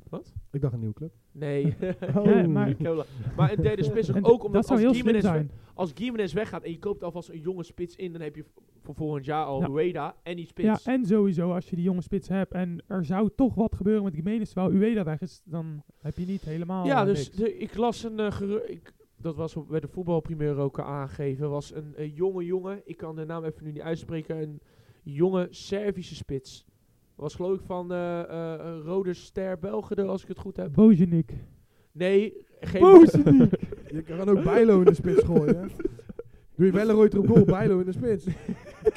Speaker 1: Wat?
Speaker 2: Ik dacht een nieuwe club.
Speaker 1: Nee.
Speaker 2: Oh.
Speaker 4: Ja, maar-
Speaker 1: Ik heb la- maar een derde spits
Speaker 4: en
Speaker 1: ook
Speaker 4: dat
Speaker 1: omdat
Speaker 4: zou
Speaker 1: als
Speaker 4: heel slim
Speaker 1: Gimenez,
Speaker 4: zijn.
Speaker 1: als Gimenez weggaat en je koopt alvast een jonge spits in, dan heb je v- voor volgend jaar al
Speaker 4: Ja.
Speaker 1: Rueda en die
Speaker 4: Ja,
Speaker 1: spits.
Speaker 4: en sowieso als je die jonge spits hebt en er zou toch wat gebeuren met Gimenez terwijl Ueda weg is, dan heb je niet helemaal
Speaker 1: Ja,
Speaker 4: eh,
Speaker 1: dus
Speaker 4: niks.
Speaker 1: de- ik las een eh, geru- ik, dat was op, bij de voetbalprimeur ook eh, aangegeven, was een eh, jonge jongen, ik kan de naam even nu niet uitspreken, een jonge Servische spits. Was geloof ik van eh, eh, eh, Rode Ster Belgede, als ik het goed heb.
Speaker 4: Bojanik.
Speaker 1: Nee, geen...
Speaker 2: Je kan ook Bijlo in de spits gooien. hè. Doe je wel een rooid op goal, Bijlo in de spits.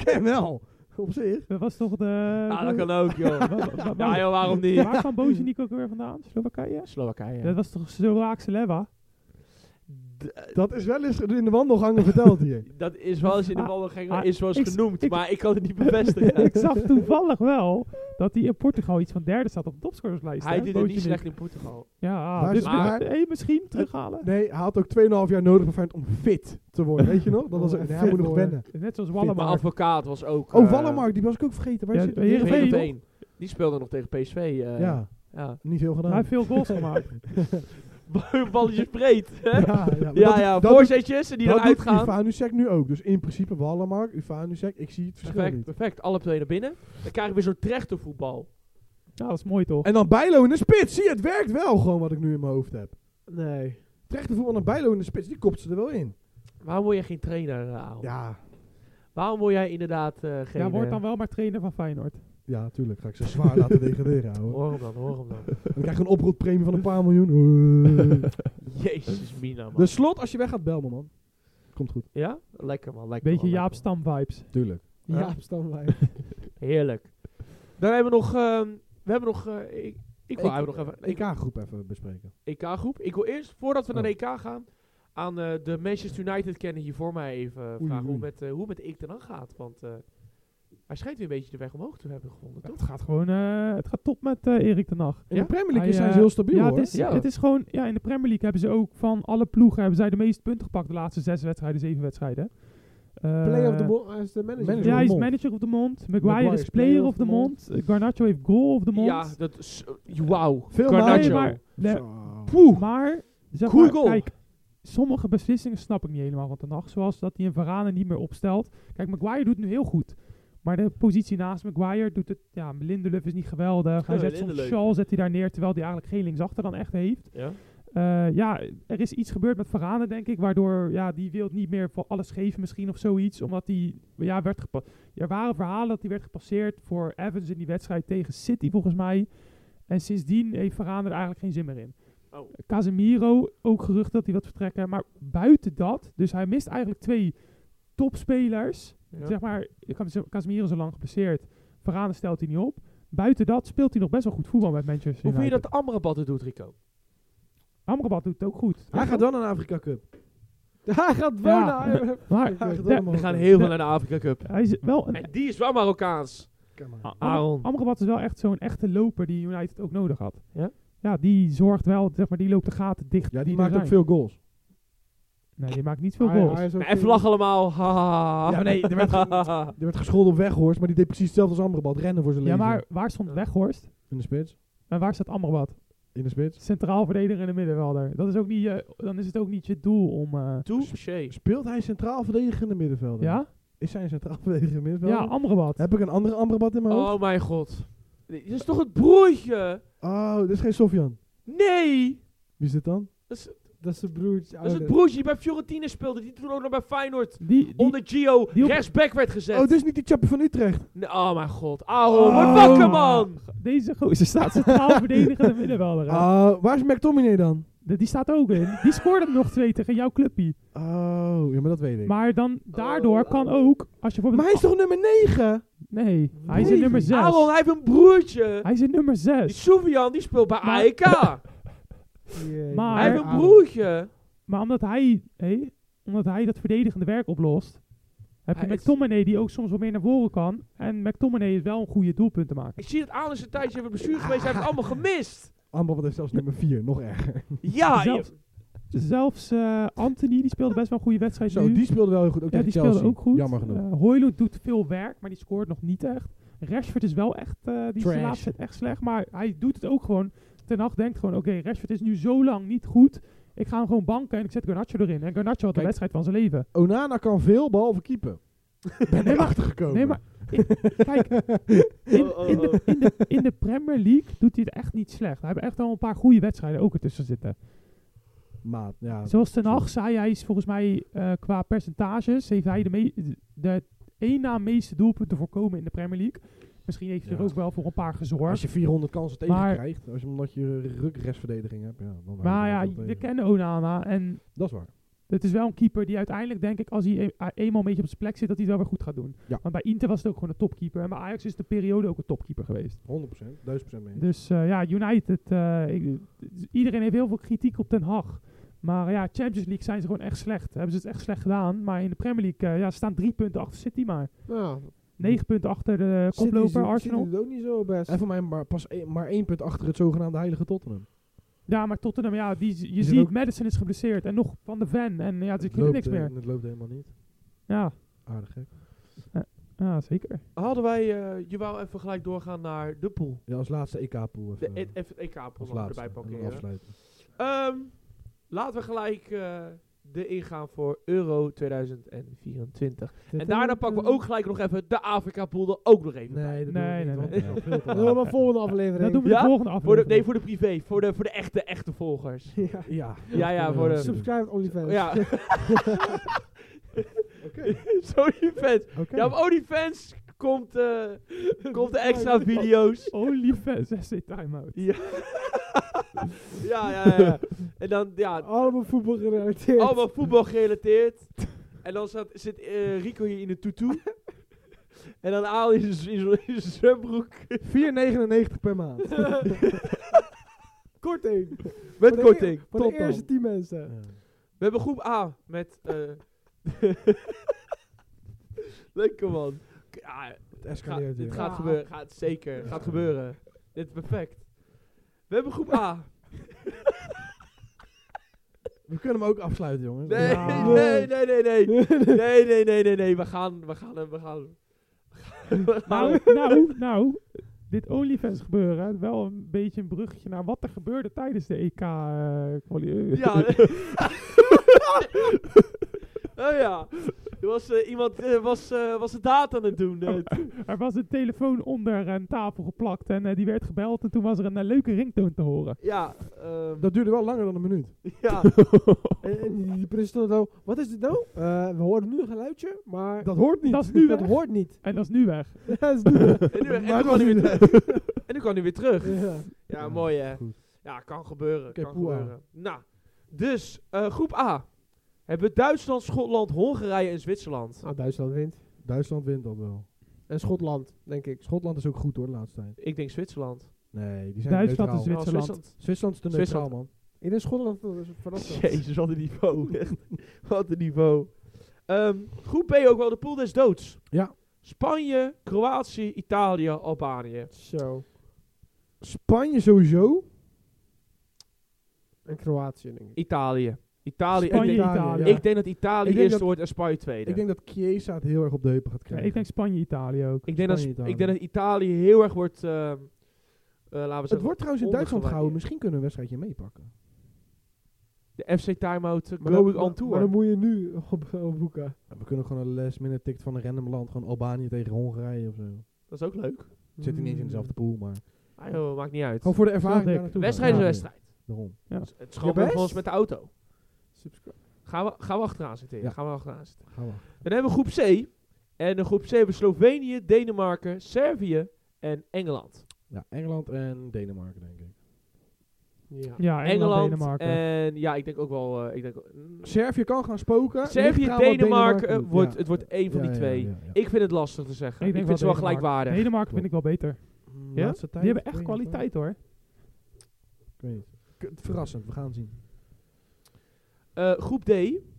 Speaker 2: Ken wel.
Speaker 3: Op zich.
Speaker 4: Dat was toch de...
Speaker 1: Ah, dat kan ook, joh.
Speaker 4: Wa- wa- wa-
Speaker 1: ja, joh, waarom niet?
Speaker 4: Waar kwam Bozeniek ook weer vandaan? Slowakije?
Speaker 1: Slowakije.
Speaker 4: Dat was toch Slovaakse leva?
Speaker 1: D- eh,
Speaker 3: Dat is wel eens in de wandelgangen verteld hier.
Speaker 1: dat is wel eens in de
Speaker 4: Ah,
Speaker 1: wandelgang
Speaker 4: ah,
Speaker 1: is wel eens
Speaker 4: ik-
Speaker 1: genoemd,
Speaker 4: ik-
Speaker 1: maar ik kan het niet bevestigen.
Speaker 4: ik zag toevallig wel dat hij in Portugal iets van derde staat op de topscorerslijst.
Speaker 1: Hij
Speaker 4: hè,
Speaker 1: deed het niet
Speaker 4: Bozeniek.
Speaker 1: slecht eh, in Portugal.
Speaker 4: Ja,
Speaker 3: Maar-
Speaker 4: dus
Speaker 1: maar-
Speaker 4: eh, hey, misschien terughalen.
Speaker 3: Nee, hij had ook 2,5 jaar nodig voor Feyenoord om fit te worden. Weet je nog? Dat was
Speaker 4: Oh,
Speaker 3: ook,
Speaker 4: fit
Speaker 3: hij moet nog
Speaker 4: worden.
Speaker 3: wennen.
Speaker 4: Net zoals
Speaker 1: Maar
Speaker 4: Wallenmark.
Speaker 1: advocaat was ook...
Speaker 2: Oh,
Speaker 1: eh,
Speaker 2: Wallenmark, die was ik ook vergeten. Waar
Speaker 4: Ja,
Speaker 2: zit
Speaker 4: de
Speaker 2: Heerenveen,
Speaker 4: Heerenveen,
Speaker 2: toch?
Speaker 1: Heerenveen. Die speelde nog tegen PSV. eh,
Speaker 2: Ja,
Speaker 1: ja.
Speaker 2: niet veel gedaan.
Speaker 4: Hij heeft veel goals gemaakt.
Speaker 1: Balletjes breed. hè?
Speaker 2: ja, ja, maar
Speaker 1: Ja,
Speaker 2: dat-
Speaker 1: ja,
Speaker 2: dat
Speaker 1: voorzetjes die
Speaker 2: dat
Speaker 1: dan
Speaker 2: doet
Speaker 1: uitgaan.
Speaker 3: Uvanusek nu ook. Dus in principe Wallenmark, Uvanusek. Ik zie het verschil
Speaker 1: Perfect,
Speaker 3: niet.
Speaker 1: perfect. Alle twee naar binnen. Dan krijg je weer zo'n trechtervoetbal.
Speaker 4: Ja, dat is mooi toch?
Speaker 3: En dan Bijlo in de spits. Zie je, het werkt wel gewoon wat ik nu in mijn hoofd heb.
Speaker 1: Nee.
Speaker 3: Terecht de voetbal naar Bijlo in de spits. Die kopt ze er wel in.
Speaker 1: Waarom word jij geen trainer, eh, Aaron?
Speaker 3: Ja,
Speaker 1: Waarom word jij inderdaad eh, geen...
Speaker 4: Ja, wordt
Speaker 1: eh,
Speaker 4: dan wel maar trainer van Feyenoord.
Speaker 3: ja, tuurlijk. Ga ik ze zwaar laten degraderen, ouwe.
Speaker 1: Hoor hem dan, hoor hem dan.
Speaker 3: Dan krijg je een oproeppremie van een paar miljoen.
Speaker 1: Jezus, Mina, man.
Speaker 2: Dus-
Speaker 3: De slot, als je weg gaat, bel me, man. Komt goed.
Speaker 1: ja? Lekker, man. Lekker,
Speaker 4: Beetje
Speaker 1: man,
Speaker 4: Jaap
Speaker 1: lekker,
Speaker 4: Stam vibes.
Speaker 2: Tuurlijk.
Speaker 1: Ja. Eh,
Speaker 3: Ja, standwijf.
Speaker 1: man. Heerlijk. Dan hebben we nog... ehm, we hebben nog... eh, ik, ik wil
Speaker 2: Ik-
Speaker 1: eigenlijk nog even...
Speaker 3: E
Speaker 1: Ik,
Speaker 2: EK-groep even bespreken.
Speaker 1: EK-groep. E Ik wil eerst, voordat we naar de
Speaker 2: Oh.
Speaker 1: EK gaan... Aan eh, de Manchester United kennen hier voor mij even eh,
Speaker 3: Oei,
Speaker 1: vragen Hoe,
Speaker 3: oei.
Speaker 1: met, eh, hoe met ik dan gaat. Want eh, hij schijnt weer een beetje de weg omhoog te hebben gevonden, toch?
Speaker 4: Het gaat gewoon, eh, het gaat top met eh, Erik ten Hag.
Speaker 3: In
Speaker 1: Ja?
Speaker 3: de Premier League
Speaker 4: Hij,
Speaker 3: zijn
Speaker 4: eh,
Speaker 3: ze heel stabiel,
Speaker 4: ja,
Speaker 3: hoor.
Speaker 4: Het is,
Speaker 1: Ja.
Speaker 4: het is gewoon, ja, in de Premier League hebben ze ook van alle ploegen hebben zij de meeste punten gepakt de laatste zes wedstrijden, zeven wedstrijden. Eh,
Speaker 3: Player of the Month hij is de manager.
Speaker 2: Manager
Speaker 4: Ja, hij
Speaker 2: of
Speaker 4: is
Speaker 2: the Month.
Speaker 4: manager of the mond. Maguire,
Speaker 3: Maguire
Speaker 4: is player of the mond. Eh, Garnacho heeft goal of the mond.
Speaker 1: Ja, dat is... eh, Wauw.
Speaker 3: Veel
Speaker 1: Garnacho.
Speaker 4: Nee, maar, nee,
Speaker 3: Zo.
Speaker 4: maar, zeg maar,
Speaker 1: Google.
Speaker 4: kijk, sommige beslissingen snap ik niet helemaal van ten Hag. Zoals dat hij een Varane niet meer opstelt. Kijk, Maguire doet nu heel goed. Maar de positie naast Maguire doet het... Ja, Lindelöf is niet geweldig. Hij
Speaker 1: Ja,
Speaker 4: zet soms
Speaker 1: Lindelöf.
Speaker 4: Shaw zet hij daar neer, terwijl hij eigenlijk geen linksachter dan echt heeft.
Speaker 1: Ja?
Speaker 4: Eh, ja, er is iets gebeurd met Varane, denk ik. Waardoor, ja, die wil niet meer voor alles geven misschien of zoiets. Omdat hij, ja, werd gepa- Er waren verhalen dat hij werd gepasseerd voor Evans in die wedstrijd tegen City, volgens mij. En sindsdien heeft Varane er eigenlijk geen zin meer in.
Speaker 1: Oh.
Speaker 4: Casemiro, ook gerucht dat hij wat vertrekken. Maar buiten dat, dus hij mist eigenlijk twee topspelers.
Speaker 1: Ja.
Speaker 4: Zeg maar, Cas- Casemiro is al lang geblesseerd. Varane stelt hij niet op. Buiten dat speelt hij nog best wel goed voetbal met Manchester
Speaker 1: Hoe vind je
Speaker 4: United.
Speaker 1: dat Amrabat het doet, Rico?
Speaker 4: Amrabat doet het ook goed.
Speaker 3: Hij gaat wel naar de Afrika Cup. Hij gaat wel
Speaker 4: Ja.
Speaker 3: naar... Hij
Speaker 4: Maar
Speaker 3: gaat
Speaker 4: Ja,
Speaker 3: wel naar...
Speaker 1: We gaan heel veel naar de Afrika Cup.
Speaker 4: hij is wel een
Speaker 1: En die is wel Marokkaans.
Speaker 3: Kijk maar.
Speaker 4: A-
Speaker 1: Aaron.
Speaker 4: Amrabat is wel echt zo'n echte loper die United ook nodig had.
Speaker 1: Ja?
Speaker 4: Ja, die zorgt wel, zeg maar, die loopt de gaten dicht.
Speaker 2: Ja, die
Speaker 4: er
Speaker 2: maakt ook Ah,
Speaker 4: zijn.
Speaker 2: veel goals.
Speaker 4: Nee, die maakt niet veel
Speaker 3: Hij-
Speaker 4: goals.
Speaker 3: Ah, hij is ook
Speaker 1: Nee, even
Speaker 3: veel-
Speaker 1: lachen allemaal. Ha, ha, ha.
Speaker 3: Ja, nee, er werd Er werd gescholden op Weghorst, maar die deed precies hetzelfde als Amrabat. Rennen voor zijn
Speaker 4: ja,
Speaker 3: leven.
Speaker 4: maar waar stond
Speaker 1: Ja.
Speaker 4: Weghorst?
Speaker 2: In de spits?
Speaker 4: En waar staat Amrabat?
Speaker 2: In de spits?
Speaker 4: Centraal verdediger in de middenvelder. Dat is ook niet, je- dan is het ook niet je doel om... eh,
Speaker 1: Touché.
Speaker 2: Speelt hij centraal verdedigende middenvelder?
Speaker 4: ja?
Speaker 2: Is hij een centraal verdedigende middenvelder?
Speaker 4: Ja, Amrabat.
Speaker 2: Heb ik een andere Amrabat in mijn hoofd?
Speaker 1: Oh mijn god. Dit is toch het broertje?
Speaker 2: Oh, dit is geen Sofian.
Speaker 1: Nee.
Speaker 2: Wie is dit dan?
Speaker 3: Dat is de broertje.
Speaker 1: Dat is het
Speaker 3: broer.
Speaker 1: broertje die bij Fiorentina speelde. Die toen ook nog bij Feyenoord
Speaker 4: Die, die,
Speaker 1: onder Gio
Speaker 4: die op-
Speaker 1: rechtsback werd gezet.
Speaker 2: Oh, dit is niet die chappie van Utrecht.
Speaker 1: Nee, oh mijn god. Aaron,
Speaker 2: Oh.
Speaker 1: word wakker man.
Speaker 4: deze gozer staat centraal verdediger in de middenvelder. hè.
Speaker 2: Oh, waar is McTominay dan?
Speaker 4: De- Die staat ook in. Die scoorde hem nog twee tegen jouw clubpie.
Speaker 2: Oh, ja, maar dat weet ik. Maar,
Speaker 4: Maar dan, daardoor
Speaker 1: Oh.
Speaker 4: kan ook, als je bijvoorbeeld...
Speaker 2: hij is toch nummer 9?
Speaker 4: Nee, hij is in
Speaker 2: Nee.
Speaker 4: nummer 6.
Speaker 1: Aaron, hij heeft een broertje.
Speaker 4: Hij is in nummer
Speaker 1: Die
Speaker 4: 6.
Speaker 1: Soufian, die speelt bij
Speaker 4: Maar-
Speaker 1: AEK.
Speaker 4: Maar-
Speaker 3: eh,
Speaker 1: Hij heeft een broertje.
Speaker 4: Maar omdat hij, hé, omdat hij dat verdedigende werk oplost, heb je
Speaker 1: Hij is-
Speaker 4: McTominay die ook soms wel meer naar voren kan. En McTominay is wel een goede doelpunt te maken.
Speaker 1: Ik zie dat Aaron is een tijdje even bestuur geweest. Hij heeft het allemaal gemist.
Speaker 2: Amrabat heeft zelfs nummer 4, nog erger.
Speaker 1: Ja,
Speaker 4: Zelfs, zelfs eh, Anthony, die speelde best wel een goede wedstrijd
Speaker 2: Zo,
Speaker 4: nu.
Speaker 2: die speelde wel heel goed. Ook
Speaker 4: ja,
Speaker 2: tegen
Speaker 4: die
Speaker 2: Chelsea.
Speaker 4: speelde ook goed.
Speaker 2: Jammer genoeg.
Speaker 4: Eh, Højlund doet veel werk, maar die scoort nog niet echt. Rashford is wel echt, eh, die is de
Speaker 2: Trash.
Speaker 4: laatste tijd echt slecht. Maar hij doet het ook gewoon. Ten Hag denkt gewoon, oké, Rashford is nu zo lang niet goed. Ik ga hem gewoon banken en ik zet Garnacho erin. En Garnacho had de
Speaker 2: Kijk.
Speaker 4: wedstrijd van zijn leven.
Speaker 2: Onana kan veel, behalve keeper.
Speaker 4: Nee,
Speaker 2: ben er
Speaker 4: maar-
Speaker 2: achter gekomen.
Speaker 4: Nee, maar in- kijk, in, in, de, in, de, in de Premier League doet hij het echt niet slecht. Hij heeft echt al een paar goede wedstrijden ook ertussen zitten.
Speaker 2: Maat, ja.
Speaker 4: Zoals Ten Hag zei, hij is volgens mij eh, qua percentages, heeft hij de, me- de één na meeste doelpunten voorkomen in de Premier League. Misschien heeft hij
Speaker 2: Ja.
Speaker 4: er ook wel voor een paar gezorgd.
Speaker 2: Als je 400 kansen tegen
Speaker 4: Maar-
Speaker 2: krijgt, als je, omdat je rukrestverdediging hebt, ja, dan
Speaker 4: maar ja,
Speaker 2: dat, eh,
Speaker 4: we kennen Onana en
Speaker 2: dat is waar.
Speaker 4: Het is wel een keeper die uiteindelijk, denk ik, als hij e- a- eenmaal een beetje op zijn plek zit, dat hij het wel weer goed gaat doen.
Speaker 2: Ja.
Speaker 4: Want bij Inter was het ook gewoon een topkeeper. En bij Ajax is de periode ook een topkeeper geweest.
Speaker 2: 100%, 1000% mee.
Speaker 4: Dus eh, ja, United. eh, ik- iedereen heeft heel veel kritiek op Den Haag. Maar ja, Champions League zijn ze gewoon echt slecht. Hebben ze het echt slecht gedaan. Maar in de Premier League eh, ja, ze staan drie punten achter City maar.
Speaker 3: Nou,
Speaker 4: Negen punten achter de
Speaker 3: City
Speaker 4: koploper
Speaker 3: doet-
Speaker 4: Arsenal.
Speaker 3: City doet ook niet zo best.
Speaker 2: En voor mij maar pas één- maar één punt achter het zogenaamde heilige Tottenham.
Speaker 4: Ja, maar Tottenham, ja, die, je
Speaker 2: het
Speaker 4: ziet,
Speaker 2: ook-
Speaker 4: Madison is geblesseerd. En nog Van de Ven. En ja, ze
Speaker 2: Het
Speaker 4: kunnen
Speaker 2: loopt,
Speaker 4: niks
Speaker 2: eh,
Speaker 4: meer.
Speaker 2: Het loopt helemaal niet.
Speaker 4: Ja,
Speaker 2: Aardig gek.
Speaker 4: ja, zeker.
Speaker 1: Hadden wij, eh, je wou even gelijk doorgaan naar de pool.
Speaker 2: Ja, als laatste EK-pool even.
Speaker 1: De,
Speaker 2: eh,
Speaker 1: e- even het EK-pool
Speaker 2: als
Speaker 1: nog
Speaker 2: laatste.
Speaker 1: erbij
Speaker 2: en dan
Speaker 1: pakken. heren.
Speaker 2: afsluiten.
Speaker 1: Ehm, laten we gelijk eh, de ingaan voor Euro 2024. En daarna pakken we ook gelijk nog even de Afrika-pool er ook nog even bij.
Speaker 2: Nee, dat
Speaker 4: Nee,
Speaker 2: doen we
Speaker 4: nee,
Speaker 2: niet, want het is al veel
Speaker 3: Dat
Speaker 2: te
Speaker 3: doen we
Speaker 2: laat.
Speaker 3: maar volgende aflevering.
Speaker 4: Dat doen we
Speaker 1: Ja?
Speaker 4: de volgende
Speaker 1: Voor de,
Speaker 4: aflevering.
Speaker 1: nee, voor de privé. Voor de, voor de echte, echte volgers.
Speaker 3: Ja.
Speaker 2: Ja,
Speaker 1: Ja, ja, voor de-
Speaker 3: Subscribe op OnlyFans.
Speaker 1: Ja. Sorry fans.
Speaker 2: Oké.
Speaker 1: Ja, op OnlyFans komt, eh, komt de extra video's.
Speaker 4: OnlyFans, hij zit time-out.
Speaker 1: Ja, ja, ja, ja. En dan, ja,
Speaker 3: Allemaal voetbal gerelateerd.
Speaker 1: allemaal voetbal gerelateerd. En dan staat, zit eh, Rico hier in een tutu. En dan Aal in zijn- in zijn- in zijn zwembroek.
Speaker 2: 4,99 per maand.
Speaker 3: Korting.
Speaker 1: Met korting.
Speaker 3: Voor de
Speaker 2: Tot dan.
Speaker 3: eerste 10 mensen.
Speaker 1: We hebben groep A met... eh Lekker man. Ja,
Speaker 2: Het
Speaker 1: Ga-
Speaker 2: escaleert
Speaker 1: dit
Speaker 2: weer.
Speaker 1: gaat
Speaker 3: Ja.
Speaker 1: gebeuren, gaat zeker,
Speaker 2: Ja.
Speaker 1: gaat gebeuren. Dit is perfect. We hebben groep A.
Speaker 2: We kunnen hem ook afsluiten, jongens.
Speaker 1: Nee,
Speaker 4: Ja.
Speaker 1: nee, nee, nee, nee. Nee, nee, nee, nee, nee. We gaan, we gaan, hem, we gaan. hem. We gaan
Speaker 4: Nou,
Speaker 1: hem.
Speaker 4: nou, nou, dit OnlyFans gebeuren, wel een beetje een bruggetje naar wat er gebeurde tijdens de EK. eh, kwali-
Speaker 1: Ja. oh ja. Er was eh, iemand, eh, was, eh, was de data aan het doen. eh.
Speaker 4: er was een telefoon onder een tafel geplakt en eh, die werd gebeld en toen was er een eh, leuke ringtoon te horen.
Speaker 1: ja, ehm,
Speaker 2: Dat duurde wel langer dan een minuut.
Speaker 1: ja.
Speaker 3: En, en die die presentator dan, wat is dit nou? Eh, we horen nu een geluidje, maar dat,
Speaker 2: Dat hoort niet.
Speaker 4: Dat is nu weg.
Speaker 3: hoort niet.
Speaker 4: En dat is nu weg.
Speaker 3: Dat is nu.
Speaker 1: En nu, en nu
Speaker 2: Maar
Speaker 1: kwam hij weer
Speaker 2: dat-
Speaker 1: terug. En nu kwam hij weer terug.
Speaker 3: Ja.
Speaker 1: Ja, mooi hè.
Speaker 2: Goed.
Speaker 1: Ja, kan gebeuren.
Speaker 2: Oké,
Speaker 1: kan
Speaker 2: poel A.
Speaker 1: gebeuren. Nou, dus eh, groep A. Hebben we Duitsland, Schotland, Hongarije en Zwitserland.
Speaker 3: Nou, Duitsland wint.
Speaker 2: Duitsland wint dat wel.
Speaker 3: En Schotland, denk ik.
Speaker 2: Schotland is ook goed hoor, de laatste tijd.
Speaker 1: Ik denk Zwitserland.
Speaker 2: Nee, die zijn
Speaker 4: Duitsland en
Speaker 2: neutraal.
Speaker 1: Zwitserland.
Speaker 4: Zwitserland.
Speaker 2: Zwitserland is te neutraal, man.
Speaker 3: Ik denk Schotland eh, verrast dat.
Speaker 1: Jezus, wat een niveau. Echt. wat een niveau. Ehm, groep B ook wel de pool des doods.
Speaker 2: Ja.
Speaker 1: Spanje, Kroatië, Italië, Albanië.
Speaker 3: Zo.
Speaker 2: Spanje sowieso.
Speaker 3: En Kroatië, denk ik.
Speaker 1: Italië. Italië.
Speaker 4: Spanje,
Speaker 1: ik, denk,
Speaker 4: Italië.
Speaker 2: ja.
Speaker 1: ik denk dat Italië
Speaker 2: Ik denk
Speaker 1: eerst
Speaker 2: dat-
Speaker 1: wordt en Spanje tweede.
Speaker 2: Ik denk dat Chiesa het heel erg op de heupen gaat
Speaker 4: Ja,
Speaker 2: krijgen.
Speaker 4: ik denk Spanje, Italië ook.
Speaker 1: Ik denk dat,
Speaker 2: Spanje,
Speaker 1: Sp-
Speaker 2: Italië.
Speaker 1: ik denk dat Italië heel erg wordt... ehm, eh, laten we
Speaker 2: het
Speaker 1: zeggen,
Speaker 2: wordt trouwens in Duitsland
Speaker 1: ondergewaardeerd.
Speaker 2: gehouden. Misschien kunnen we een wedstrijdje meepakken.
Speaker 1: De FC Timeout eh,
Speaker 3: Maar
Speaker 1: Go
Speaker 3: dan-
Speaker 1: Week on
Speaker 3: maar- Maar
Speaker 1: Tour.
Speaker 3: dan moet je nu op, eh, op boeken.
Speaker 2: We kunnen gewoon een last minute ticket van een random land. Gewoon Albanië tegen Hongarije of zo.
Speaker 1: Dat is ook leuk.
Speaker 2: Het zit niet eens in dezelfde pool, maar...
Speaker 1: Ah, joh, maakt niet uit.
Speaker 2: Gewoon voor de ervaring
Speaker 4: Snap ik.
Speaker 2: daar naartoe.
Speaker 1: Wedstrijd is
Speaker 2: gaan.
Speaker 1: een
Speaker 2: Ja,
Speaker 1: wedstrijd.
Speaker 2: Daarom.
Speaker 1: Het
Speaker 3: Je
Speaker 1: schat
Speaker 3: best?
Speaker 1: ons met de auto.
Speaker 3: Hmm. Subscribe.
Speaker 1: Gaan we, gaan we achteraan zitten.
Speaker 2: Ja.
Speaker 1: Gaan we achteraan zitten.
Speaker 2: Gaan we.
Speaker 1: Dan hebben we groep C. En in groep C hebben we Slovenië, Denemarken, Servië en Engeland.
Speaker 2: Ja, Engeland en Denemarken, denk ik.
Speaker 3: Ja.
Speaker 4: Ja, Engeland,
Speaker 1: Engeland eh,
Speaker 4: Denemarken.
Speaker 1: en ja, ik denk ook wel... eh, ik denk, mm,
Speaker 2: Servië kan gaan spoken. Ligt
Speaker 1: Servië,
Speaker 2: eraan wat
Speaker 1: Denemarken, eh,
Speaker 2: doet.
Speaker 1: wordt,
Speaker 2: Ja.
Speaker 1: het wordt één van
Speaker 2: Ja,
Speaker 1: die
Speaker 2: ja,
Speaker 1: twee.
Speaker 2: ja, ja, ja.
Speaker 1: Ik vind het lastig te zeggen. Ik,
Speaker 4: denk
Speaker 1: vind ze wel
Speaker 4: Denemarken.
Speaker 1: gelijkwaardig.
Speaker 4: Denemarken vind ik wel beter.
Speaker 2: Mm,
Speaker 4: Ja?
Speaker 2: laatste tijd,
Speaker 4: Die hebben echt
Speaker 2: ik weet niet,
Speaker 4: kwaliteit hoor.
Speaker 2: Ik weet niet. K- Verrassend, we gaan zien.
Speaker 1: Eh, groep D,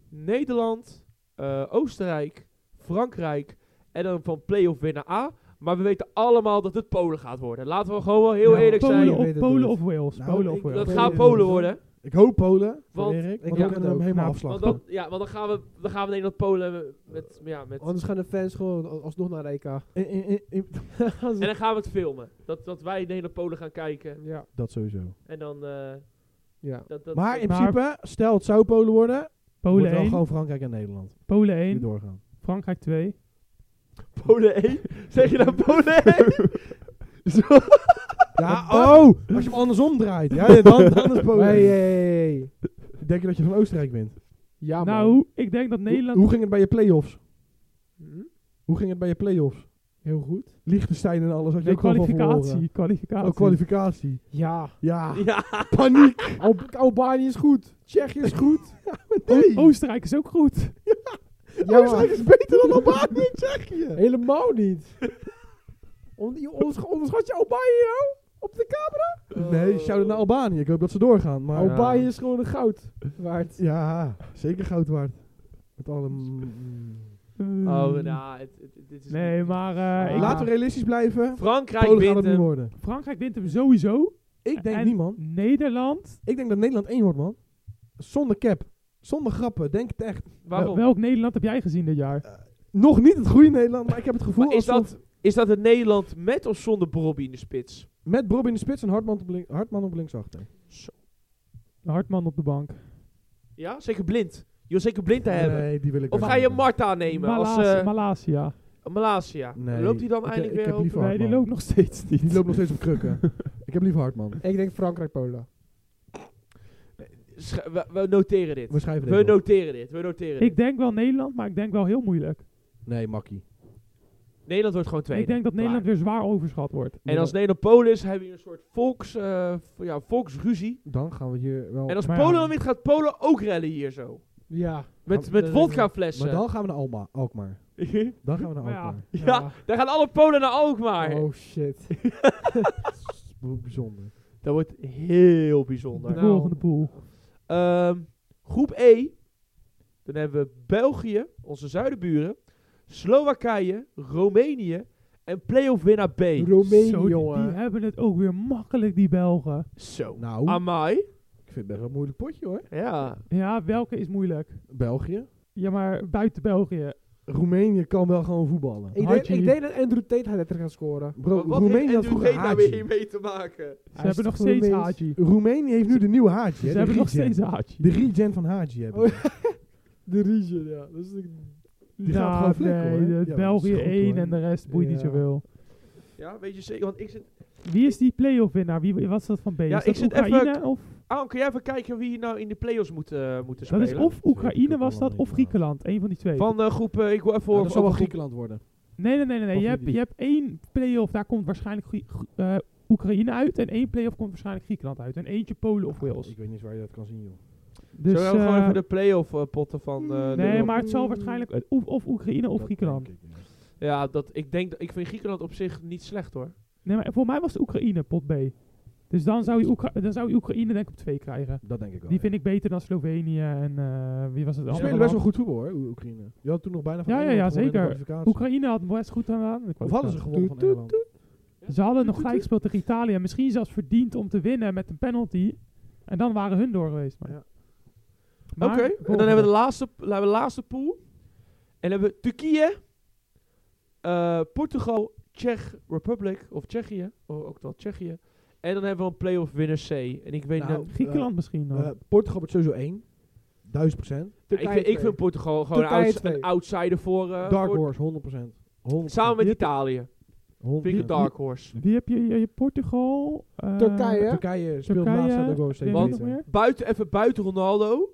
Speaker 1: Nederland, eh, Oostenrijk, Frankrijk en dan van play-off weer naar A. Maar we weten allemaal dat het Polen gaat worden. Laten we gewoon wel heel
Speaker 3: Ja,
Speaker 1: eerlijk
Speaker 4: Polen,
Speaker 1: zijn.
Speaker 3: Je weet
Speaker 4: of,
Speaker 3: het
Speaker 4: Polen
Speaker 3: nooit.
Speaker 4: of Wales.
Speaker 2: Nou,
Speaker 4: Polen of
Speaker 2: ik-
Speaker 4: Wales.
Speaker 1: Dat
Speaker 3: Polen
Speaker 1: gaat
Speaker 3: is-
Speaker 1: Polen worden.
Speaker 2: Ik hoop Polen,
Speaker 1: Want-
Speaker 2: want Erik.
Speaker 3: ik
Speaker 2: Want dan
Speaker 3: hoop het
Speaker 2: kunnen we
Speaker 3: ook.
Speaker 2: hem helemaal
Speaker 4: Nou,
Speaker 1: Want
Speaker 2: afslachten.
Speaker 1: dan, ja, want dan gaan we, dan gaan we Nederland Polen met, ja, met
Speaker 3: Anders gaan de fans gewoon a- alsnog naar de EK.
Speaker 2: In- in- in- in-
Speaker 3: Als-
Speaker 1: en dan gaan we het filmen. Dat, dat wij Nederland Polen gaan kijken
Speaker 3: ja.
Speaker 2: dat sowieso.
Speaker 1: en dan eh,
Speaker 3: ja.
Speaker 1: dat, dat,
Speaker 2: Maar in
Speaker 4: Maar-
Speaker 2: principe, stel het zou Polen worden, wordt
Speaker 4: Polen
Speaker 2: wel
Speaker 4: 1,
Speaker 2: gewoon Frankrijk en Nederland.
Speaker 4: Polen
Speaker 2: Die
Speaker 4: 1,
Speaker 2: doorgaan.
Speaker 4: Frankrijk 2.
Speaker 1: Polen 1. Zeg je nou Polen 1?
Speaker 2: Ja, oh! Als je hem andersom draait. Ja, ja, dan, dan is Polen.
Speaker 3: Hey, hey, hey, hey.
Speaker 2: Denk je dat je van Oostenrijk wint?
Speaker 3: Ja, man.
Speaker 4: Nou, ik denk dat
Speaker 2: Hoe,
Speaker 4: Nederland...
Speaker 2: hoe ging het bij je play-offs?
Speaker 3: Hm?
Speaker 2: Hoe ging het bij je play-offs?
Speaker 3: Heel goed.
Speaker 2: Liechtenstein en alles. Had je
Speaker 4: Nee,
Speaker 2: ook wel van
Speaker 4: kwalificatie.
Speaker 2: verloren.
Speaker 4: Kwalificatie.
Speaker 2: Oh, kwalificatie.
Speaker 3: Ja.
Speaker 2: Ja,
Speaker 1: ja,
Speaker 2: paniek!
Speaker 3: Alb- Albanië is goed. Tsjechië is goed.
Speaker 4: O- Oostenrijk is ook goed.
Speaker 3: Ja,
Speaker 2: Oostenrijk is beter dan Albanië en Tsjechië.
Speaker 3: Helemaal niet. On- je onders- onderschat je Albanië nou? Op de camera?
Speaker 2: Nee, shout-out naar Albanië. Ik hoop dat ze doorgaan. Maar
Speaker 1: Ja.
Speaker 3: Albanië is gewoon een goud waard.
Speaker 2: ja, zeker goud waard. Met alle... mm.
Speaker 1: Oh, nou, het, het- het- dit is...
Speaker 4: Ehm, Nee, maar eh, ik-
Speaker 3: Ah.
Speaker 2: Laten we realistisch blijven.
Speaker 1: Frankrijk
Speaker 2: Polen gaat
Speaker 1: wint
Speaker 2: het niet
Speaker 1: hem.
Speaker 2: worden.
Speaker 4: Frankrijk wint hem sowieso.
Speaker 2: Ik denk
Speaker 4: En
Speaker 2: niet, man.
Speaker 4: Nederland. eh,
Speaker 2: Ik denk dat Nederland één wordt, man. Zonder cap. Zonder grappen. Denk het echt.
Speaker 1: Waarom?
Speaker 4: Welk Nederland heb jij gezien dit
Speaker 2: Eh.
Speaker 4: jaar?
Speaker 2: Nog niet het goede Nederland, maar ik heb het gevoel
Speaker 1: Maar is,
Speaker 2: alsof
Speaker 1: dat, is dat het Nederland met of zonder Bobby in de spits?
Speaker 2: met Brob in de spits en Hartman op, link, Hartman op linksachter.
Speaker 4: Hartman op de bank.
Speaker 1: Ja, zeker blind. Je wil zeker blind te hebben.
Speaker 2: Nee, die wil ik
Speaker 1: Of
Speaker 2: wel
Speaker 1: ga je
Speaker 2: hebben.
Speaker 1: Marta nemen als
Speaker 4: Malasia.
Speaker 1: eh,
Speaker 4: Malasia.
Speaker 1: Malasia?
Speaker 2: Nee,
Speaker 1: Loopt hij dan
Speaker 2: ik-
Speaker 1: eindelijk
Speaker 2: ik
Speaker 1: weer
Speaker 2: heb
Speaker 1: op?
Speaker 2: liever-
Speaker 4: Nee, die
Speaker 2: Hartman.
Speaker 4: loopt nog steeds niet.
Speaker 2: Die loopt nog steeds op krukken. ik heb liever Hartman.
Speaker 3: Ik denk Frankrijk-Polen.
Speaker 1: Sch- we, we noteren dit.
Speaker 2: We schrijven
Speaker 1: We
Speaker 2: dit wel.
Speaker 1: noteren dit. We noteren
Speaker 4: Ik
Speaker 1: dit.
Speaker 4: denk wel Nederland, maar ik denk wel heel moeilijk.
Speaker 2: Nee, makkie.
Speaker 1: Nederland wordt gewoon tweede.
Speaker 4: Ik denk dat
Speaker 1: Klaar.
Speaker 4: Nederland weer zwaar overschat wordt.
Speaker 1: En als Nederland Polen is, hebben we hier een soort volks, eh, v- ja, volksruzie.
Speaker 2: Dan gaan we hier wel...
Speaker 1: En als
Speaker 4: Maar
Speaker 1: Polen
Speaker 4: ja.
Speaker 1: dan wint, gaat Polen ook rellen hier zo.
Speaker 3: Ja.
Speaker 1: Met,
Speaker 2: dat
Speaker 1: met
Speaker 2: is-
Speaker 1: vodkaflessen.
Speaker 2: maar dan gaan we naar Alma, Alkmaar. Dan gaan we naar
Speaker 4: Maar Eh, ja.
Speaker 2: Alkmaar.
Speaker 1: Ja, daar gaan alle Polen naar Alkmaar.
Speaker 3: Oh shit.
Speaker 2: Hoe bijzonder.
Speaker 1: Dat wordt heel
Speaker 4: De
Speaker 1: bijzonder.
Speaker 3: Nou.
Speaker 4: volgende pool.
Speaker 1: Ehm, groep E. Dan hebben we België, onze zuidenburen. Slowakije, Roemenië en playoff winnaar B.
Speaker 3: Roemenië,
Speaker 4: Zo, die, die
Speaker 3: jongen.
Speaker 4: hebben het ook weer makkelijk, die Belgen.
Speaker 1: Zo.
Speaker 2: Nou,
Speaker 1: Amai.
Speaker 2: ik vind het best wel een moeilijk potje hoor.
Speaker 1: Ja.
Speaker 4: Ja, welke is moeilijk?
Speaker 2: België.
Speaker 4: Ja, maar buiten België.
Speaker 2: Roemenië kan wel gewoon voetballen.
Speaker 3: Ik denk,
Speaker 4: Hadji.
Speaker 3: ik denk dat Andrew Tate gaat letter gaan scoren.
Speaker 2: Bro,
Speaker 1: Wat
Speaker 2: Roemenië
Speaker 1: heeft
Speaker 2: had
Speaker 1: NDT
Speaker 2: vroeger
Speaker 4: nou
Speaker 1: daar nou weer
Speaker 2: Haji.
Speaker 1: mee te maken?
Speaker 4: Ze hebben nog
Speaker 3: toch
Speaker 4: steeds
Speaker 3: Roemeens?
Speaker 4: Haji.
Speaker 2: Roemenië heeft nu de nieuwe Haji. hè,
Speaker 4: Ze
Speaker 2: de
Speaker 4: hebben nog
Speaker 2: regen.
Speaker 4: steeds Haji.
Speaker 2: De regen van Haji hebben.
Speaker 3: Oh, De region, ja. Dat is de-
Speaker 4: Die
Speaker 2: gaat gewoon flikken, hoor. Ja, maar
Speaker 4: België
Speaker 2: dat is goed,
Speaker 4: 1
Speaker 2: hoor.
Speaker 4: en de rest boeit niet
Speaker 3: Ja.
Speaker 4: zoveel.
Speaker 1: Ja, weet je zeker? Want ik zit...
Speaker 4: Wie is die playoff winnaar? Wie wat is dat van B?
Speaker 1: Ja, ik
Speaker 4: is dat
Speaker 1: zit even-
Speaker 4: Oekraïne of?
Speaker 1: Aaron, kun jij even kijken wie hier nou in de playoffs moet, eh, moeten
Speaker 4: Dat
Speaker 1: spelen?
Speaker 4: is of Oekraïne
Speaker 2: Zeker,
Speaker 4: was dat,
Speaker 2: Oekraïne,
Speaker 4: of
Speaker 2: ja.
Speaker 4: Griekenland. Een van die twee.
Speaker 1: Van eh, groep... eh, ik wil even
Speaker 2: Ja,
Speaker 1: horen
Speaker 2: dat zal wel
Speaker 1: over groep-
Speaker 2: Griekenland worden.
Speaker 4: Nee, nee, nee, nee. nee. Je,
Speaker 2: Of wie
Speaker 4: hebt,
Speaker 2: die-
Speaker 4: je hebt één play-off, daar komt waarschijnlijk Grie- Grie- eh, Oekraïne uit. En één play-off komt waarschijnlijk Griekenland uit. En eentje Polen of Wales.
Speaker 2: Ik weet niet waar je dat kan zien, joh.
Speaker 4: Dus,
Speaker 1: Zullen we gewoon
Speaker 4: eh,
Speaker 1: even de playoff eh, potten van... eh, de
Speaker 4: nee,
Speaker 1: Rob-
Speaker 4: maar het zal waarschijnlijk eh, of, of Oekraïne of Griekenland.
Speaker 1: Ja, dat, ik, denk, dat- ik vind Griekenland op zich niet slecht hoor.
Speaker 4: Nee, maar voor mij was het Oekraïne, pot B. Dus dan zou je, Oekra- dan zou je Oekraïne denk ik op twee krijgen.
Speaker 2: Dat denk ik wel.
Speaker 4: Die vind ik beter dan Slovenië en eh, wie was het?
Speaker 2: Ze
Speaker 4: andere
Speaker 2: spelen best wel
Speaker 4: land?
Speaker 2: goed voetbal, hoor, Oe- Oekraïne. Je had toen nog bijna van
Speaker 4: Ja, ja,
Speaker 2: Engeland
Speaker 4: ja,
Speaker 2: gewonnen in de
Speaker 4: zeker.
Speaker 2: kwalificatie.
Speaker 4: Oekraïne had best goed aan.
Speaker 2: Of hadden ze gewonnen van Engeland? Nou,
Speaker 4: Ze hadden nog gelijk gespeeld tegen Italië. en Misschien zelfs verdiend om te winnen met een penalty. En dan waren hun door geweest. Maar.
Speaker 2: Ja.
Speaker 1: Oké, en dan hebben we de laatste, dan hebben we de laatste pool. En dan hebben we Turkije, eh, Portugal, Czech Republic, of Tsjechië, o- ook wel Tsjechië. En dan hebben we een playoff winnaar C. En ik weet nou,
Speaker 2: Nou,
Speaker 4: Griekenland misschien nog.
Speaker 2: Eh, Portugal wordt sowieso 1. 1000 procent.
Speaker 1: ik, vind, ik vind Portugal gewoon een,
Speaker 3: Turkije
Speaker 1: outs-
Speaker 3: twee.
Speaker 1: een outsider voor, eh,
Speaker 2: Dark
Speaker 1: voor-
Speaker 2: Horse, 100 procent.
Speaker 1: samen met Italië. Vind ik een dark horse.
Speaker 4: Wie heb je? je, je Portugal. eh,
Speaker 3: Turkije.
Speaker 2: Turkije speelt
Speaker 4: Turkije,
Speaker 2: naast dat ook wel
Speaker 4: Wie
Speaker 2: steeds
Speaker 4: heb je
Speaker 1: Want-
Speaker 4: nog
Speaker 2: beter.
Speaker 4: meer?
Speaker 1: Buiten, even buiten Ronaldo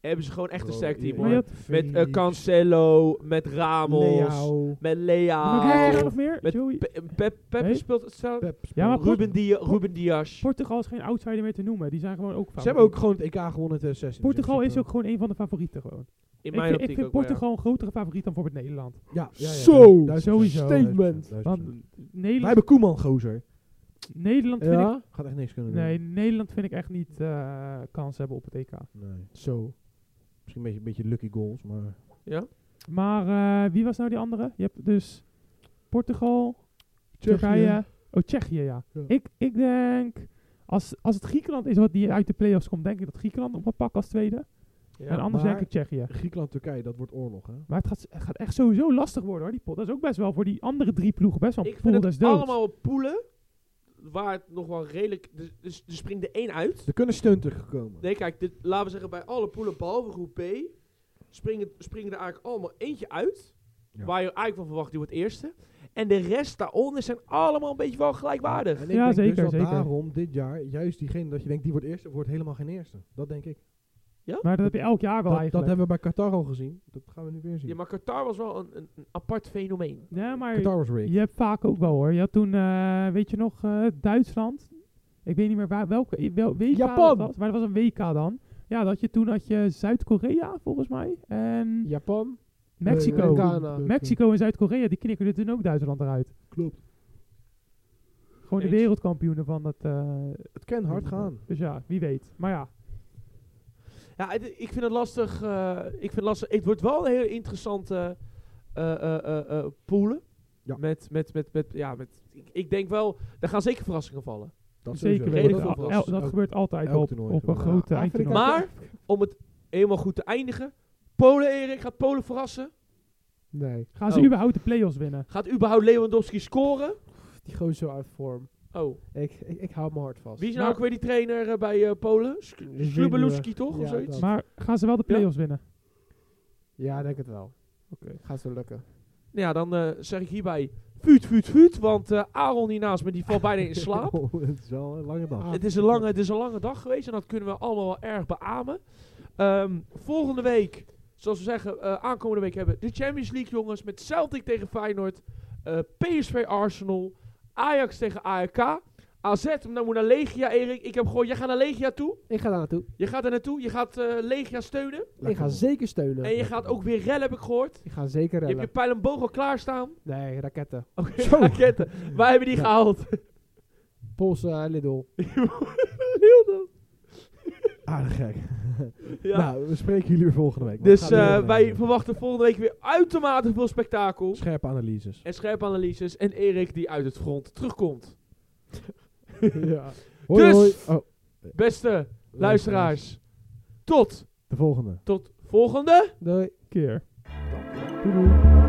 Speaker 1: hebben ze gewoon echt
Speaker 2: Oh,
Speaker 1: een sterk team
Speaker 4: Maar je
Speaker 1: hoor.
Speaker 4: had-
Speaker 1: Met eh, Cancelo, met Ramos,
Speaker 2: Leo.
Speaker 1: met
Speaker 4: Maar wie heb je
Speaker 1: Leao.
Speaker 4: nog meer?
Speaker 1: Ah. Met
Speaker 4: Joey?
Speaker 1: Pe- Pep, Pep
Speaker 4: Nee?
Speaker 1: speelt hetzelfde.
Speaker 2: Pep
Speaker 4: Ja, maar
Speaker 2: speelt-
Speaker 4: Port-
Speaker 1: Ruben, Dia Ruben Dias.
Speaker 4: Portugal is geen outsider meer te noemen. Die zijn gewoon ook
Speaker 2: Ze
Speaker 4: favoriet.
Speaker 2: hebben ook gewoon het EK gewonnen in 2016. dus in
Speaker 4: Portugal is ook
Speaker 2: principe-
Speaker 4: gewoon een van de favorieten. Gewoon.
Speaker 1: In
Speaker 4: ik
Speaker 1: mijn
Speaker 4: vind, ik
Speaker 1: optiek
Speaker 4: vind
Speaker 1: ook wel, ja.
Speaker 4: Portugal een grotere favoriet dan bijvoorbeeld Nederland.
Speaker 2: Ja, ja, ja,
Speaker 3: Zo,
Speaker 2: 1000%, 1000%,
Speaker 3: statement.
Speaker 2: 1000%.
Speaker 4: Want
Speaker 2: Wij
Speaker 4: Nederland,
Speaker 2: hebben Koeman, gozer.
Speaker 4: Nederland vind ik...
Speaker 3: Ja?
Speaker 2: Gaat echt niks kunnen doen.
Speaker 4: Nee, Nederland vind ik echt niet eh, kans hebben op het EK.
Speaker 2: Nee.
Speaker 3: Zo.
Speaker 2: Misschien een beetje, een beetje lucky goals, maar...
Speaker 4: Maar eh, wie was nou die andere? Je hebt dus Portugal,
Speaker 2: Tsjechië.
Speaker 4: Turkije. Oh, Tsjechië, ja.
Speaker 2: Ja.
Speaker 4: Ik, ik denk, als, als het Griekenland is wat die uit de play-offs komt, denk ik dat Griekenland op gaat pakken als tweede.
Speaker 1: Ja.
Speaker 4: en anders
Speaker 2: maar-
Speaker 4: denk ik Tsjechië.
Speaker 2: Griekenland-Turkije, dat wordt oorlog, hè?
Speaker 4: Maar het gaat, het gaat echt sowieso lastig worden hoor, die pot. Dat is ook best wel voor die andere drie ploegen best wel een
Speaker 1: ik
Speaker 4: pool
Speaker 1: vind
Speaker 4: des
Speaker 1: het
Speaker 4: doods.
Speaker 1: allemaal poelen waar het nog wel redelijk... Dus, dus er springt de één uit.
Speaker 2: Er kunnen steuntukken komen.
Speaker 1: Nee, kijk, dit, laten we zeggen bij alle poelen behalve groep B... springen, springen er eigenlijk allemaal eentje uit.
Speaker 2: Ja.
Speaker 1: Waar je eigenlijk van verwacht, die wordt eerste. En de rest daaronder zijn allemaal een beetje wel gelijkwaardig.
Speaker 2: En ik
Speaker 4: Ja,
Speaker 2: denk
Speaker 4: zeker,
Speaker 2: dus dat
Speaker 4: zeker.
Speaker 2: daarom dit jaar, juist diegene dat je denkt, die wordt eerste, wordt helemaal geen eerste. Dat denk ik.
Speaker 4: Maar dat heb je elk jaar wel
Speaker 2: Dat, dat
Speaker 4: eigenlijk.
Speaker 2: hebben we bij Qatar al gezien. Dat gaan we nu weer zien.
Speaker 1: Ja, maar Qatar was wel een, een, een apart fenomeen.
Speaker 4: ja, maar
Speaker 2: Qatar was rigged.
Speaker 4: je hebt vaak ook wel hoor. Je had toen, eh, weet je nog, eh, Duitsland. Ik weet niet meer waar, welke, wel, WK dat
Speaker 3: Japan.
Speaker 4: was, maar dat was een WK dan. Ja, dat had je, toen had je Zuid-Korea, volgens mij. En
Speaker 3: Japan.
Speaker 4: Mexico.
Speaker 3: Nee, Ghana.
Speaker 4: Mexico en Zuid-Korea, die knikkerden toen ook Duitsland eruit.
Speaker 2: Klopt.
Speaker 4: Gewoon de
Speaker 1: Eens.
Speaker 4: wereldkampioenen van dat... eh,
Speaker 2: Het kan hard gaan.
Speaker 4: dus ja, wie weet. Maar ja,
Speaker 1: Ja, het- ik vind het lastig. eh, ik vind het lastig. Het wordt wel een heel interessante eh eh, eh, eh, poelen.
Speaker 2: Ja.
Speaker 1: Met, met, met, met, ja, met, ik, ik denk wel, er gaan zeker verrassingen vallen.
Speaker 2: Dat
Speaker 4: zeker.
Speaker 1: Redelijk
Speaker 4: Dat,
Speaker 1: veel
Speaker 4: al-
Speaker 1: verrassingen.
Speaker 4: el- dat
Speaker 2: Elk-
Speaker 4: gebeurt altijd
Speaker 2: elk
Speaker 4: op,
Speaker 2: toernooi
Speaker 4: op een
Speaker 2: gebeurt.
Speaker 4: grote
Speaker 3: Ja, Afrika-
Speaker 4: eindtoernooi.
Speaker 1: Maar, om het helemaal goed te eindigen. Polen, Erik, gaat Polen verrassen?
Speaker 3: Nee.
Speaker 4: Gaan ze
Speaker 2: Nou.
Speaker 1: Oh.
Speaker 4: überhaupt de play-offs winnen?
Speaker 1: Gaat überhaupt Lewandowski scoren?
Speaker 3: Die gozer uit vorm.
Speaker 1: Oh,
Speaker 3: Ik, ik, ik hou mijn hart vast.
Speaker 1: wie is nou
Speaker 4: Nou.
Speaker 1: ook weer die trainer eh, bij eh, Polen? Slubeluski toch?
Speaker 3: Ja,
Speaker 1: of zoiets?
Speaker 3: dat.
Speaker 4: Maar gaan ze wel de play-offs winnen?
Speaker 3: Ja, ik denk het wel.
Speaker 4: Oké.
Speaker 3: Gaat zo lukken.
Speaker 1: Nou ja, dan eh, zeg ik hierbij vuut, vuut, vuut. Want eh, Aaron hiernaast me, die valt bijna in slaap.
Speaker 2: Oh, het is wel een lange dag.
Speaker 3: Ah,
Speaker 1: Het is, een lange, het is een lange dag geweest en dat kunnen we allemaal wel erg beamen. Ehm, volgende week, zoals we zeggen, eh, aankomende week hebben we de Champions League jongens met Celtic tegen Feyenoord, eh, PSV Arsenal, Ajax tegen ARK, AZ nou moet naar Legia Erik. Ik heb gewoon, jij gaat naar Legia toe,
Speaker 3: Ik ga daar naartoe.
Speaker 1: je gaat daar naartoe, je gaat eh, Legia steunen
Speaker 3: Ik ga zeker steunen.
Speaker 1: en je gaat ook weer rellen heb ik gehoord.
Speaker 3: Ik ga zeker
Speaker 1: Je hebt je
Speaker 3: rellen.
Speaker 1: pijl en boog al klaarstaan.
Speaker 3: Nee, raketten.
Speaker 1: Oké, raketten. Wij hebben die
Speaker 3: Ja.
Speaker 1: gehaald.
Speaker 3: Pols eh, Lidl.
Speaker 1: Heel dom.
Speaker 2: Aardig gek.
Speaker 1: Ja.
Speaker 2: Nou, we spreken jullie weer volgende week.
Speaker 1: dus
Speaker 2: We gaan
Speaker 1: eh,
Speaker 2: weer,
Speaker 1: wij
Speaker 2: eh,
Speaker 1: verwachten volgende week weer uitermate veel spektakel.
Speaker 2: Scherpe analyses.
Speaker 1: En scherpe analyses. En Erik die uit het front terugkomt.
Speaker 3: ja.
Speaker 2: Hoi,
Speaker 1: Dus-
Speaker 2: hoi. Oh,
Speaker 1: Beste luisteraars. Tot,
Speaker 2: De volgende.
Speaker 1: tot volgende.
Speaker 3: Doei.
Speaker 4: Keer.
Speaker 3: Doei. doei.